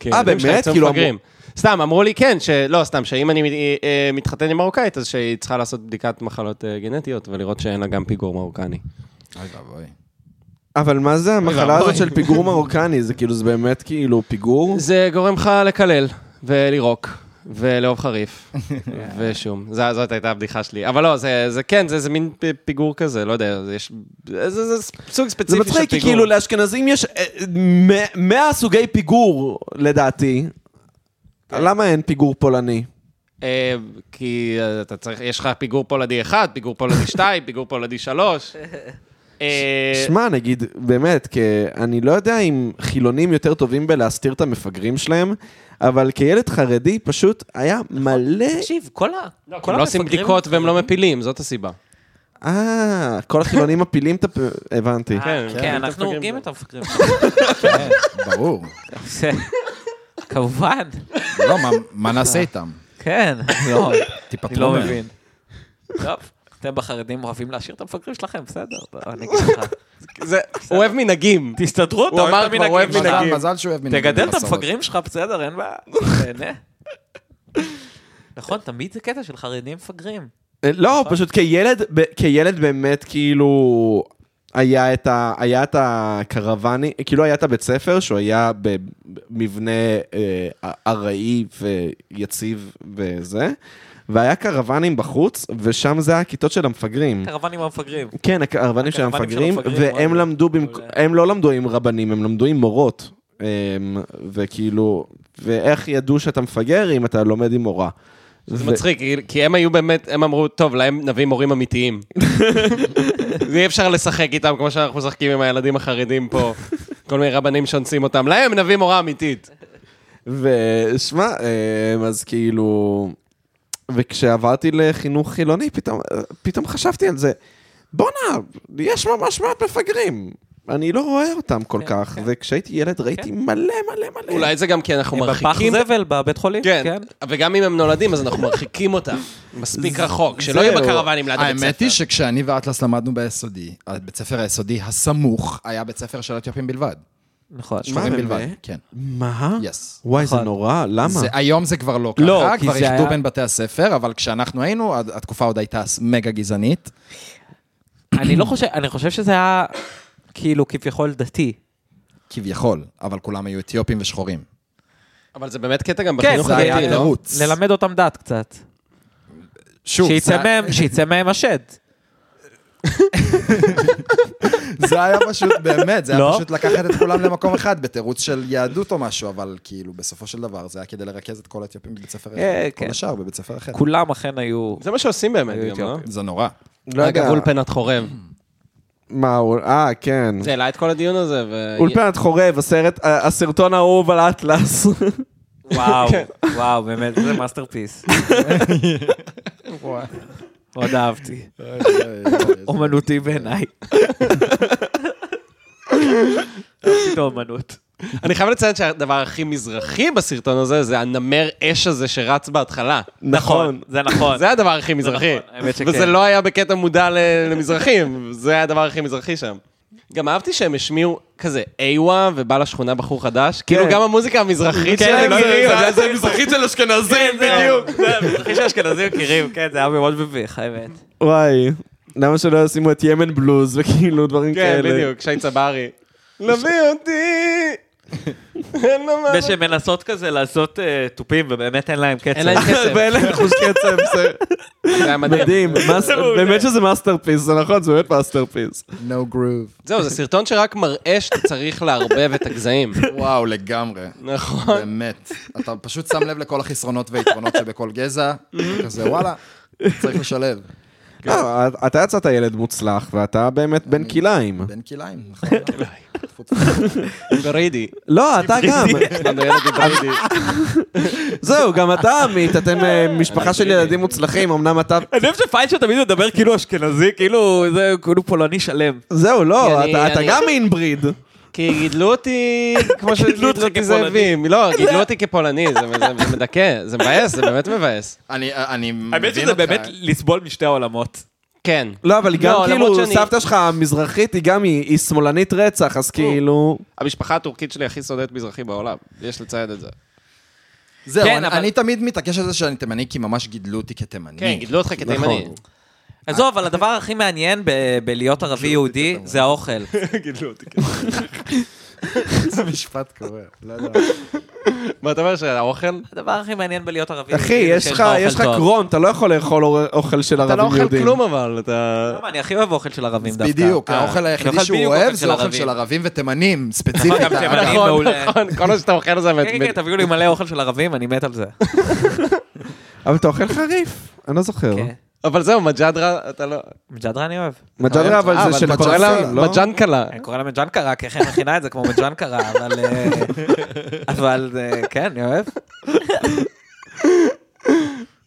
S4: כי
S1: אה,
S4: הילדים שלך
S1: באמת?
S4: יצאו
S1: כאילו,
S4: מפגרים. סתם, אמרו לי כן, שלא, סתם, שאם אני אה, מתחתן עם מרוקאית, אז שהיא צריכה לעשות בדיקת מחלות אה, גנטיות ולראות שאין לה גם פיגור מרוקני.
S2: אוי ואבוי.
S1: אבל מה זה המחלה
S2: ואבוי.
S1: הזאת של פיגור מרוקני? זה כאילו, זה באמת כאילו פיגור?
S4: זה גורם לך לקלל ולירוק. ולאהוב חריף, ושום. ז- זאת הייתה הבדיחה שלי. אבל לא, זה, זה כן, זה איזה מין פ- פיגור כזה, לא יודע, זה, יש, זה, זה סוג
S1: זה
S4: ספציפי של פיגור.
S1: מצחיק, כי כאילו לאשכנזים יש אה, מאה- מאה סוגי פיגור, לדעתי.
S2: כן.
S1: למה אין פיגור פולני?
S4: אה, כי אה, אתה צריך, יש לך פיגור פולדי 1, פיגור פולדי 2, פיגור פולדי 3. אה,
S1: שמע, נגיד, באמת, כי אני לא יודע אם חילונים יותר טובים בלהסתיר את המפגרים שלהם, אבל כילד חרדי פשוט היה מלא...
S3: תקשיב, כל ה...
S4: הם לא עושים בדיקות והם לא מפילים, זאת הסיבה.
S1: אה, כל החילונים מפילים את הפ... הבנתי.
S3: כן,
S4: כן,
S3: כן,
S4: הם
S3: אנחנו
S4: מפגרים
S3: הורגים
S4: גם.
S3: את המפגרים.
S2: כן, ברור.
S3: זה- כמובן,
S2: לא, מה, מה נעשה איתם?
S3: כן. לא, אני
S2: תיפטרו
S3: לא
S2: מהם.
S3: מבין. טוב, אתם בחרדים אוהבים להשאיר את המפגרים שלכם, בסדר, לא, אני אגיד לך. זה-
S4: הוא אוהב מנהגים.
S3: תסתדרו, אתה
S4: הוא אמר
S3: אוהב את
S4: כבר, הוא אוהב
S3: המנהגים שלך.
S2: מזל, מזל שהוא אוהב מנהגים.
S3: תגדל את
S2: ומסורת.
S3: המפגרים שלך, בסדר, אין בעיה. תהנה. נכון, תמיד זה קטע של חרדים מפגרים.
S1: אה, לא, פשוט כילד, ב- כילד באמת כאילו היה את, ה, היה את הקרווני, כאילו היה את הבית ספר שהוא היה במבנה אה, ארעי ויציב וזה, והיה קרוונים בחוץ, ושם זה הכיתות של המפגרים.
S3: קרוונים המפגרים.
S1: כן, הקרוונים של
S3: הקרוונים של
S1: המפגרים,
S3: המפגרים,
S1: והם
S3: וואלה.
S1: למדו, במק...
S3: מעולה.
S1: הם לא למדו עם רבנים, הם למדו עם מורות. אמ, וכאילו, ואיך ידעו שאתה מפגר אם אתה לומד עם מורה?
S4: זה
S1: ו-
S4: מצחיק, כי- כי הם היו באמת, הם אמרו, טוב, להם נביא מורים אמיתיים. אי אפשר לשחק איתם כמו שאנחנו משחקים עם הילדים החרדים פה. כל מיני רבנים שאונסים אותם, להם נביא מורה אמיתית.
S1: ושמע, אמ, אז כאילו... וכשעברתי לחינוך חילוני, פתאום, פתאום חשבתי על זה. בואנה, יש ממש מעט מפגרים. אני לא רואה אותם כל
S3: כן,
S1: כך,
S3: כן.
S1: וכשהייתי ילד ראיתי מלא מלא מלא.
S4: אולי זה גם כי אנחנו
S3: בפח
S4: מרחיקים
S3: זבל בבית חולים?
S4: כן, וגם אם הם נולדים, אז אנחנו מרחיקים אותם מספיק רחוק, שלא יהיו
S1: זהו.
S4: בקרוונים ליד הבית ספר.
S2: האמת היא שכשאני ואטלס למדנו ביסודי, בית ספר היסודי הסמוך היה בית ספר של אתיופים בלבד.
S3: נכון.
S2: שחורים
S1: באמת?
S2: בלבד, כן.
S1: מה?
S2: יס.
S1: וואי, זה
S3: נכון.
S1: נורא, למה?
S2: זה- היום זה כבר לא ככה,
S3: לא, כי
S2: כבר
S3: זה
S2: איחדו
S3: היה-
S2: בין בתי הספר, אבל כשאנחנו היינו, הד- התקופה עוד הייתה מגה גזענית.
S3: אני לא חושב, אני חושב שזה היה כאילו כביכול דתי.
S2: כביכול, אבל כולם היו אתיופים ושחורים.
S4: אבל זה באמת קטע גם
S3: כן,
S4: בחינוך
S2: זה היה
S4: הדתי, לא?
S2: תירוץ.
S3: ללמד אותם דת קצת.
S2: שוב, זה-
S3: שיצא מהם- שיצא מהם השד.
S2: זה היה פשוט, באמת, זה היה
S3: לא?
S2: פשוט לקחת את כולם למקום אחד בתירוץ של יהדות או משהו, אבל כאילו, בסופו של דבר זה היה כדי לרכז את כל האתיופים בבית ספר
S3: אה,
S2: אחד, כל
S3: כן.
S2: השאר בבית ספר אחר.
S3: כולם אכן היו...
S4: זה מה שעושים באמת
S3: היו
S4: גם, לא?
S3: אתיופים.
S2: זה נורא.
S1: לא
S4: אגב,
S1: יודע.
S4: אולפנת חורב.
S1: מה, הוא- אה, כן.
S4: זה העלה את כל הדיון הזה, ו...
S1: אולפנת חורב, הסרט, הסרטון האהוב על אטלס.
S3: וואו, וואו, באמת, זה מאסטרפיס. מאוד אהבתי. אומנותי בעיניי. אהבתי את האומנות.
S4: אני חייב לציין שהדבר הכי מזרחי בסרטון הזה, זה הנמר אש הזה שרץ בהתחלה.
S1: נכון.
S3: זה נכון.
S4: זה הדבר הכי מזרחי.
S3: נכון, האמת שכן.
S4: וזה לא היה בקטע מודע ל- למזרחים, זה היה הדבר הכי מזרחי שם. גם אהבתי שהם השמיעו כזה איווה, ובא לשכונה בחור חדש. כאילו גם המוזיקה המזרחית
S3: כן,
S4: שלהם,
S3: לא
S4: זה-
S3: יודעים,
S4: זה- כן,
S3: זה מזרחית של אשכנזים, כן. בדיוק. זה מזרחית של אשכנזים מכירים, כן, זה היה מאוד מביך, האמת.
S1: וואי, למה שלא ישימו את ימן בלוז וכאילו דברים
S4: כן,
S1: כאלה?
S4: בדיוק, שי צברי. נביא אותי! אין לו מה-
S3: ושמנסות כזה לעשות אה, תופים, ובאמת אין להם קצב.
S4: אין להם קצב.
S1: ואין להם חוש קצב, זה
S4: זה היה מדהים.
S1: מדהים. מאס- באמת שזה מאסטרפיס, זה נכון, זה באמת מאסטרפיס.
S2: No groove.
S4: זהו, זה סרטון שרק מראה שאתה צריך לערבב את הגזעים.
S2: וואו, לגמרי.
S4: נכון.
S2: באמת. אתה פשוט שם לב לכל החסרונות והיתרונות שבכל גזע, כזה וואלה, צריך לשלב.
S4: כן.
S1: לא, אתה יצאת ילד מוצלח, ואתה באמת בן כלאיים.
S2: בין כלאיים, נכון?
S4: ברידי.
S1: לא, אתה גם.
S4: שלנו ילד הוא ברידי.
S1: זהו, גם אתה עמית, אתם אה, משפחה של ילדים מוצלחים, אמנם אתה...
S3: אני חושב שפיינשטיין תמיד מדבר כאילו אשכנזי, כאילו זה כאילו פולני שלם.
S1: זהו, לא,
S4: אני-
S1: אתה- אתה
S4: אני-
S1: גם אינבריד.
S4: כי גידלו אותי כמו שגידלו
S8: אותך
S4: אותי זאבים. לא, גידלו אותי כפולני, זה- זה זה מדכא, זה מבאס, זה באמת מבאס.
S2: אני, אה, אני מבין אותך.
S8: האמת שזה באמת לסבול משתי העולמות.
S4: כן.
S1: לא, אבל גם
S4: לא, למרות
S1: כאילו,
S4: שאני-
S1: סבתא שלך המזרחית, היא גם, היא היא שמאלנית רצח, אז כאילו...
S4: המשפחה הטורקית שלי הכי שונאת מזרחי בעולם, יש לציין את זה.
S2: זהו,
S8: כן,
S2: אני,
S8: אבל-
S2: אני תמיד מתעקש על זה שאני תימני, כי ממש גידלו אותי כתימני.
S4: כן, גידלו אותך כתימני.
S3: עזוב, אבל הדבר הכי מעניין ב- בלהיות ערבי-יהודי זה האוכל.
S2: איזה משפט קורה. לא יודע.
S4: מה אתה אומר, שהאוכל?
S3: הדבר הכי מעניין בלהיות ערבי-יהודי
S1: אחי,
S3: זה
S1: יש
S3: שאין
S1: לך יש לך
S3: אוכל טוב.
S1: קרון, אתה לא יכול לאכול אור- אוכל של
S4: אתה לא
S1: ערבים
S4: אוכל
S1: יהודים.
S4: כלום אבל, אתה...
S3: למה, אני הכי אוהב אוכל של ערבים דווקא.
S2: בדיוק,
S3: אה,
S2: האוכל
S3: אני
S2: היחידי
S3: אוכל
S2: שהוא
S3: בדיוק
S2: אוהב זה אוכל של ערבים לא- ותימנים, ספציפית. אה,
S3: גם תימנים.
S4: נכון,
S3: מעולה.
S4: נכון, כל מה שאתה אוכל זה...
S3: כן, כן, כן, תביאו לי מלא אוכל של ערבים, אני מת על זה.
S1: אבל אתה אוכל חריף, אני לא זוכר.
S3: כן.
S4: אבל זהו, מג'דרה, אתה לא...
S3: מג'דרה אני אוהב.
S1: מג'דרה, אבל
S2: אה,
S1: זה
S2: אבל
S1: של
S2: מג'דרה,
S1: פרסים, לא?
S4: מג'נקלה.
S3: אני קורא לה מג'נקרה, כי איך היא מכינה את זה כמו מג'נקרה, אבל... אה, אבל אה, כן, אני אוהב.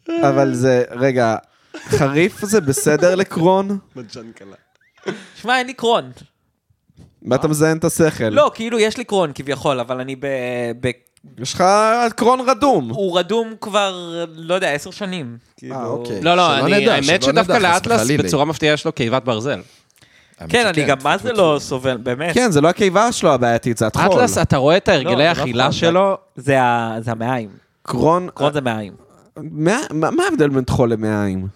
S1: אבל זה, רגע, חריף זה בסדר לקרון?
S4: מג'נקלה.
S3: שמע, אין לי קרון.
S1: מה אתה מזיין את השכל?
S3: לא, כאילו, יש לי קרון כביכול, אבל אני ב... ב-
S1: יש לך קרון רדום.
S3: הוא רדום כבר, לא יודע, עשר שנים.
S2: אה, אוקיי.
S4: לא, לא,
S2: שלא
S4: אני-
S2: נדע,
S4: האמת
S2: שלא נדע,
S4: שדווקא
S2: חס
S4: לאטלס
S2: וחלילה.
S4: בצורה מפתיעה יש לו קיבת ברזל.
S2: האמת
S3: כן,
S2: שכן,
S3: אני גם מה זה לא סובל, באמת.
S1: כן, זה לא הקיבה שלו הבעייתית, זה הטחול.
S4: אטלס, אתה רואה את
S3: לא, זה
S4: הרגלי
S3: לא
S4: האכילה
S3: נכון,
S4: שלו?
S3: זה ה- זה המעיים.
S1: קרון...
S3: קרון זה מעיים.
S2: לא
S1: מה- מה מה ההבדל בין טחול למעיים?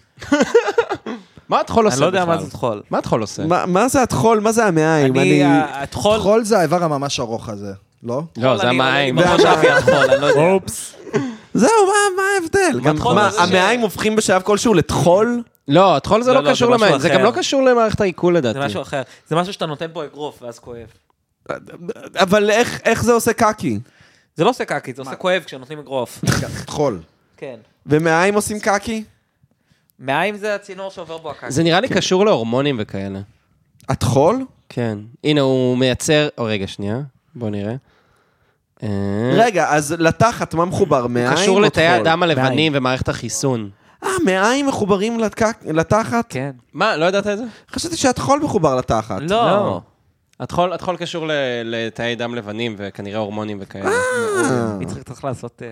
S4: מה הטחול עושה
S3: אני לא
S4: בכלל?
S3: יודע מה זה טחול.
S4: מה הטחול עושה?
S1: מה- מה זה הטחול? מה זה המעיים?
S3: אני, אה,
S1: אני...
S3: ה- הטחול...
S2: חול זה האיבר הממש ארוך הזה, לא?
S4: לא, זה
S3: אני-
S4: המים.
S3: אני ממש
S1: זה
S3: אבי הטחול, אני לא יודע.
S1: זהו, מה- מה ההבדל? גם-
S3: הטחול
S1: מה,
S3: זה ש-
S1: המעיים הופכים בשלב כלשהו לטחול?
S4: לא, הטחול זה
S3: לא,
S4: לא
S3: לא, זה
S4: קשור
S3: משהו
S4: למים, זה
S3: אחר.
S4: גם לא קשור למערכת העיכול לדעתי.
S3: זה משהו אחר. זה משהו שאתה נותן בו אגרוף ואז כואב.
S1: אבל איך איך זה עושה קקי?
S3: זה לא עושה קקי, זה עושה כואב כשנותנים אגרוף.
S2: חול.
S3: כן.
S1: ומעיים עושים קקי?
S3: מעיים זה הצינור שעובר בו הקקי.
S4: זה נראה לי קשור להורמונים וכאלה.
S1: הטחול?
S4: כן. הנה, הוא מייצר... או, רגע, שנייה. בוא נראה. אה,
S1: רגע, אז לתחת מה מחובר? מעיים או טחול?
S4: קשור לתאי הדם הלבנים ומערכת החיסון.
S1: אה, מעיים מחוברים לתק- לתחת?
S3: כן.
S4: מה, לא ידעת את זה?
S1: חשבתי שהטחול מחובר לתחת.
S3: לא.
S4: הטחול הטחול קשור ל- לתאי דם לבנים וכנראה הורמונים וכאלה.
S1: אה.
S3: יצחק צריך לעשות אה,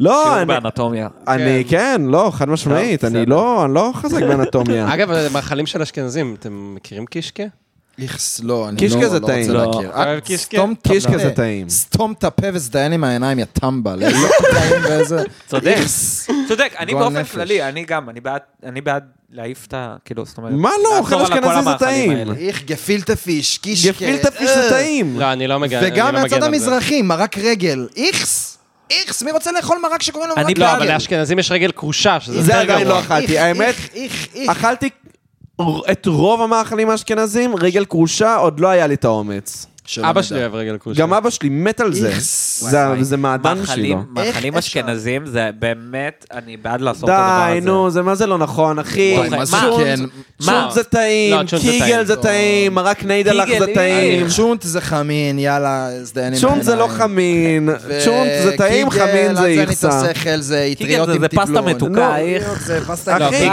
S1: לא,
S3: שיעור
S1: אני-
S3: באנטומיה.
S1: אני, כן, לא, חד משמעית, אני לא אני לא חזק באנטומיה.
S4: אגב, מאכלים של אשכנזים, אתם מכירים קישקה?
S1: Mm.
S2: איכס, לא, אני
S1: קישקה
S2: לא
S1: זה
S2: לא
S1: טעים.
S2: רוצה
S1: לא.
S2: להכיר.
S4: אבל
S2: אה,
S4: קישקה-
S2: סתום את
S1: קישקה
S2: הפה.
S1: זה טעים.
S2: סתום את הפה וזדיין עם העיניים, יא טמבל. איזה טעים ואיזה...
S3: צודק.
S2: איכס.
S3: צודק, אני
S2: גועל
S3: באופן
S2: נפש.
S3: כללי, אני גם, אני בעד- אני בעד להעיף את ה... כאילו, זאת אומרת...
S1: מה לא, אוכל
S3: לעצור על כל
S1: אשכנזי זה
S3: המאכלים
S1: טעים.
S3: האלה.
S2: איך גפילטה פיש, קישקה.
S1: גפילטה פיש
S2: אה.
S1: זה טעים.
S4: לא, אני לא מגן אני לא
S2: וגם
S4: מגן על זה.
S2: מהצד המזרחי, מרק רגל. איכס. איכס, מי רוצה לאכול מרק שקוראים לו מרק
S3: אני
S2: רגל?
S4: לא, אבל לאשכנזים יש רגל כרושה, שזה
S1: זה
S4: יותר
S1: עדיין
S4: גרוע.
S1: לא אכלתי,
S2: איך,
S1: האמת,
S2: איך, איך, איך.
S1: אכלתי את רוב המאכלים האשכנזים, רגל כרושה, עוד לא היה לי את האומץ.
S2: שלא
S4: אבא
S2: נדע.
S4: שלי אוהב רגל כרושה.
S1: לא- גם אבא שלי מת על זה.
S2: איכס.
S1: זה-
S3: וואי,
S1: זה מעדן
S3: מאכלים,
S1: שלו.
S3: מאכלים
S2: איך אפשר?
S3: אשכנזים זה באמת, אני בעד לעשות את הדבר
S1: די,
S3: הזה.
S1: נו, זה מה זה לא נכון, אחי.
S2: וואי, מה זה
S1: שונט-
S2: כן?
S1: שונט זה
S4: לא,
S1: טעים,
S4: שונט זה
S1: קיגל
S4: טעים.
S1: זה טעים, מרק ניידלח
S3: קיגל,
S1: זה
S3: אה.
S1: טעים.
S2: צ'ונט זה חמין, יאללה, הזדיינים.
S1: צ'ונט זה לא חמין, צ'ונט זה טעים,
S2: לא,
S1: חמין זה איכסה.
S2: שכל זה
S3: קיגל
S2: אטריות
S3: זה-
S2: עם
S3: זה
S2: תבלון.
S3: פסטה מתוקה,
S2: נו,
S3: איך.
S2: זה פסטה
S4: לא,
S1: אחי,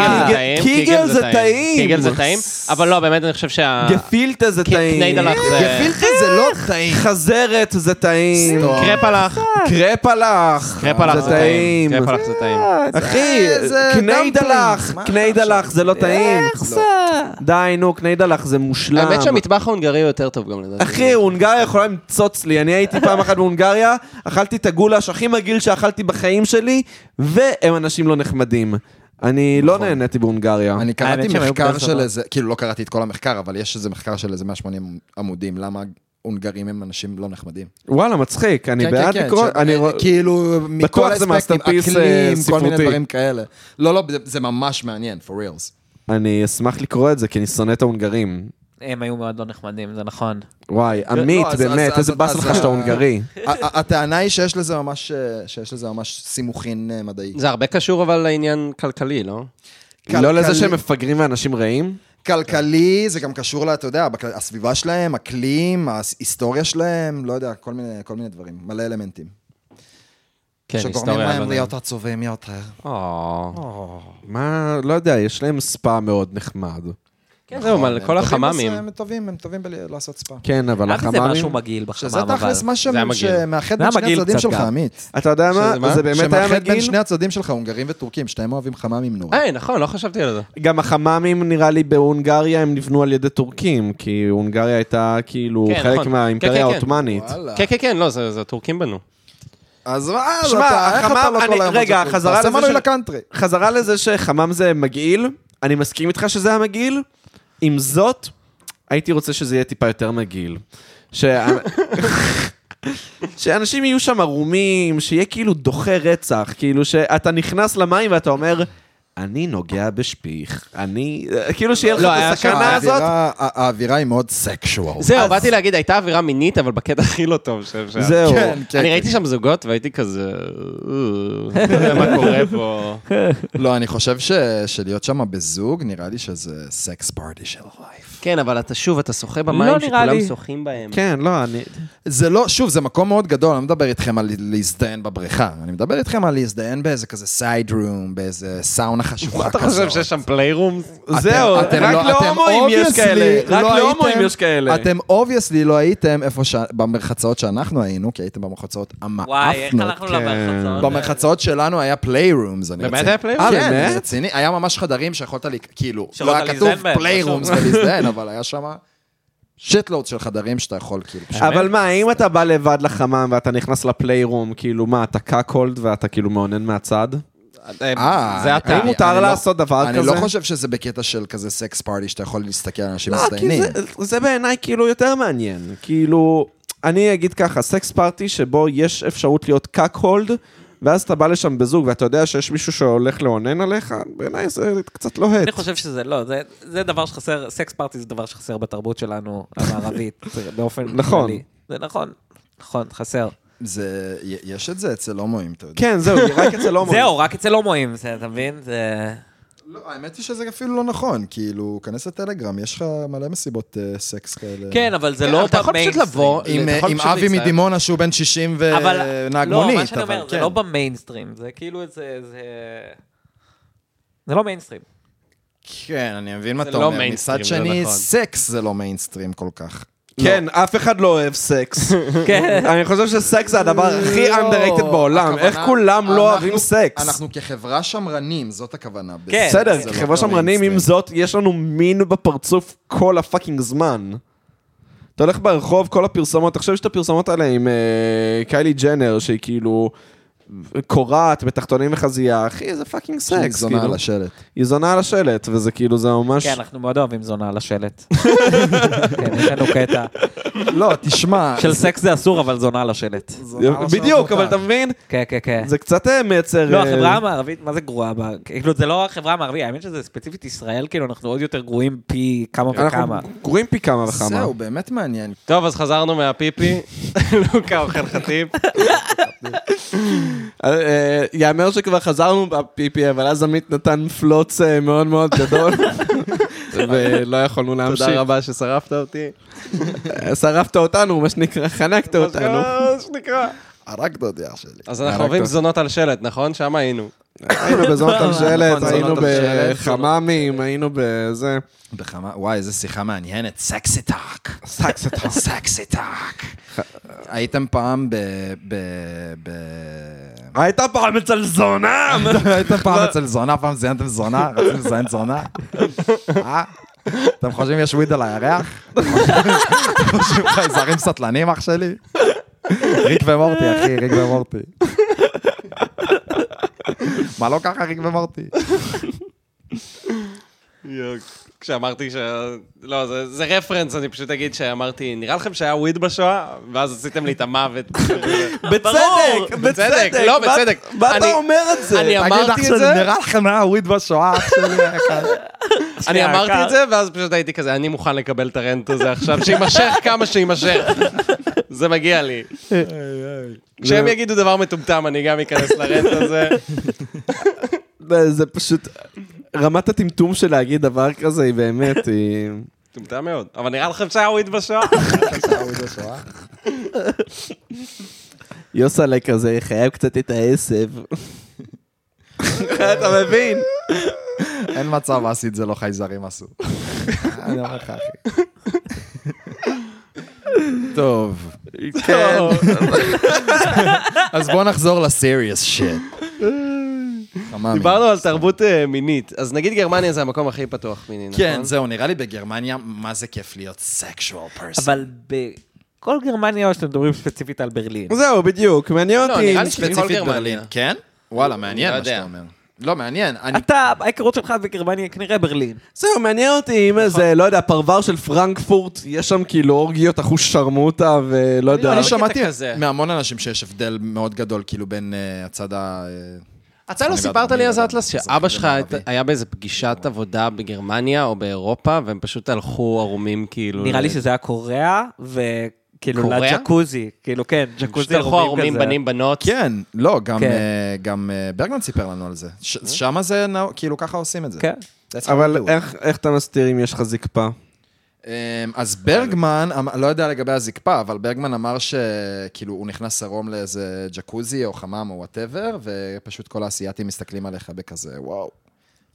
S4: קיגל
S1: קיגל- קיגל
S4: זה טעים,
S1: זה טעים.
S4: קיגל זה טעים, אבל לא, באמת אני חושב שה...
S1: גפילטה זה טעים.
S4: ניידלח זה...
S2: אה, גפילטה זה לא טעים.
S1: חזרת זה טעים.
S2: סתום.
S4: קרפלח,
S1: קרפלח.
S4: קרפלח
S1: זה טעים.
S4: קרפלח זה טעים.
S1: אחי,
S2: זה
S1: קני
S2: דמפלינג.
S1: דלח,
S2: מה
S1: קני
S2: אתה
S1: דלח זה לא טעים. די, נו, קני דלח זה מושלם.
S4: האמת שהמטבח ההונגרי הוא יותר טוב גם לדעתי.
S1: לא. אחי, הונגריה יכולה למצוץ לי. אני הייתי פעם אחת בהונגריה, אכלתי את הגולש הכי מגעיל שאכלתי בחיים שלי, והם אנשים לא נחמדים. אני לא נהניתי בהונגריה.
S2: נכון. אני קראתי
S3: האמת שהם היו
S2: מחקר
S3: בסדר.
S2: של איזה, כאילו לא קראתי את כל המחקר, אבל יש איזה מחקר של איזה 180 עמודים, למה הונגרים הם אנשים לא נחמדים.
S1: וואלה, מצחיק, אני
S2: כן,
S1: בעד
S2: כן, כן,
S1: לקרוא...
S2: ש-
S1: אני
S2: אה,
S1: רוא-
S2: כאילו, מכל
S1: זה
S2: האספקטים,
S1: מאסטרפיס, אה,
S2: אקלים, כל מיני
S1: ספרותי.
S2: דברים כאלה. לא, לא, זה- זה ממש מעניין, for reals.
S1: אני אשמח לקרוא את זה, כי אני שונא את ההונגרים.
S3: הם היו מאוד לא נחמדים, זה נכון.
S1: וואי, עמית,
S2: לא, אז-
S1: באמת,
S2: אז-
S1: איזה
S2: אז-
S1: באס
S2: אז-
S1: לך שאתה הונגרי.
S2: ה- ה- הטענה היא שיש לזה ממש, אה, שיש לזה ממש סימוכין אה, מדעי.
S4: זה הרבה קשור אבל לעניין כלכלי, לא?
S1: לא לזה
S2: כלכלי.
S1: שהם מפגרים ואנשים רעים?
S2: כלכלי, זה גם קשור, לה, אתה יודע, בכל- הסביבה שלהם, אקלים, ההיסטוריה שלהם, לא יודע, כל מיני, כל מיני דברים, מלא אלמנטים.
S4: כן,
S2: שגורמים
S4: היסטוריה.
S2: להם להיות עצובים יותר.
S4: או.
S1: מה, לא יודע, יש להם ספא מאוד נחמד.
S4: כן, זהו, מה, לכל
S2: הם טובים
S4: החממים.
S2: בס- הם טובים, הם טובים בלעשות ספא.
S1: כן, אבל
S7: למה זה משהו
S1: החממים...
S7: מגעיל בחמם,
S2: שזה
S7: אבל...
S2: תכלס מה ש-
S4: זה היה מגעיל.
S2: שמאחד
S7: זה
S2: בין
S7: היה
S2: שני
S7: מגעיל
S2: הצדדים
S7: קצת
S2: שלך,
S7: גם.
S2: עמית.
S1: אתה יודע
S4: שזה
S1: מה?
S4: מה?
S1: זה באמת היה
S2: שמאחד בין
S1: מגעיל. אה,
S2: שני הצדדים שלך, הונגרים וטורקים, שתיהם אוהבים חממים נורא.
S4: היי, נכון, לא חשבתי על זה.
S1: גם החממים, נראה לי, בהונגריה הם נבנו על ידי טורקים, כי הונגריה הייתה כאילו
S4: כן,
S1: חלק
S4: נכון.
S1: מהאימפריה
S4: כן, כן, כן.
S1: העות'מאנית.
S2: וואלה.
S4: כן, כן, כן, לא, זה זה הטורקים בנו.
S2: אז מה, אז
S1: שמע,
S2: אתה- איך אתה
S1: החמם-
S2: לא
S1: אני-
S2: כל היום...
S1: רגע,
S2: רוצה כלום?
S1: חזרה
S2: תעשה
S1: לזה
S2: מנוי
S1: של-
S2: לקאנטרי.
S1: חזרה לזה שחמם זה מגעיל, אני מסכים איתך שזה היה מגעיל, עם זאת, הייתי רוצה שזה יהיה טיפה יותר מגעיל. שה- שאנשים יהיו שם ערומים, שיהיה כאילו דוחה רצח, כאילו שאתה נכנס למים ואתה אומר, אני נוגע בשפיך, אני... כאילו שיהיה לך
S4: לא,
S1: את
S4: היה שם
S1: הסכנה
S2: האווירה-
S1: הזאת.
S2: ה- האווירה היא מאוד סקשואל.
S4: זהו, אה, באתי להגיד, הייתה אווירה מינית, אבל בקטע הכי לא טוב. ש- ש-
S1: זהו.
S2: כן, כן.
S4: אני ראיתי שם זוגות והייתי כזה... "אה, לא יודע מה קורה פה.
S2: לא, אני חושב ש- שלהיות שם בזוג, נראה לי שזה סקס פארטי של לייף.
S4: כן, אבל אתה שוב, אתה שוחה
S7: במים
S4: במים
S7: שכולם
S4: שכולם שוחים בהם.
S1: כן, לא, אני...
S2: זה לא, שוב, זה מקום מאוד גדול, אני לא מדבר איתכם על להזדיין בבריכה, אני מדבר איתכם על להזדיין באיזה כזה סייד רום, באיזה סאונה חשוכה כזאת.
S4: אתה חושב שיש שם פליירום?
S1: זהו,
S2: אתם
S1: רק
S2: לא- אתם
S1: להומואים יש
S2: obviously
S1: כאלה, רק
S2: לא
S1: להומואים
S2: הייתם-
S1: יש כאלה.
S2: אתם אובייסלי לא הייתם איפה ש... במרחצאות שאנחנו היינו, כי הייתם במרחצאות
S3: וואי, איך
S2: המאפנות.
S1: כן.
S3: הלכנו למרחצות?
S2: במרחצאות שלנו היה פליירומס, אני
S4: באמת
S2: רציני.
S4: היה playroom?
S2: אה, כן,
S1: באמת?
S2: אני רציני. היה ממש חדרים שיכולת, לי- כאילו,
S3: שיכולת
S2: לא היה כתוב
S3: להזדהן בהם,
S2: פליירומס
S3: רשום.
S2: ולהזדהן, אבל היה שם שיטלוד של חדרים שאתה יכול, כאילו, פשוט-
S1: אבל מה, אם אתה בא לבד לחמם ואתה נכנס לפליירום, כאילו מה, אתה קאקולד ואתה כאילו מאונן מהצד?
S2: אה,
S4: זה
S2: אני-
S4: אתה.
S1: האם מותר
S2: אני לא-
S1: לעשות דבר
S2: אני
S1: כזה?
S2: לא חושב שזה בקטע של כזה סקס פארטי שאתה יכול להסתכל על אנשים
S1: לא, כי
S2: מזדיינים.
S1: זה- זה בעיניי כאילו יותר מעניין. כאילו, אני אגיד ככה, סקס פארטי שבו יש אפשרות להיות קאק-הולד, ואז אתה בא לשם בזוג ואתה יודע שיש מישהו שהולך לאונן עליך, בעיניי זה קצת לוהט.
S3: אני חושב שזה לא, זה- זה דבר שחסר, סקס פארטי זה דבר שחסר בתרבות שלנו, המערבית, באופן כללי.
S1: נכון.
S3: זה נכון, נכון, חסר.
S2: זה, יש את זה אצל הומואים, אתה יודע.
S1: כן, זהו, רק אצל הומואים.
S3: זהו, רק אצל הומואים, זה, אתה מבין? זה...
S2: לא, האמת היא שזה אפילו לא נכון, כאילו, כנס לטלגרם, יש לך מלא מסיבות אה, סקס כאלה.
S3: כן, אבל זה
S4: כן,
S3: לא
S4: אתה יכול פשוט לבוא,
S2: עם, אה,
S4: אתה יכול
S2: עם
S4: פשוט
S2: אבי
S4: להצטער.
S2: מדימונה שהוא בן 60 ונהג
S3: לא,
S2: מונית,
S3: מה שאני אומר,
S2: אבל
S3: זה
S2: כן.
S3: לא במיינסטרים, זה כאילו איזה... זה- זה לא מיינסטרים.
S2: כן, אני מבין מה
S4: זה
S2: אתה
S4: לא
S2: אומר.
S4: מיינסטרים,
S2: מצד
S4: זה
S2: שני,
S4: נכון.
S2: סקס זה לא מיינסטרים כל כך.
S1: כן, אף אחד לא אוהב סקס.
S3: כן.
S1: אני חושב שסקס זה הדבר הכי
S2: לא,
S1: underrated בעולם.
S2: הכוונה-
S1: איך כולם לא אוהבים
S2: אנחנו-
S1: סקס?
S2: אנחנו כחברה שמרנים, זאת הכוונה.
S3: כן.
S2: בסקס
S1: בסדר,
S2: זה לא
S1: חברה שמרנים, עם
S2: מיינסטרים.
S1: זאת, יש לנו מין בפרצוף כל הפאקינג זמן. אתה הולך ברחוב, כל הפרסומות, עכשיו יש את הפרסומות האלה עם אה, קיילי ג'נר, שהיא כאילו קורעת בתחתונים וחזייה, אחי, זה פאקינג
S2: שהיא
S1: סקס,
S2: זונה
S1: כאילו.
S2: על השלט.
S1: היא זונה על השלט, וזה כאילו, זה ממש...
S3: כן, אנחנו מאוד אוהבים זונה על השלט. כן, יש לנו קטע
S2: לא, תשמע,
S3: של סקס זה אסור, אבל זונה על השלט.
S1: כן, בדיוק, אבל אתה מבין?
S3: כן, כן, כן.
S1: זה קצת אה, מייצר...
S3: לא,
S1: אה,
S3: החברה המערבית, מה זה גרועה? בה? כאילו, זה לא החברה המערבית, האמת שזה ספציפית ישראל, כאילו, אנחנו עוד יותר גרועים פי כמה וכמה.
S1: אנחנו קוראים פי כמה וכמה.
S2: זהו, באמת מעניין.
S4: טוב, אז חזרנו מהפיפי. לוקה אוכל חטיף.
S1: אה, אה, יאמר שכבר חזרנו בפיפי, אבל אז עמית נתן פלוץ אה, מאוד מאוד גדול, ולא יכולנו להמשיך. אה,
S4: תודה רבה ששרפת אותי.
S1: שרפת אותנו, מה שנקרא, חנקת אותנו.
S4: לא,
S2: הרגת אותי אח שלי.
S4: אז אנחנו אוהבים זונות על שלט, נכון? שם היינו.
S1: היינו בזונות על שלט,
S4: נכון,
S1: היינו
S4: זונות על שלט.
S1: בחממים, היינו בזה.
S2: בכמה, וואי, איזה שיחה מעניינת. סקסי טאק. סקסי טאק. סקסי טאק. הייתם פעם ב... ב... ב...
S1: הייתה פעם אצל זונה!
S2: הייתם פעם אצל זונה, פעם זיינתם זונה, רציתם לזיין זונה? אה? אתם חושבים יש וויד על הירח? אתם חושבים חייזרים סטלנים, אח שלי? ריק ומורטי, אחי, ריק ומורטי. מה לא ככה ריק ומורטי?
S4: כשאמרתי ש... לא, זה- זה רפרנס, אני פשוט אגיד שאמרתי, נראה לכם שהיה וויד בשואה? ואז עשיתם לי את המוות.
S1: בצדק!
S4: בצדק, לא,
S1: מה-
S4: בצדק.
S1: מה אתה
S4: אני-
S1: אומר את זה?
S4: אני אמרתי את זה,
S2: נראה לכם היה וויד בשואה, אח שלי?
S4: אני
S3: שנייה,
S4: אמרתי
S3: קר.
S4: את זה, ואז פשוט הייתי כזה, אני מוכן לקבל את הרנט הזה עכשיו, שיימשך כמה שיימשך. זה מגיע לי. כשהם יגידו דבר מטומטם, אני גם אכנס לרנט הזה.
S1: זה פשוט... רמת הטמטום של להגיד דבר כזה היא באמת, היא...
S4: מטומטם מאוד. אבל נראה לכם שהיה וויד בשואה?
S1: יוסלה כזה, חייב קצת את העשב. אתה מבין?
S2: אין מצב, אסי, את זה לא חייזרים עשו. אני אומר לך, אחי.
S1: טוב.
S2: כן. אז בואו נחזור לסיריוס שיט.
S4: דיברנו על תרבות אה, מינית, אז נגיד גרמניה זה המקום הכי פתוח מיני, נכון?
S2: כן, זהו, נראה לי בגרמניה, מה זה כיף להיות סקשואל פרסון.
S3: אבל בכל גרמניה, או שאתם מדברים ספציפית על ברלין.
S1: זהו, בדיוק, מעניין
S4: לא,
S1: אותי.
S4: נראה לי שבכל גרמניה.
S2: כן? וואלה, מעניין
S4: לא
S2: מה שאתה
S4: יודע.
S2: אומר. לא, מעניין. אני-
S3: אתה, ההיכרות שלך בגרמניה היא כנראה ברלין.
S1: זהו, מעניין אותי
S3: נכון.
S1: אם איזה, לא יודע, פרבר של פרנקפורט, יש שם כאילו אורגיות אחוש שרמוטה ולא
S3: לא
S1: יודע.
S2: אני
S4: בקטע
S2: שמעתי
S4: כזה.
S2: מהמון אנשים שיש הבדל מאוד גדול, כאילו, בין אה, הצד ה... אה,
S4: אתה לא
S2: אני
S4: סיפרת
S2: ואדוני
S4: לי אז
S2: אדם.
S4: אטלס
S2: זה
S4: שאבא שלך
S2: מערבי.
S4: היית- היה באיזה פגישת עבודה בגרמניה או באירופה, והם פשוט הלכו ערומים כאילו...
S3: נראה לי
S4: ל-
S3: שזה היה קוריאה, וכאילו
S4: קוריאה?
S3: לג'קוזי, כאילו כן,
S4: פשוט
S3: ג'קוזי
S4: הלכו ערומים,
S3: כזה.
S4: בנים, בנות.
S2: כן, לא, גם,
S3: כן. Mm-hmm.
S2: אה, גם אה, ברגמן סיפר לנו על זה. ש- שמה זה, נא- כאילו, ככה עושים את זה.
S3: כן.
S2: That's how
S1: אבל
S2: we do it.
S1: איך- איך אתה מסתיר אם יש לך זקפה?
S2: אמ, אז ברגמן, אמ- לא יודע לגבי הזקפה, אבל ברגמן אמר שכאילו הוא נכנס עירום לאיזה ג'קוזי או חמם או וואטאבר, ופשוט כל האסייתים מסתכלים עליך בכזה, וואו.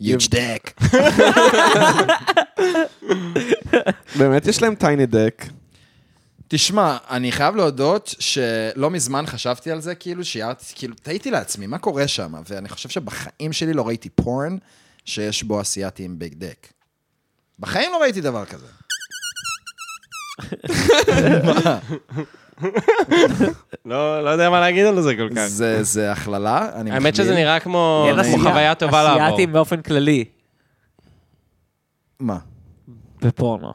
S2: יוג' דק.
S1: באמת יש להם טייני דק.
S2: תשמע, אני חייב להודות שלא מזמן חשבתי על זה, כאילו שיערתי, כאילו, תהיתי לעצמי, מה קורה שם? ואני חושב שבחיים שלי לא ראיתי פורן שיש בו אסייתי עם ביג דק. בחיים לא ראיתי דבר כזה. מה?
S4: לא לא יודע מה להגיד על זה כל כך.
S2: זה- כן, זה הכללה, אני מחמיא.
S4: האמת שזה נראה כמו
S3: אין
S4: כמו
S3: אסיה-
S4: חוויה טובה לעבור.
S3: אסיאתים באופן כללי,
S2: מה?
S3: בפורנו.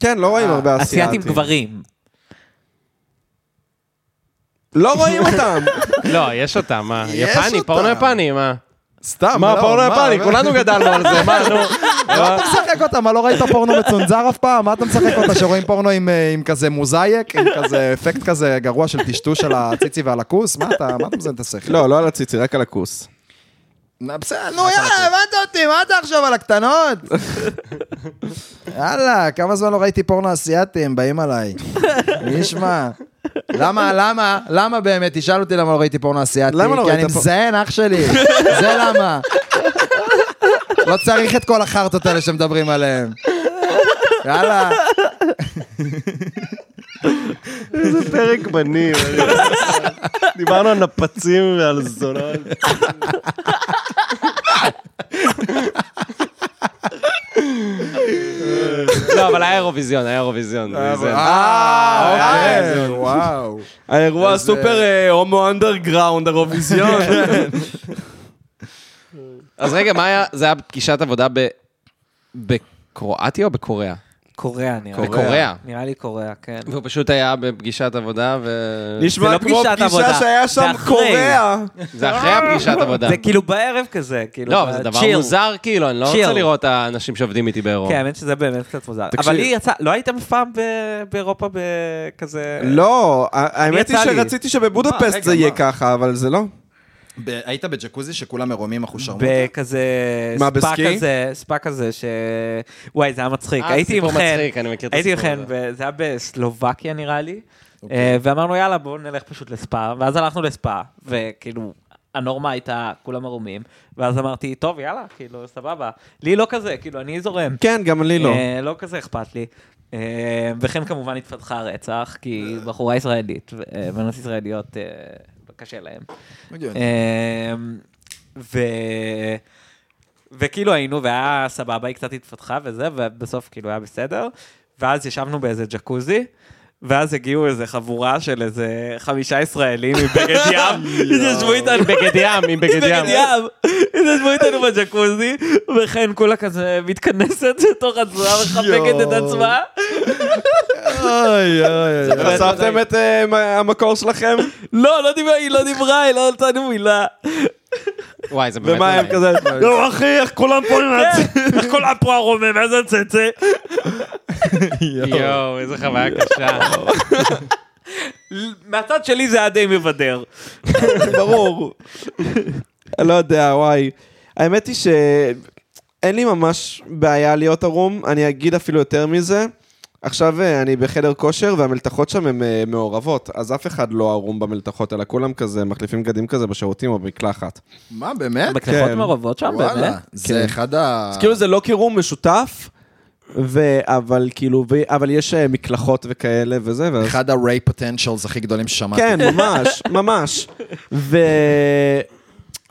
S1: כן, לא רואים הרבה אסיאתים.
S3: אה, אסיאתים גברים.
S1: לא רואים אותם.
S4: לא, יש אותה, מה?
S2: יש
S4: יפני,
S2: אותה.
S4: פורנו יפני, מה?
S2: סתם, לא,
S4: מה, פורנו יפני,
S2: מה?
S4: כולנו גדלנו על זה, מה, נו?
S2: מה אתה משחק אותה? מה, לא ראית פורנו מצונזר אף פעם? מה אתה משחק אותה שרואים פורנו עם, אה, עם כזה מוזייק, עם כזה אפקט כזה גרוע של טשטוש על הציצי ועל הכוס? מה אתה, מה אתה מזיין את השכל?
S1: לא, לא על הציצי, רק על הכוס.
S2: נו, בסדר, נו יאללה, הבנת אותי, מה אתה עכשיו על הקטנות? יאללה, כמה זמן לא ראיתי פורנו אסייתים, באים עליי. מי ישמע? למה, למה, למה באמת? תשאל אותי למה לא ראיתי פורנו אסייתי.
S1: למה לא
S2: כי
S1: ראית
S2: אני
S1: פור-
S2: מזיין, אח שלי. זה למה. לא צריך את כל החרטות האלה שמדברים עליהן. יאללה.
S4: פרק בנים. דיברנו על נפצים ועל זונות. לא, אבל היה אירוויזיון, היה אירוויזיון.
S1: אה,
S4: אירוויזיון.
S2: אה, אוקיי. וואו.
S9: האירוע
S2: אז,
S9: הסופר אה, הומו אנדרגראונד, אירוויזיון.
S4: אז רגע, מה היה, זה היה פגישת עבודה ב... בקרואטיה או בקוריאה?
S3: קוריאה נראה לי.
S4: בקוריאה.
S3: נראה לי קוריאה, כן.
S4: והוא פשוט היה בפגישת עבודה, ו...
S3: זה לא
S9: נשמע כמו
S3: פגישת
S9: פגישה
S3: עבודה,
S9: שהיה
S3: זה
S9: שם
S3: אחרי.
S9: קוריאה.
S4: זה אחרי הפגישת עבודה.
S3: זה כאילו בערב כזה, כאילו.
S4: לא, אבל זה דבר
S3: בצ'יל.
S4: מוזר, כאילו, אני לא
S3: Chill.
S4: רוצה לראות את האנשים שעובדים איתי בעירום.
S3: כן, האמת שזה באמת קצת מוזר.
S1: תקשיב.
S3: אבל לי יצא, לא הייתם אף פעם ב- באירופה בכזה...
S1: לא, ה- האמת היא
S3: יצא לי.
S1: שרציתי שבבודפסט
S2: רגע,
S1: זה יהיה
S2: מה?
S1: ככה, אבל זה לא.
S2: היית בג'קוזי שכולם מרומים אחושרמוטה?
S3: בכזה...
S1: מה,
S3: ספא
S1: בסקי?
S3: כזה, ספא כזה ש... וואי, זה היה מצחיק.
S4: אה,
S3: הייתי עם
S4: סיפור
S3: חן.
S4: מצחיק, אני מכיר את
S3: הייתי עם
S4: הסיפור
S3: חן, וזה היה בסלובקיה נראה לי.
S1: אוקיי.
S3: אה, ואמרנו, יאללה, בואו נלך פשוט לספא, ואז הלכנו לספא, וכאילו... הנורמה הייתה כולם ערומים, ואז אמרתי, טוב, יאללה, כאילו, סבבה. לי לא כזה, כאילו, אני זורם.
S1: כן, גם לי לא.
S3: אה, לא כזה אכפת לי. אה, וכן כמובן התפתחה רצח, כי היא בחורה ישראלית, ו- אה, בנות ישראליות אה, קשה להן.
S2: הגיוני.
S3: אה, ו... וכאילו היינו, והיה סבבה, היא קצת התפתחה וזה, ובסוף כאילו היה בסדר. ואז ישבנו באיזה ג'קוזי, ואז הגיעו איזה חבורה של איזה חמישה ישראלים מבגד ים, התיישבו איתנו
S4: בגד ים, עם בגד
S3: בגד
S4: ים.
S3: ים. התיישבו איתנו בג'קוזי, וכן כולה כזה מתכנסת לתוך עצמה, מחבקת את עצמה.
S1: אוי, אוי, אוי. חשפתם את אה, מה- המקור שלכם?
S3: לא, לא דיברה, היא לא דיברה, היא לא נתנה לנו מילה.
S4: וואי, זה באמת...
S1: ומה הם
S4: נורא.
S1: כזה?
S3: אוקיי.
S1: לא, אחי, איך כולם פה
S3: כן.
S1: נאצים?
S3: איך כל הפרו הרומם, איזה צצה.
S4: יואו, איזה חוויה קשה.
S3: מהצד שלי זה היה די מבדר.
S1: ברור. לא יודע, וואי. האמת היא שאין לי ממש בעיה להיות ערום, אני אגיד אפילו יותר מזה. עכשיו אה, אני בחדר כושר והמלתחות שם הן אה, מעורבות, אז אף אחד לא ערום במלתחות, אלא כולם כזה מחליפים בגדים כזה בשירותים או במקלחת.
S2: מה, באמת?
S3: מקלחות מעורבות שם, באמת?
S1: כאילו
S2: וואלה, כן. זה אחד ה...
S1: אז כאילו זה לא קירום משותף, ו- אבל כאילו, ו- אבל יש אה, מקלחות וכאלה וזה, ואז...
S2: אחד הריי פוטנציאלס הכי גדולים ששמעתי.
S1: כן, ממש, ממש. ו...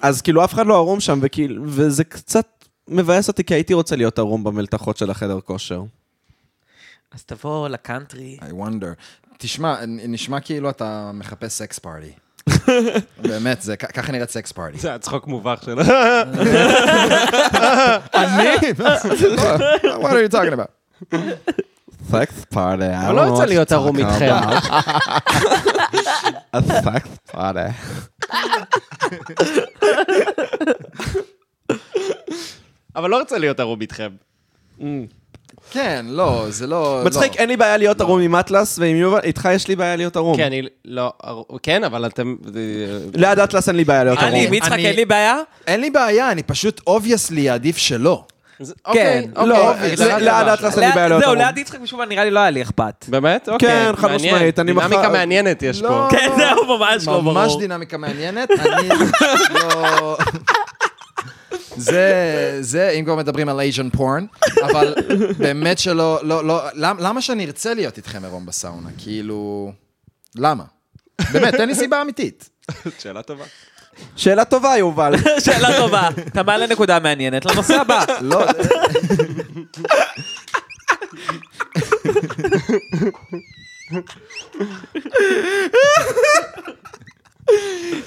S1: אז כאילו אף אחד לא ערום שם, וכאילו, וזה קצת מבאס אותי, כי הייתי רוצה להיות ערום במלתחות של החדר כושר.
S3: אז תבוא לקאנטרי.
S2: I wonder. תשמע, נ- נשמע כאילו אתה מחפש סקס פארטי. באמת, זה- כ- ככה נראית סקס פארטי.
S4: זה הצחוק מובך שלו.
S2: What are you talking about?
S10: סקס פארטי.
S4: אבל לא יוצא להיות ערום איתכם.
S10: סקס פארטי.
S4: אבל לא רוצה להיות ערום איתכם.
S2: כן, לא, זה לא... לא.
S1: מצחיק, אין לי בעיה להיות ערום עם אטלס, ועם יובל, איתך יש לי בעיה להיות ערום.
S4: כי אני לא... כן, אבל אתם...
S1: ליד אטלס אין לי בעיה להיות ערום.
S3: אני, עם יצחק
S2: אני-
S3: אין לי בעיה?
S2: אין לי בעיה, אני פשוט, אובייסלי, עדיף שלא.
S4: אוקיי,
S3: כן,
S1: לא,
S4: אוקיי.
S2: אוקיי,
S1: זה-
S2: הגדרה
S1: ליד
S2: טובה.
S1: אטלס אין לי בעיה להיות
S3: זהו,
S1: ערום.
S3: ליד יצחק משום מה נראה לי לא היה לי אכפת.
S4: באמת? אוקיי.
S1: כן, חד
S4: מעניין.
S1: משמעית, אני מחר-
S4: דינמיקה מעניינת יש פה.
S3: כן, זהו, ממש לא
S2: ממש
S3: ברור.
S2: דינמיקה מעניינת, אני לא... זה, זה, אם כבר מדברים על אייז'ן פורן, אבל באמת שלא, לא, לא, למ, למה שאני ארצה להיות איתכם עירום בסאונה? כאילו, למה? באמת, תן לי סיבה אמיתית.
S4: שאלה טובה.
S1: שאלה טובה, יובל.
S3: שאלה טובה. אתה מעלה נקודה מעניינת לנושא הבא.
S2: לא,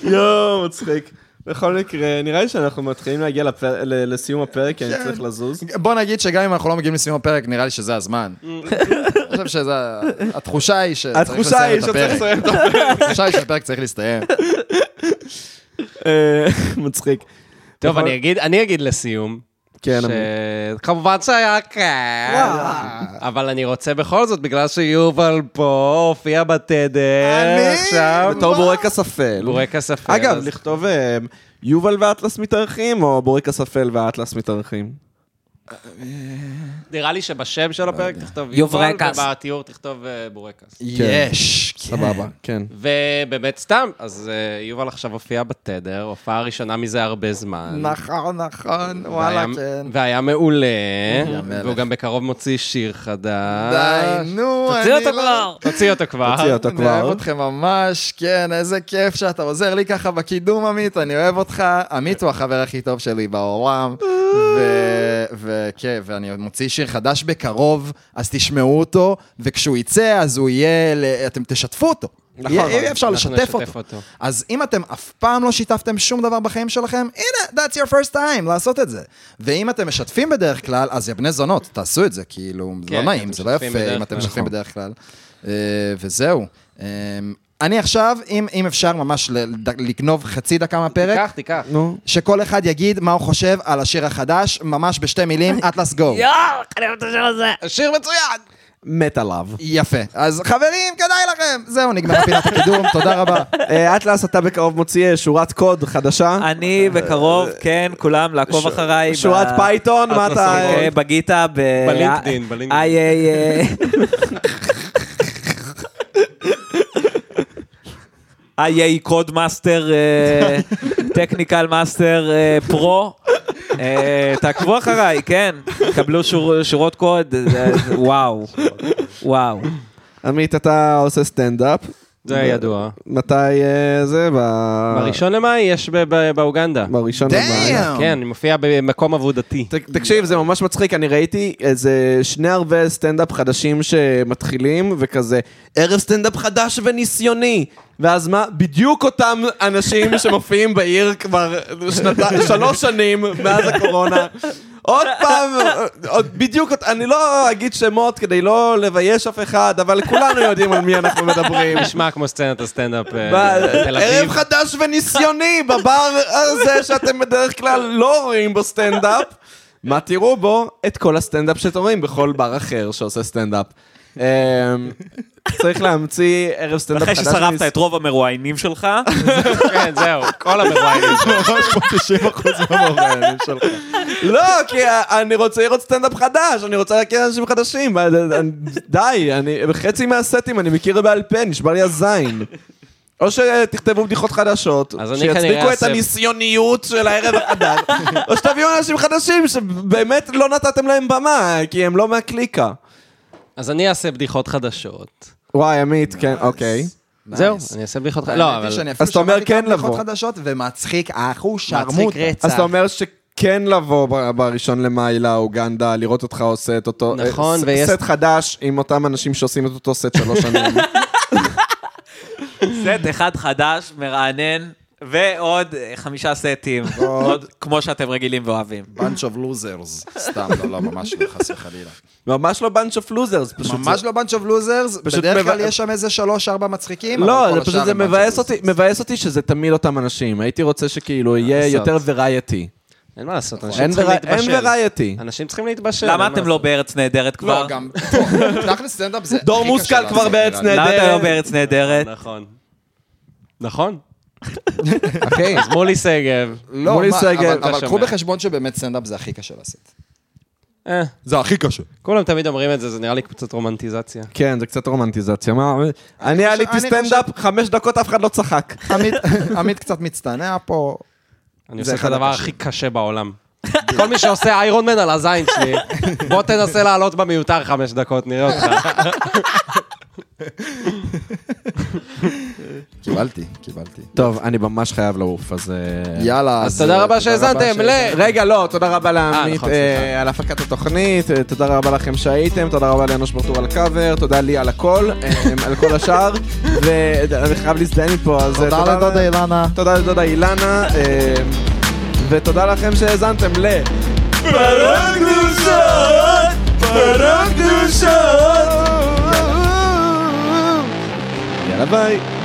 S1: יואו, מצחיק. בכל מקרה, נראה לי שאנחנו מתחילים להגיע לפר- ל- לסיום הפרק, כי
S4: כן.
S1: אני צריך לזוז.
S2: בוא נגיד שגם אם אנחנו לא מגיעים לסיום הפרק, נראה לי שזה הזמן. אני חושב שזה, התחושה היא שצריך
S1: התחושה
S2: לסיים
S1: היא
S2: את
S1: שצריך
S2: הפרק.
S1: לסיים את
S2: התחושה היא שהפרק צריך להסתיים.
S1: אה, מצחיק.
S4: טוב,
S1: נכון.
S4: אני אגיד, אני אגיד לסיום.
S1: כן, אמיר.
S4: שכמובן שהיה כאן, אבל אני רוצה בכל זאת, בגלל שיובל פה הופיע בתדר עכשיו.
S1: בתור בורקס אפל.
S4: בורקס אפל.
S1: אה, אגב,
S4: אז-
S1: לכתוב אה, יובל ואטלס מתארחים, או בורקס אפל ואטלס מתארחים?
S4: נראה לי שבשם של הפרק תכתוב יובל,
S3: יוברקס.
S4: ובתיאור תכתוב אה, בורקס.
S2: יש,
S1: כן. סבבה, כן.
S4: ובאמת סתם, אז אה, יובל עכשיו הופיע בתדר, הופעה ראשונה מזה הרבה זמן.
S2: נכון, נכון, וואלה,
S4: והיה-
S2: כן.
S4: והיה מעולה,
S2: המלך.
S4: והוא גם בקרוב מוציא שיר חדש.
S2: די, נו, אני
S3: תוציא אותו
S2: לא-
S3: כבר.
S4: תוציא אותו כבר.
S1: תוציא אותו
S2: אני אוהב
S1: כבר.
S2: אתכם ממש, כן, איזה כיף שאתה עוזר לי ככה בקידום, עמית, אני אוהב אותך. עמית הוא החבר הכי טוב שלי בעולם, ו- וכן, ואני מוציא שיר חדש בקרוב, אז תשמעו אותו, וכשהוא יצא, אז הוא יהיה, ל- אתם תשתפו אותו. יהיה- יהיה אפשר
S4: נכון, אנחנו נשתף
S2: לשתף אותו.
S4: אותו.
S2: אז אם אתם אף פעם לא שיתפתם שום דבר בחיים שלכם, הנה, that's your first time לעשות את זה. ואם אתם משתפים בדרך כלל, אז יא בני זונות, תעשו את זה, כאילו, זה לא
S4: כן,
S2: נעים,
S4: אתם
S2: זה לא
S4: משתפים
S2: יפה
S4: בדרך
S2: אם אתם
S4: כלל.
S2: משתפים בדרך כלל. אה, וזהו. אה, אני עכשיו, אם אם אפשר ממש ל- ד- לגנוב חצי דקה מהפרק,
S4: תיקח, תיקח.
S1: נו.
S2: שכל אחד יגיד מה הוא חושב על השיר החדש, ממש בשתי מילים, אטלס גו.
S4: שיר מצוין!
S1: מת עליו.
S2: יפה. אז חברים, כדאי לכם. זהו, נגמר פינת הקידום, תודה רבה.
S1: אה, אטלס, אתה בקרוב מוציא אה, שורת קוד חדשה.
S3: אני בקרוב, כן, כולם לעקוב אחריי. ב-
S1: שורת פייתון, מה אתה...
S3: אוקיי, בגיטה, ב... אה,
S4: בלינקדין, בלינקדין.
S3: איי, איי, איי. איי, איי, קוד מאסטר, אה, טכניקל מאסטר אה, פרו. אה, תעקבו אחריי, כן. קבלו שור- שורות קוד, אה, וואו. וואו.
S1: עמית, אתה עושה סטנדאפ.
S4: זה ידוע.
S1: מתי אה, זה? ב-
S4: בראשון למאי יש ב- ב- באוגנדה.
S1: בראשון למאי.
S2: דאם!
S4: כן, אני מופיע במקום עבודתי.
S1: ת- תקשיב, זה ממש מצחיק, אני ראיתי איזה שני ערבי סטנדאפ חדשים שמתחילים, וכזה, ערב סטנדאפ חדש וניסיוני. ואז מה? בדיוק אותם אנשים שמופיעים בעיר כבר שנתי, שלוש שנים מאז הקורונה. עוד פעם, עוד בדיוק, אות- אני לא אגיד שמות כדי לא לבייש אף אחד, אבל כולנו יודעים על מי אנחנו מדברים.
S4: נשמע כמו סצנת הסטנדאפ אה,
S1: ערב
S4: בתל אביב.
S1: חדש וניסיוני בבר הזה שאתם בדרך כלל לא רואים בו סטנדאפ. מה תראו בו? את כל הסטנדאפ שאתם רואים בכל בר אחר שעושה סטנדאפ. אמ, צריך להמציא ערב סטנדאפ
S3: אחרי
S1: חדש.
S3: ששרפת
S1: וניס-
S3: את רוב המרואיינים שלך,
S4: כן, זהו, כל המרואיינים.
S1: לא, כי אני רוצה לראות סטנדאפ חדש, אני רוצה להכיר אנשים חדשים. אני- די, אני- חצי מהסטים אני מכיר בעל פה, נשבר לי הזין. או שתכתבו בדיחות חדשות,
S4: אז אני כנראה
S1: שיצדיקו את
S4: אעשה-
S1: הניסיוניות של הערב החדש, או שתביאו אנשים חדשים שבאמת לא נתתם להם במה, כי הם לא מהקליקה.
S4: אז אני אעשה בדיחות חדשות.
S1: וואי, עמית, כן, אוקיי.
S4: זהו, אני אעשה בדיחות חדשות. לא, אבל...
S1: אז אתה אומר כן לבוא.
S2: חדשות ומצחיק, אחו
S7: מצחיק
S2: שרמוטה.
S1: אז אתה
S7: רצח.
S1: אומר שכן לבוא ב- בראשון למאי לאוגנדה, לראות אותך עושה את אותו...
S4: נכון,
S1: אה, ס-
S4: ויש-
S1: סט חדש עם אותם אנשים שעושים את אותו סט שלוש שנים.
S7: סט אחד חדש, מרענן, ועוד אה, חמישה סטים, עוד כמו שאתם רגילים ואוהבים.
S2: bunch of losers. סתם, לא, לא, ממש לא, חס וחלילה.
S1: ממש לא bunch of losers, פשוט.
S2: ממש לא bunch of losers,
S1: פשוט
S2: בדרך
S1: מבא-
S2: כלל יש שם איזה שלוש-ארבע מצחיקים. אבל
S1: לא,
S2: כל
S1: זה
S2: השאר
S1: פשוט זה
S2: הם bunch of
S1: מבאס
S2: losers.
S1: אותי, מבאס אותי שזה תמיד אותם אנשים. הייתי רוצה שכאילו יהיה
S4: לעשות?
S1: יותר וריאטי.
S4: אין מה לעשות, אנשים
S1: אין
S4: צריכים
S1: ורי- אין
S4: להתבשל.
S1: וריאטי.
S4: אנשים צריכים להתבשל.
S7: למה
S4: אין מה
S7: אתם לא בארץ נהדרת כבר?
S2: לא, גם... טוב, תכל'ס סטנדאפ זה...
S1: דור
S2: הכי
S1: מושכל
S2: קשה לעשות,
S1: כבר בארץ
S2: נראה לי.
S1: נהדרת.
S7: למה אתה לא בארץ נהדרת?
S4: לעשות. נכון. נכון.
S1: אחי,
S4: אז מולי שגב.
S2: לא,
S1: מולי
S2: מה,
S1: סגל,
S2: אבל-
S1: אתה
S2: אבל
S4: שומע.
S2: קחו בחשבון שבאמת סטנדאפ זה הכי קשה לעשות.
S4: אה,
S2: זה הכי קשה.
S4: כולם תמיד אומרים את זה, זה נראה לי קצת רומנטיזציה.
S1: כן, זה קצת רומנטיזציה. מה- אני עליתי
S2: אני
S1: סטנדאפ, חמש דקות אף אחד לא צחק.
S2: עמית- עמית קצת מצטנע פה.
S4: אני עושה את
S2: אחד
S4: הדבר
S2: הקשים.
S4: הכי קשה בעולם. כל מי שעושה איירון מן על הזין שלי, בוא תנסה לעלות במיותר חמש דקות, נראה אותך.
S2: קיבלתי, קיבלתי.
S1: טוב, אני ממש חייב לעוף, אז... אה,
S2: יאללה.
S4: אז תודה רבה שהאזנתם ל...
S1: רגע, לא, תודה רבה לעמית
S4: נכון,
S1: אה,
S4: סליחה.
S1: על הפקת התוכנית, אה, תודה רבה לכם שהייתם, תודה רבה לאנוש ברטור על הקאבר, תודה לי על הכל, אה, על כל השאר, ואני חייב להזדהן מפה, אז אה,
S2: תודה לדודה אילנה.
S1: תודה לדודה אילנה, אה, ותודה לכם שהאזנתם ל... פרה קדושות! פרה קדושות! יאללה ביי.